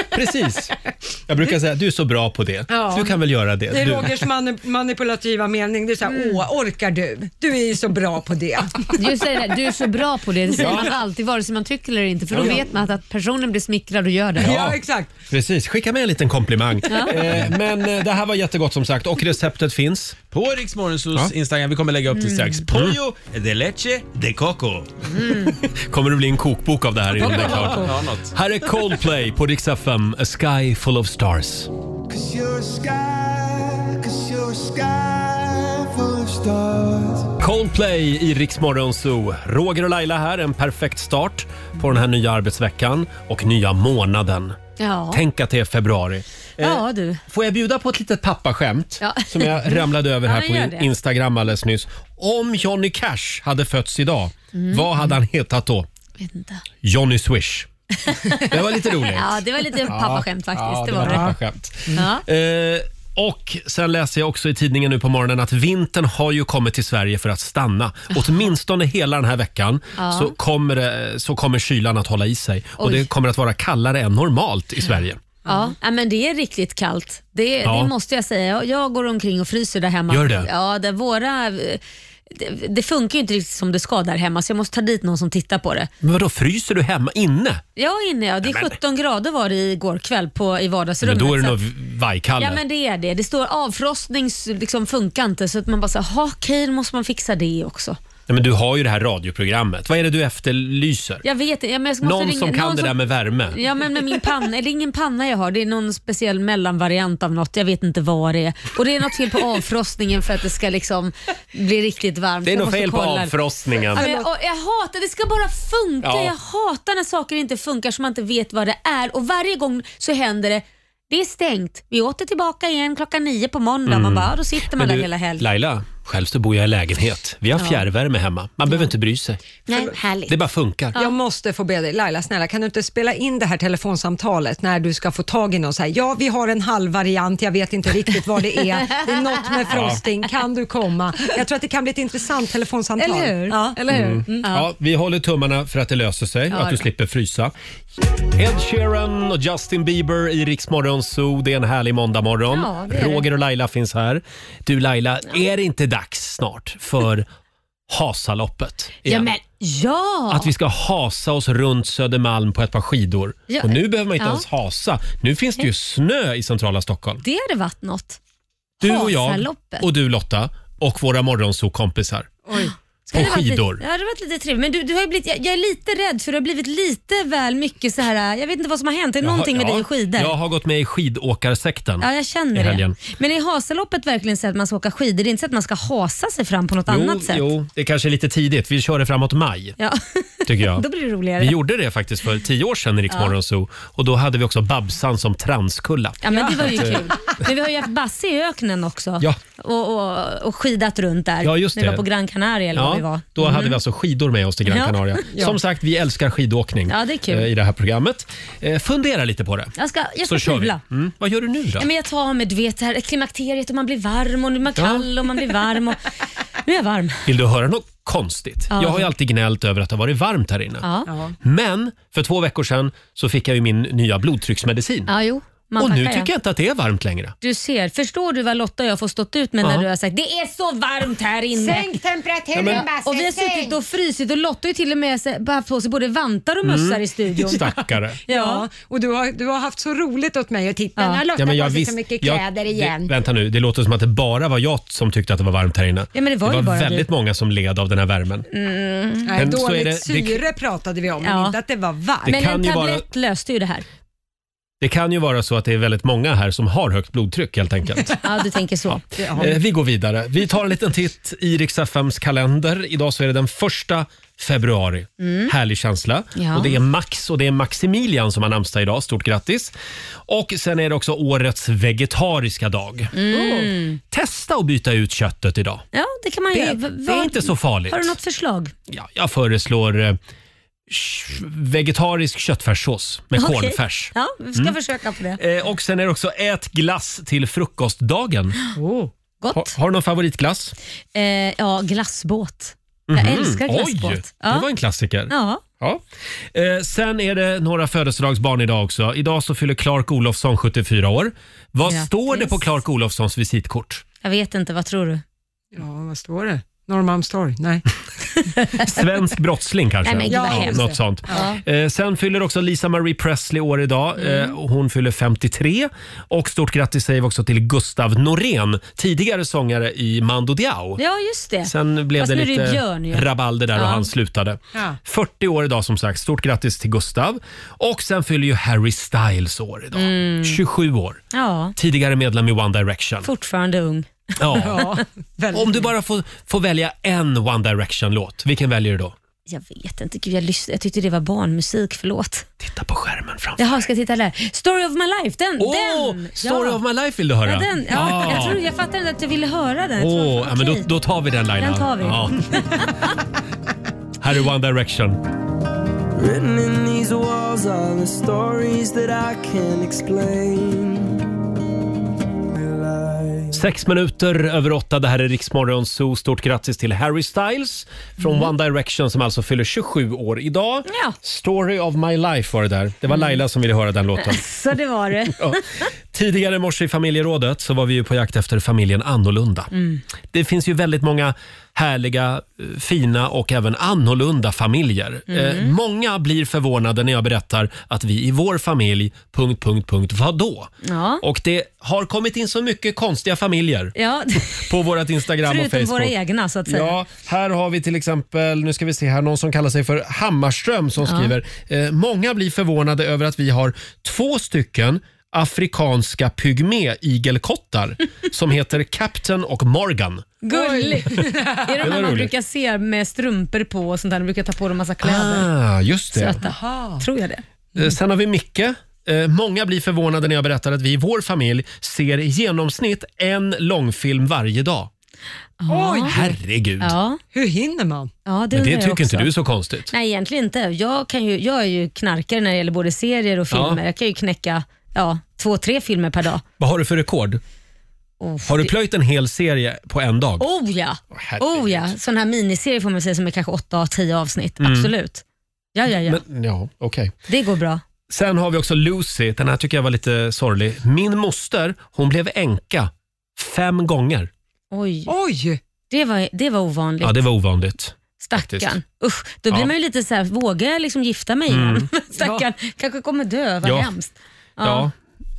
Speaker 1: Precis. Jag brukar säga du är så bra på det.
Speaker 2: Ja.
Speaker 1: Du kan väl göra det.
Speaker 2: Det är
Speaker 1: du.
Speaker 2: Rogers mani- manipulativa mening. Det är
Speaker 4: Mm.
Speaker 2: såhär, åh, orkar du? Du är ju så bra på det.
Speaker 4: Just det, där, du är så bra på det. Det säger
Speaker 1: Ja.
Speaker 4: man alltid vare sig man tycker eller inte för då
Speaker 1: Ja.
Speaker 4: vet man att, att personen blir smickrad och gör det.
Speaker 1: Ja. Ja, exakt. Precis, skicka med en liten komplimang.
Speaker 4: Ja.
Speaker 1: Eh, Men eh, det här var jättegott som sagt och receptet finns.
Speaker 7: På Riksmorgons hos Instagram. Vi kommer lägga upp det strax. Pollo de leche de coco.
Speaker 1: Kommer det bli en kokbok av det här innan det är klart?
Speaker 7: Ja, något.
Speaker 1: Här är Coldplay på Rix FM, A Sky Full of Stars.
Speaker 11: Cause you're a sky, cause you're a sky full of stars.
Speaker 1: Coldplay i Rix Morgon Zoo. Roger och Laila här, en perfekt start på den här nya arbetsveckan och nya månaden.
Speaker 4: Ja.
Speaker 1: Tänk att det är februari.
Speaker 4: Ja du.
Speaker 1: Får jag bjuda på ett litet pappaskämt
Speaker 4: Ja.
Speaker 1: som jag ramlade över
Speaker 4: Ja,
Speaker 1: här
Speaker 4: men
Speaker 1: på
Speaker 4: gör
Speaker 1: in-
Speaker 4: det.
Speaker 1: Instagram alldeles nyss. Om Johnny Cash hade fötts idag,
Speaker 4: Mm.
Speaker 1: vad hade han hetat då?
Speaker 4: Vet inte.
Speaker 1: Johnny Swish. Det var lite roligt.
Speaker 4: Ja, det var lite pappaskämt faktiskt.
Speaker 1: Ja,
Speaker 4: det var
Speaker 1: ett
Speaker 4: det.
Speaker 1: pappaskämt.
Speaker 4: Ja.
Speaker 1: Eh, och sen läser jag också i tidningen nu på morgonen att vintern har ju kommit till Sverige för att stanna. Åtminstone hela den här veckan
Speaker 4: Ja.
Speaker 1: så, kommer, det- så kommer kylan att hålla i sig och
Speaker 4: Oj.
Speaker 1: det kommer att vara kallare än normalt i Sverige.
Speaker 4: Ja, ja, men det är riktigt kallt. Det,
Speaker 1: Ja.
Speaker 4: det måste jag säga. Jag, jag går omkring och fryser där hemma.
Speaker 1: Gör det?
Speaker 4: Ja, där våra... eh, Det, det funkar ju inte riktigt som det ska där hemma så jag måste ta dit någon som tittar på det.
Speaker 1: Men vadå, fryser du hemma inne?
Speaker 4: Ja, inne ja. Det
Speaker 1: Nej,
Speaker 4: är
Speaker 1: men-
Speaker 4: 17 grader var det igår kväll på, i vardagsrummet.
Speaker 1: Men då är det
Speaker 4: så
Speaker 1: nog
Speaker 4: att-
Speaker 1: vajkalle.
Speaker 4: Ja men det är det. Det står avfrostning s- liksom funkar inte så att man bara säger, "Jaha, okej då måste man fixa det också.
Speaker 1: Nej, men du har ju det här radioprogrammet. Vad är det du efterlyser?
Speaker 4: Jag vet inte. Ja, men jag måste
Speaker 1: någon
Speaker 4: ringa,
Speaker 1: som kan det där med värme.
Speaker 4: Ja men med min panna, eller ingen panna jag har, det är någon speciell mellanvariant av något, jag vet inte vad det är. Och det är något fel på avfrostningen för att det ska liksom bli riktigt varmt.
Speaker 1: Det är
Speaker 4: Jag
Speaker 1: något
Speaker 4: måste
Speaker 1: fel på
Speaker 4: kolla.
Speaker 1: avfrostningen.
Speaker 4: Ja, men Jag, och jag hatar, det ska bara funka.
Speaker 1: Ja.
Speaker 4: Jag hatar när saker inte funkar så man inte vet vad det är och varje gång så händer det det är stängt. Vi åter tillbaka igen klockan nio på måndag. Man
Speaker 1: Mm.
Speaker 4: bara, ja, då sitter
Speaker 1: Men
Speaker 4: man där
Speaker 1: du,
Speaker 4: hela helgen.
Speaker 1: Laila, själv så bor jag i lägenhet. Vi har
Speaker 2: Ja.
Speaker 1: fjärrvärme hemma. Man behöver inte bry sig.
Speaker 4: Nej, härligt.
Speaker 1: Det bara funkar.
Speaker 2: Jag måste få be dig, Laila snälla kan du inte spela in det här telefonsamtalet när du ska få tag i någon så här, ja vi har en halv variant, jag vet inte riktigt vad det är, det är något med frosting, kan du komma? Jag tror att det kan bli ett intressant telefonsamtal.
Speaker 4: Eller hur?
Speaker 2: Ja.
Speaker 4: Eller hur?
Speaker 1: Mm. Ja, vi håller tummarna för att det löser sig
Speaker 2: Ja,
Speaker 1: och att du
Speaker 2: då.
Speaker 1: slipper frysa. Ed Sheeran och Justin Bieber i Rix Morgon Zoo. Det är en härlig måndagmorgon.
Speaker 4: Ja, det är det.
Speaker 1: Roger och Laila finns här. Du Laila, är det inte dags snart för Hasaloppet?
Speaker 4: Ja,
Speaker 1: igen?
Speaker 4: men ja!
Speaker 1: Att vi ska hasa oss runt Södermalm på ett par skidor.
Speaker 4: Ja,
Speaker 1: Och nu behöver man inte
Speaker 4: ja.
Speaker 1: ens hasa. Nu finns det ju snö i centrala Stockholm.
Speaker 4: Det hade varit något.
Speaker 1: Du och jag
Speaker 4: Hasaloppet.
Speaker 1: och du Lotta och våra morgonsokompisar.
Speaker 4: Det hade
Speaker 1: På
Speaker 4: varit
Speaker 1: skidor.
Speaker 4: Lite, det hade varit lite trevligt. Men du, du har ju blivit, jag, jag är lite rädd för det har blivit lite väl mycket så här. jag vet inte vad som har hänt. Det är
Speaker 1: Jag har-
Speaker 4: någonting med
Speaker 1: ja,
Speaker 4: dig och skidor.
Speaker 1: Jag har gått med i skidåkarsekten
Speaker 4: Ja, jag
Speaker 1: i
Speaker 4: känner
Speaker 1: helgen.
Speaker 4: det. Men är Hasaloppet verkligen så att man ska åka skidor? Det är inte så att man ska hasa sig fram på något
Speaker 1: jo,
Speaker 4: annat sätt?
Speaker 1: Jo, det kanske är lite tidigt. Vi kör det framåt maj,
Speaker 4: Ja.
Speaker 1: tycker jag.
Speaker 4: Då blir det roligare.
Speaker 1: Vi gjorde det faktiskt för tio år sedan i Rix
Speaker 4: Ja.
Speaker 1: Morgon Zoo och då hade vi också Babsan som transkulla.
Speaker 4: Ja men det var ju
Speaker 1: Så att, eh,
Speaker 4: kul. Men vi har ju haft Basse i öknen också
Speaker 1: Ja.
Speaker 4: och, och, och skidat runt där.
Speaker 1: Ja, just
Speaker 4: När vi
Speaker 1: det.
Speaker 4: var på Gran Canaria eller var vi var. Mm.
Speaker 1: Ja, då hade vi alltså skidor med oss till Gran
Speaker 4: Ja.
Speaker 1: Canaria.
Speaker 4: Ja.
Speaker 1: Som sagt, vi älskar skidåkning
Speaker 4: Ja, det är kul.
Speaker 1: eh, i det här programmet. Eh, Fundera lite på det.
Speaker 4: Jag ska, jag
Speaker 1: Så
Speaker 4: ska
Speaker 1: kör vi.
Speaker 4: tvivla.
Speaker 1: Mm. Vad gör du nu då?
Speaker 4: Ja, men jag tar med du vet, det här klimakteriet och man blir varm och nu är man kall och man blir varm. Och... Nu är jag varm.
Speaker 1: Vill du höra något konstigt?
Speaker 4: Ja.
Speaker 1: Jag har ju alltid gnällt över att det har varit varmt här inne.
Speaker 4: Ja.
Speaker 1: Men för två veckor sedan så fick jag ju min nya blodtrycksmedicin.
Speaker 4: Ja, jo. Man
Speaker 1: och nu
Speaker 4: tackar, ja.
Speaker 1: tycker jag inte att det är varmt längre.
Speaker 4: Du ser, förstår du vad Lotta och jag får stått ut med
Speaker 1: Ja.
Speaker 4: när du har sagt det är så varmt här inne.
Speaker 17: Sänk temperaturen
Speaker 1: Ja, men-
Speaker 17: Basse,
Speaker 4: Och vi har
Speaker 17: sänk.
Speaker 4: suttit och frysit och Lotta har ju till och med se- haft på sig både vantar och
Speaker 1: Mm.
Speaker 4: mössar i studion.
Speaker 1: Stackare.
Speaker 4: Ja.
Speaker 2: och du har, du har haft så roligt åt mig att titta.
Speaker 4: Ja.
Speaker 2: Nu har Lotta
Speaker 1: Ja, men
Speaker 2: på sig
Speaker 1: visst-
Speaker 2: så mycket
Speaker 1: jag-
Speaker 2: kläder igen.
Speaker 1: Det, vänta nu, det låter som att det bara var jag som tyckte att det var varmt här inne.
Speaker 2: Ja, men det var ju bara du.
Speaker 1: väldigt många som led av den här värmen.
Speaker 4: Mm.
Speaker 1: Men så är
Speaker 2: dåligt
Speaker 1: det- det-
Speaker 2: syre pratade vi om, men inte att det var varmt.
Speaker 1: Det
Speaker 4: Men
Speaker 1: kan
Speaker 4: en
Speaker 1: ju
Speaker 4: tablett
Speaker 1: vara-
Speaker 4: löste ju det här.
Speaker 1: Det kan ju vara så att det är väldigt många här som har högt blodtryck helt enkelt.
Speaker 4: Ja, du tänker så.
Speaker 1: Eh, Vi går vidare. Vi tar en liten titt i Rix FMs kalender. Idag så är det den första februari.
Speaker 4: Mm.
Speaker 1: Härlig känsla.
Speaker 4: Ja.
Speaker 1: Och det är Max och det är Maximilian som har namnsdag idag. Stort grattis. Och sen är det också årets vegetariska dag. Oh.
Speaker 4: Mm.
Speaker 1: Testa att byta ut köttet idag.
Speaker 4: Ja, det kan man
Speaker 1: Det-
Speaker 4: göra.
Speaker 1: det är
Speaker 4: Vad-
Speaker 1: inte så farligt.
Speaker 4: Har du något förslag?
Speaker 1: Ja, jag föreslår eh, sh- vegetarisk köttfärssås med
Speaker 4: Okej.
Speaker 1: cornfärs.
Speaker 4: Ja, vi ska
Speaker 1: Mm.
Speaker 4: försöka på det.
Speaker 1: Eh, Och sen är det också ät glass till frukostdagen.
Speaker 4: Gott.
Speaker 1: Ha, har du någon favoritglass?
Speaker 4: Eh, ja, glassbåt.
Speaker 1: Mhm.
Speaker 4: Jag älskar glassbåt.
Speaker 1: Oj,
Speaker 4: ja.
Speaker 1: det var en klassiker.
Speaker 4: Ja.
Speaker 1: Ja. Eh, sen är det några födelsedagsbarn idag också. Idag så fyller Clark Olofsson 74 år. Vad
Speaker 4: Grattis.
Speaker 1: står det på Clark Olofssons visitkort?
Speaker 4: Jag vet inte, vad tror du?
Speaker 2: Ja, vad står det? Norrmalmstorg? Nej.
Speaker 1: Svensk brottsling kanske?
Speaker 2: Nej, men gud, vad hemskt.
Speaker 1: något sånt.
Speaker 2: Ja.
Speaker 1: Eh, sen fyller också Lisa Marie Presley år idag.
Speaker 2: Mm.
Speaker 1: Eh, hon fyller 53. Och stort grattis säger vi också till Gustav Norén, tidigare sångare i Mando Diao.
Speaker 4: Ja, just det.
Speaker 1: Sen blev
Speaker 4: Fast
Speaker 1: det
Speaker 4: nu är ju
Speaker 1: lite
Speaker 4: Björn ju.
Speaker 1: rabalder där
Speaker 4: ja.
Speaker 1: och han slutade. 40 år idag som sagt. Stort grattis till Gustav. Och sen fyller ju Harry Styles år idag.
Speaker 4: Mm.
Speaker 1: 27 år.
Speaker 4: Ja,
Speaker 1: Tidigare medlem i One Direction.
Speaker 4: fortfarande ung.
Speaker 1: Ja. Om du bara får, får välja en One Direction-låt, vilken väljer du då?
Speaker 4: Jag vet inte, gud jag, lyssnade, jag tyckte det var barnmusik, förlåt.
Speaker 1: Titta på skärmen framför
Speaker 4: Jaha, ska jag titta där? Story of my life, den!
Speaker 1: Åh,
Speaker 4: den.
Speaker 1: Story
Speaker 4: ja.
Speaker 1: of my life vill du höra?
Speaker 4: Ja, den. Ja,
Speaker 1: Ah.
Speaker 4: Jag, tror, jag fattade inte att du ville höra den. Jag tror-
Speaker 1: Åh, ja, men då,
Speaker 4: okej.
Speaker 1: då tar vi den Laila.
Speaker 4: Den tar vi.
Speaker 1: Ja. Här är One Direction.
Speaker 11: Written in these walls are the stories that I can't explain.
Speaker 1: Sex minuter över åtta. Det här är Riksmorgon Zoo. Stort grattis till Harry Styles från
Speaker 4: Mm.
Speaker 1: One Direction som alltså fyller 27 år idag.
Speaker 4: Ja. Mm.
Speaker 1: Story of my life var det där. Det var Laila som ville höra den låten.
Speaker 4: Så det var det.
Speaker 1: Ja. Tidigare i morse i familjerådet så var vi ju på jakt efter familjen annorlunda.
Speaker 4: Mm.
Speaker 1: Det finns ju väldigt många härliga, eh, fina och även annorlunda familjer.
Speaker 4: Mm.
Speaker 1: Eh, många blir förvånade när jag berättar att vi i vår familj... Punkt, punkt, punkt, vadå?
Speaker 4: Ja.
Speaker 1: Och det har kommit in så mycket konstiga familjer
Speaker 4: Ja,
Speaker 1: på vårt Instagram och
Speaker 4: förutom
Speaker 1: Facebook.
Speaker 4: våra egna så att säga.
Speaker 1: Ja, här har vi till exempel, nu ska vi se här, någon som kallar sig för Hammarström som
Speaker 4: Ja.
Speaker 1: skriver eh, “Många blir förvånade över att vi har två stycken afrikanska pygmé-igelkottar som heter Captain och Morgan”.
Speaker 4: Gulligt! är
Speaker 1: Det
Speaker 4: de
Speaker 1: var
Speaker 4: här man
Speaker 1: roligt.
Speaker 4: brukar se med strumpor på och sånt där. De brukar ta på dem massa kläder.
Speaker 1: Ah, just det.
Speaker 4: Söta. Tror jag det.
Speaker 1: Eh, Sen har vi Micke. Eh, Många blir förvånade när jag berättar att vi i vår familj ser i genomsnitt en långfilm varje dag.
Speaker 4: Ja.
Speaker 1: Herregud.
Speaker 4: Ja.
Speaker 2: Hur hinner man?
Speaker 4: Ja, det
Speaker 1: Men
Speaker 4: undrar
Speaker 1: det
Speaker 4: jag
Speaker 1: tycker inte
Speaker 4: också.
Speaker 1: du är så konstigt.
Speaker 4: Nej, egentligen inte. Jag, kan ju, jag är ju knarkare när det gäller både serier och
Speaker 1: Ja.
Speaker 4: filmer. Jag kan ju knäcka ja, två, tre filmer per dag.
Speaker 1: Vad har du för rekord? har du plöjt en hel serie på en dag?
Speaker 4: Oh ja!
Speaker 1: herregud.
Speaker 4: Oh, ja. Sån här miniserie får man säga som är kanske åtta, tio avsnitt.
Speaker 1: Mm.
Speaker 4: Absolut. Ja, ja, ja.
Speaker 1: Men, ja, okej.
Speaker 4: det går bra.
Speaker 1: Sen har vi också Lucy. Den här tycker jag var lite sorglig. Min moster, hon blev änka fem gånger.
Speaker 4: Oj. Det, var, det var ovanligt.
Speaker 1: Ja, det var ovanligt.
Speaker 4: Stackarn.
Speaker 1: faktiskt.
Speaker 4: Usch, då blir
Speaker 1: Ja.
Speaker 4: man ju lite så här, vågar jag liksom gifta mig
Speaker 1: Mm.
Speaker 4: igen? Stackarn, kanske kommer dö. Vad
Speaker 1: Ja.
Speaker 4: hemskt.
Speaker 1: Ja.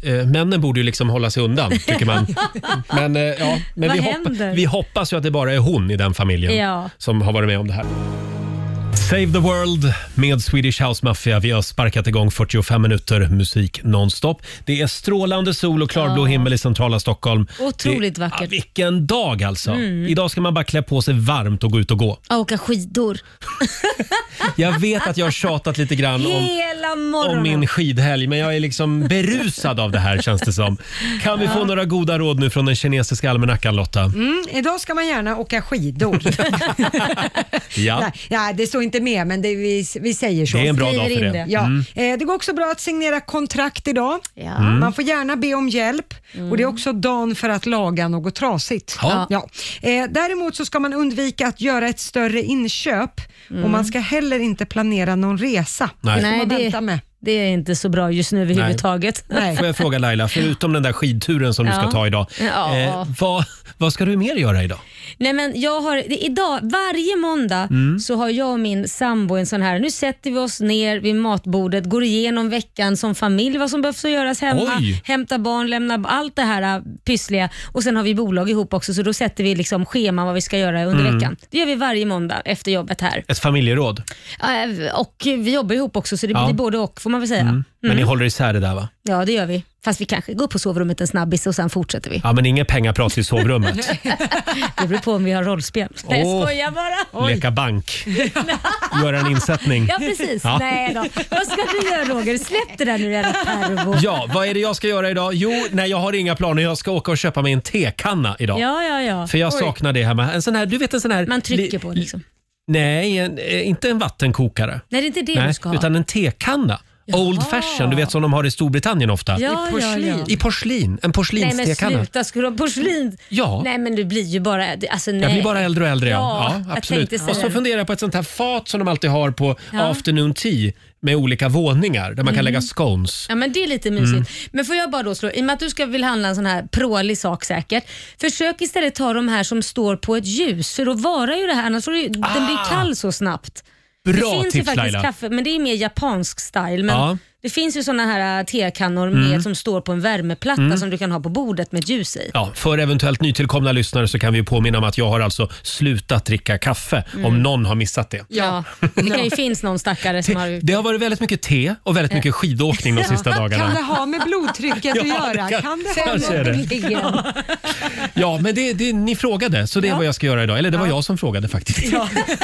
Speaker 1: Eh, Männen borde ju liksom hålla sig undan, tycker man. Men, eh, ja, men
Speaker 4: Vad
Speaker 1: vi,
Speaker 4: händer?
Speaker 1: vi hoppas ju att det bara är hon i den familjen
Speaker 4: Ja.
Speaker 1: som har varit med om det här. Save the World med Swedish House Mafia. Vi har sparkat igång 45 minuter musik nonstop. Det är strålande sol och klarblå
Speaker 4: Ja.
Speaker 1: himmel i centrala Stockholm.
Speaker 4: Otroligt
Speaker 1: det,
Speaker 4: vackert.
Speaker 1: Ja, vilken dag alltså!
Speaker 4: Mm.
Speaker 1: Idag ska man bara klä på sig varmt och gå ut och gå.
Speaker 4: Ja, Åka skidor.
Speaker 1: Jag vet att jag har tjatat lite grann om,
Speaker 4: Hela
Speaker 1: om
Speaker 4: morgonen.
Speaker 1: min skidhelg, men jag är liksom berusad av det här känns det som. Kan vi få
Speaker 2: Ja.
Speaker 1: några goda råd nu från den kinesiska almanackan Lotta?
Speaker 2: Mm, idag ska man gärna åka skidor.
Speaker 1: Ja.
Speaker 2: Nej, ja, det står inte med, men det, vi, vi säger så.
Speaker 1: Det är en bra Skriver dag för in det. det.
Speaker 2: Ja.
Speaker 1: Mm.
Speaker 2: Eh, det går också bra att signera kontrakt idag.
Speaker 1: Mm.
Speaker 2: Man får gärna be om hjälp
Speaker 4: Mm.
Speaker 2: och det är också dagen för att laga något trasigt.
Speaker 1: Ja.
Speaker 2: Eh, däremot så ska man undvika att göra ett större inköp
Speaker 4: Mm.
Speaker 2: och man ska heller inte planera någon resa.
Speaker 4: Nej.
Speaker 2: Det får
Speaker 4: Nej,
Speaker 2: man
Speaker 4: det-
Speaker 2: vänta med.
Speaker 4: Det är inte så bra just nu överhuvudtaget.
Speaker 1: Får jag fråga Laila, förutom den där skidturen som du ska
Speaker 4: Ja.
Speaker 1: ta idag. eh,
Speaker 4: Ja.
Speaker 1: vad, vad ska du mer göra idag?
Speaker 4: Nej, men jag har, det- idag, varje måndag
Speaker 1: Mm.
Speaker 4: så har jag och min sambo en sån här, nu sätter vi oss ner vid matbordet, går igenom veckan som familj, vad som behövs att göras hemma,
Speaker 17: Oj.
Speaker 4: hämta barn, lämna allt det här äh, pyssliga och sen har vi bolag ihop också så då sätter vi liksom scheman vad vi ska göra under
Speaker 1: Mm.
Speaker 4: veckan. Det gör vi varje måndag efter jobbet här.
Speaker 1: Ett familjeråd?
Speaker 4: Äh, Och vi jobbar ihop också så det blir
Speaker 1: Ja.
Speaker 4: både och får man väl säga.
Speaker 1: Mm. Men
Speaker 4: Mm.
Speaker 1: ni håller isär det där va?
Speaker 4: Ja det gör vi. Fast vi kanske går upp på sovrummet en snabbis och sen fortsätter vi.
Speaker 1: Ja, men inget pengaprat i sovrummet.
Speaker 4: det beror på om vi har rollspel. Nej, jag
Speaker 1: Åh.
Speaker 4: skojar bara.
Speaker 1: Leka bank, göra en insättning.
Speaker 4: Ja precis.
Speaker 1: Ja.
Speaker 4: Nej då. Vad ska du göra Roger? Släpp det där nu jävla pervo.
Speaker 1: Ja, vad är det jag ska göra idag? Jo, nej jag har inga planer. Jag ska åka och köpa mig en tekanna idag.
Speaker 4: Ja, ja, ja.
Speaker 1: För jag
Speaker 4: Oj.
Speaker 1: saknar det hemma. En sån här, du vet en sån här...
Speaker 4: Man trycker
Speaker 1: li-
Speaker 4: på liksom.
Speaker 1: Nej, en, eh, inte en vattenkokare.
Speaker 4: Nej, det är inte det
Speaker 1: Nej,
Speaker 4: du ska ha.
Speaker 1: Utan en tekanna. Old fashion, du vet som de har i Storbritannien ofta.
Speaker 4: Ja, I porslin. ja, ja.
Speaker 1: I porslin. En
Speaker 4: Nej men
Speaker 1: porslinstekanna.
Speaker 4: sluta, ska du ha porslin?
Speaker 1: Ja.
Speaker 4: Nej men du blir ju bara... Alltså, nej.
Speaker 1: Jag blir bara äldre och äldre. Ja, ja
Speaker 4: jag
Speaker 1: absolut.
Speaker 4: tänkte säga
Speaker 1: Och så
Speaker 4: det.
Speaker 1: funderar jag på ett sånt här fat som de alltid har på
Speaker 4: Ja.
Speaker 1: afternoon tea med olika våningar där man kan
Speaker 4: Mm.
Speaker 1: lägga scones.
Speaker 4: Ja men det är lite mysigt.
Speaker 1: Mm.
Speaker 4: Men får jag bara då slå, i och med att du ska vill handla en sån här prålig sak säkert. Försök istället ta de här som står på ett ljus för då varar ju det här annars får du, den
Speaker 1: Ah.
Speaker 4: blir kall så snabbt.
Speaker 1: Bra
Speaker 4: det finns ju
Speaker 1: tips,
Speaker 4: faktiskt
Speaker 1: Laila.
Speaker 4: kaffe, men det är mer japansk style. Men
Speaker 1: Ja.
Speaker 4: Det finns ju såna här äh, tekannor
Speaker 1: Mm.
Speaker 4: med som står på en värmeplatta
Speaker 1: Mm.
Speaker 4: som du kan ha på bordet med ett ljus i.
Speaker 1: Ja, för eventuellt nytillkomna lyssnare så kan vi påminna om att jag har alltså slutat dricka kaffe
Speaker 4: Mm.
Speaker 1: om någon har missat det.
Speaker 4: Ja, det kan ju finnas någon stackare som har...
Speaker 1: Det har varit väldigt mycket te och
Speaker 2: Eh.
Speaker 1: väldigt mycket skidåkning de sista
Speaker 2: Kan det
Speaker 1: dagarna.
Speaker 2: ha med blodtrycket
Speaker 1: Ja,
Speaker 2: att göra?
Speaker 1: det kan-
Speaker 2: Kan det ha
Speaker 1: kanske är det. Ja, men det, det, ni frågade, så det är vad jag ska göra idag. Eller det var jag som frågade faktiskt.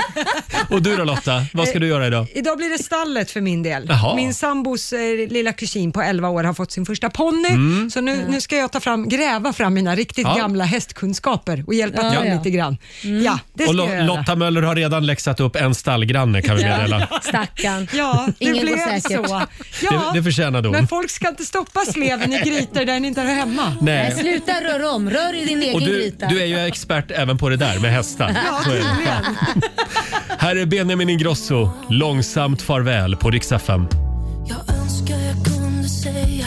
Speaker 1: Och du då Lotta, vad ska du göra idag?
Speaker 2: Idag blir det stallet för min del.
Speaker 1: Jaha.
Speaker 2: Min sambos eh, lilla kusin på 11 år har fått sin första ponny,
Speaker 1: Mm.
Speaker 2: så nu, nu ska jag ta fram, gräva fram mina riktigt
Speaker 1: Ja.
Speaker 2: gamla hästkunskaper och hjälpa
Speaker 1: Ja,
Speaker 2: till
Speaker 1: ja.
Speaker 2: lite grann.
Speaker 4: Mm.
Speaker 2: Ja, det
Speaker 1: Och
Speaker 2: ska
Speaker 1: Lo-
Speaker 2: jag göra.
Speaker 1: Lotta Möller har redan läxat upp en stallgranne kan vi meddela.
Speaker 4: Stackarn.
Speaker 2: Ja, det
Speaker 4: Ingen går
Speaker 2: blev
Speaker 4: säkert.
Speaker 2: så. Ja,
Speaker 1: Det- det förtjänar hon.
Speaker 2: Men folk ska inte stoppa sleven i grytor där den inte hör hemma.
Speaker 1: Nej. Nej,
Speaker 4: sluta röra om. Rör i din
Speaker 1: Och du, du är ju expert även på det där med hästar.
Speaker 4: Ja,
Speaker 1: Så är det.
Speaker 4: tydligen.
Speaker 1: Här är Benjamin Ingrosso, Långsamt farväl på Rix FM.
Speaker 15: Jag önskar jag kunde säga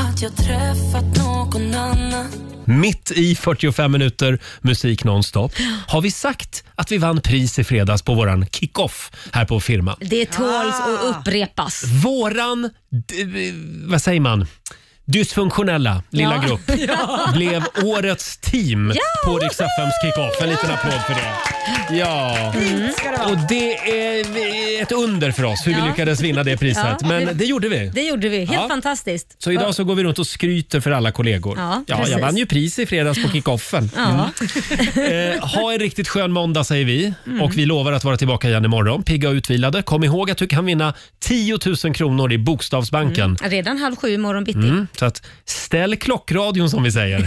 Speaker 15: att jag träffat någon annan
Speaker 1: Mitt i 45 minuter musik nonstop. Har vi sagt att vi vann pris i fredags på våran kickoff här på firman?
Speaker 4: Det tåls att
Speaker 2: Ah.
Speaker 4: upprepas.
Speaker 1: Våran, d- eh, vad säger man, dysfunktionella lilla
Speaker 4: Ja.
Speaker 1: grupp
Speaker 4: Ja.
Speaker 1: blev årets team
Speaker 4: Ja,
Speaker 1: på Rix FMs kickoff. En liten applåd för det. Ja, och det är ett under för oss hur
Speaker 4: Ja.
Speaker 1: vi lyckades vinna det priset.
Speaker 4: Ja.
Speaker 1: Men det gjorde vi.
Speaker 4: Det gjorde vi. Helt
Speaker 1: Ja.
Speaker 4: fantastiskt.
Speaker 1: Så idag så går vi runt och skryter för alla kollegor.
Speaker 4: Ja,
Speaker 1: jag
Speaker 4: precis.
Speaker 1: vann ju pris i fredags på kickoffen.
Speaker 4: Ja.
Speaker 1: Mm. Eh, ha en riktigt skön måndag säger vi
Speaker 4: Mm.
Speaker 1: och vi lovar att vara tillbaka igen imorgon, pigga och utvilade. Kom ihåg att du kan vinna 10 000 kronor i Bokstavsbanken.
Speaker 4: Mm. Redan halv sju i morgon bitti.
Speaker 1: Mm, så att ställ klockradion som vi säger.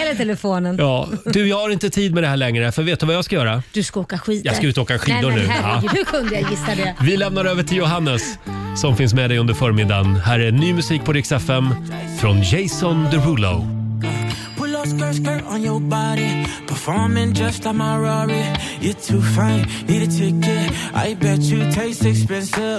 Speaker 4: Eller telefonen.
Speaker 1: Ja, du, jag har inte tid med det här längre, för vet du vad jag ska göra?
Speaker 4: Du ska åka skidor.
Speaker 1: Jag ska ut och åka skidor
Speaker 4: Nej, men
Speaker 1: nu.
Speaker 4: Herregud,
Speaker 1: Ja.
Speaker 4: hur kunde jag gissa det?
Speaker 1: Vi lämnar över till Johannes som finns med dig under förmiddagen. Här är ny musik på Rix FM från Jason Derulo.
Speaker 11: Pull up skirt, skirt on your body. Performing just like my Rari. You're too fine, need a ticket. I bet you taste expensive.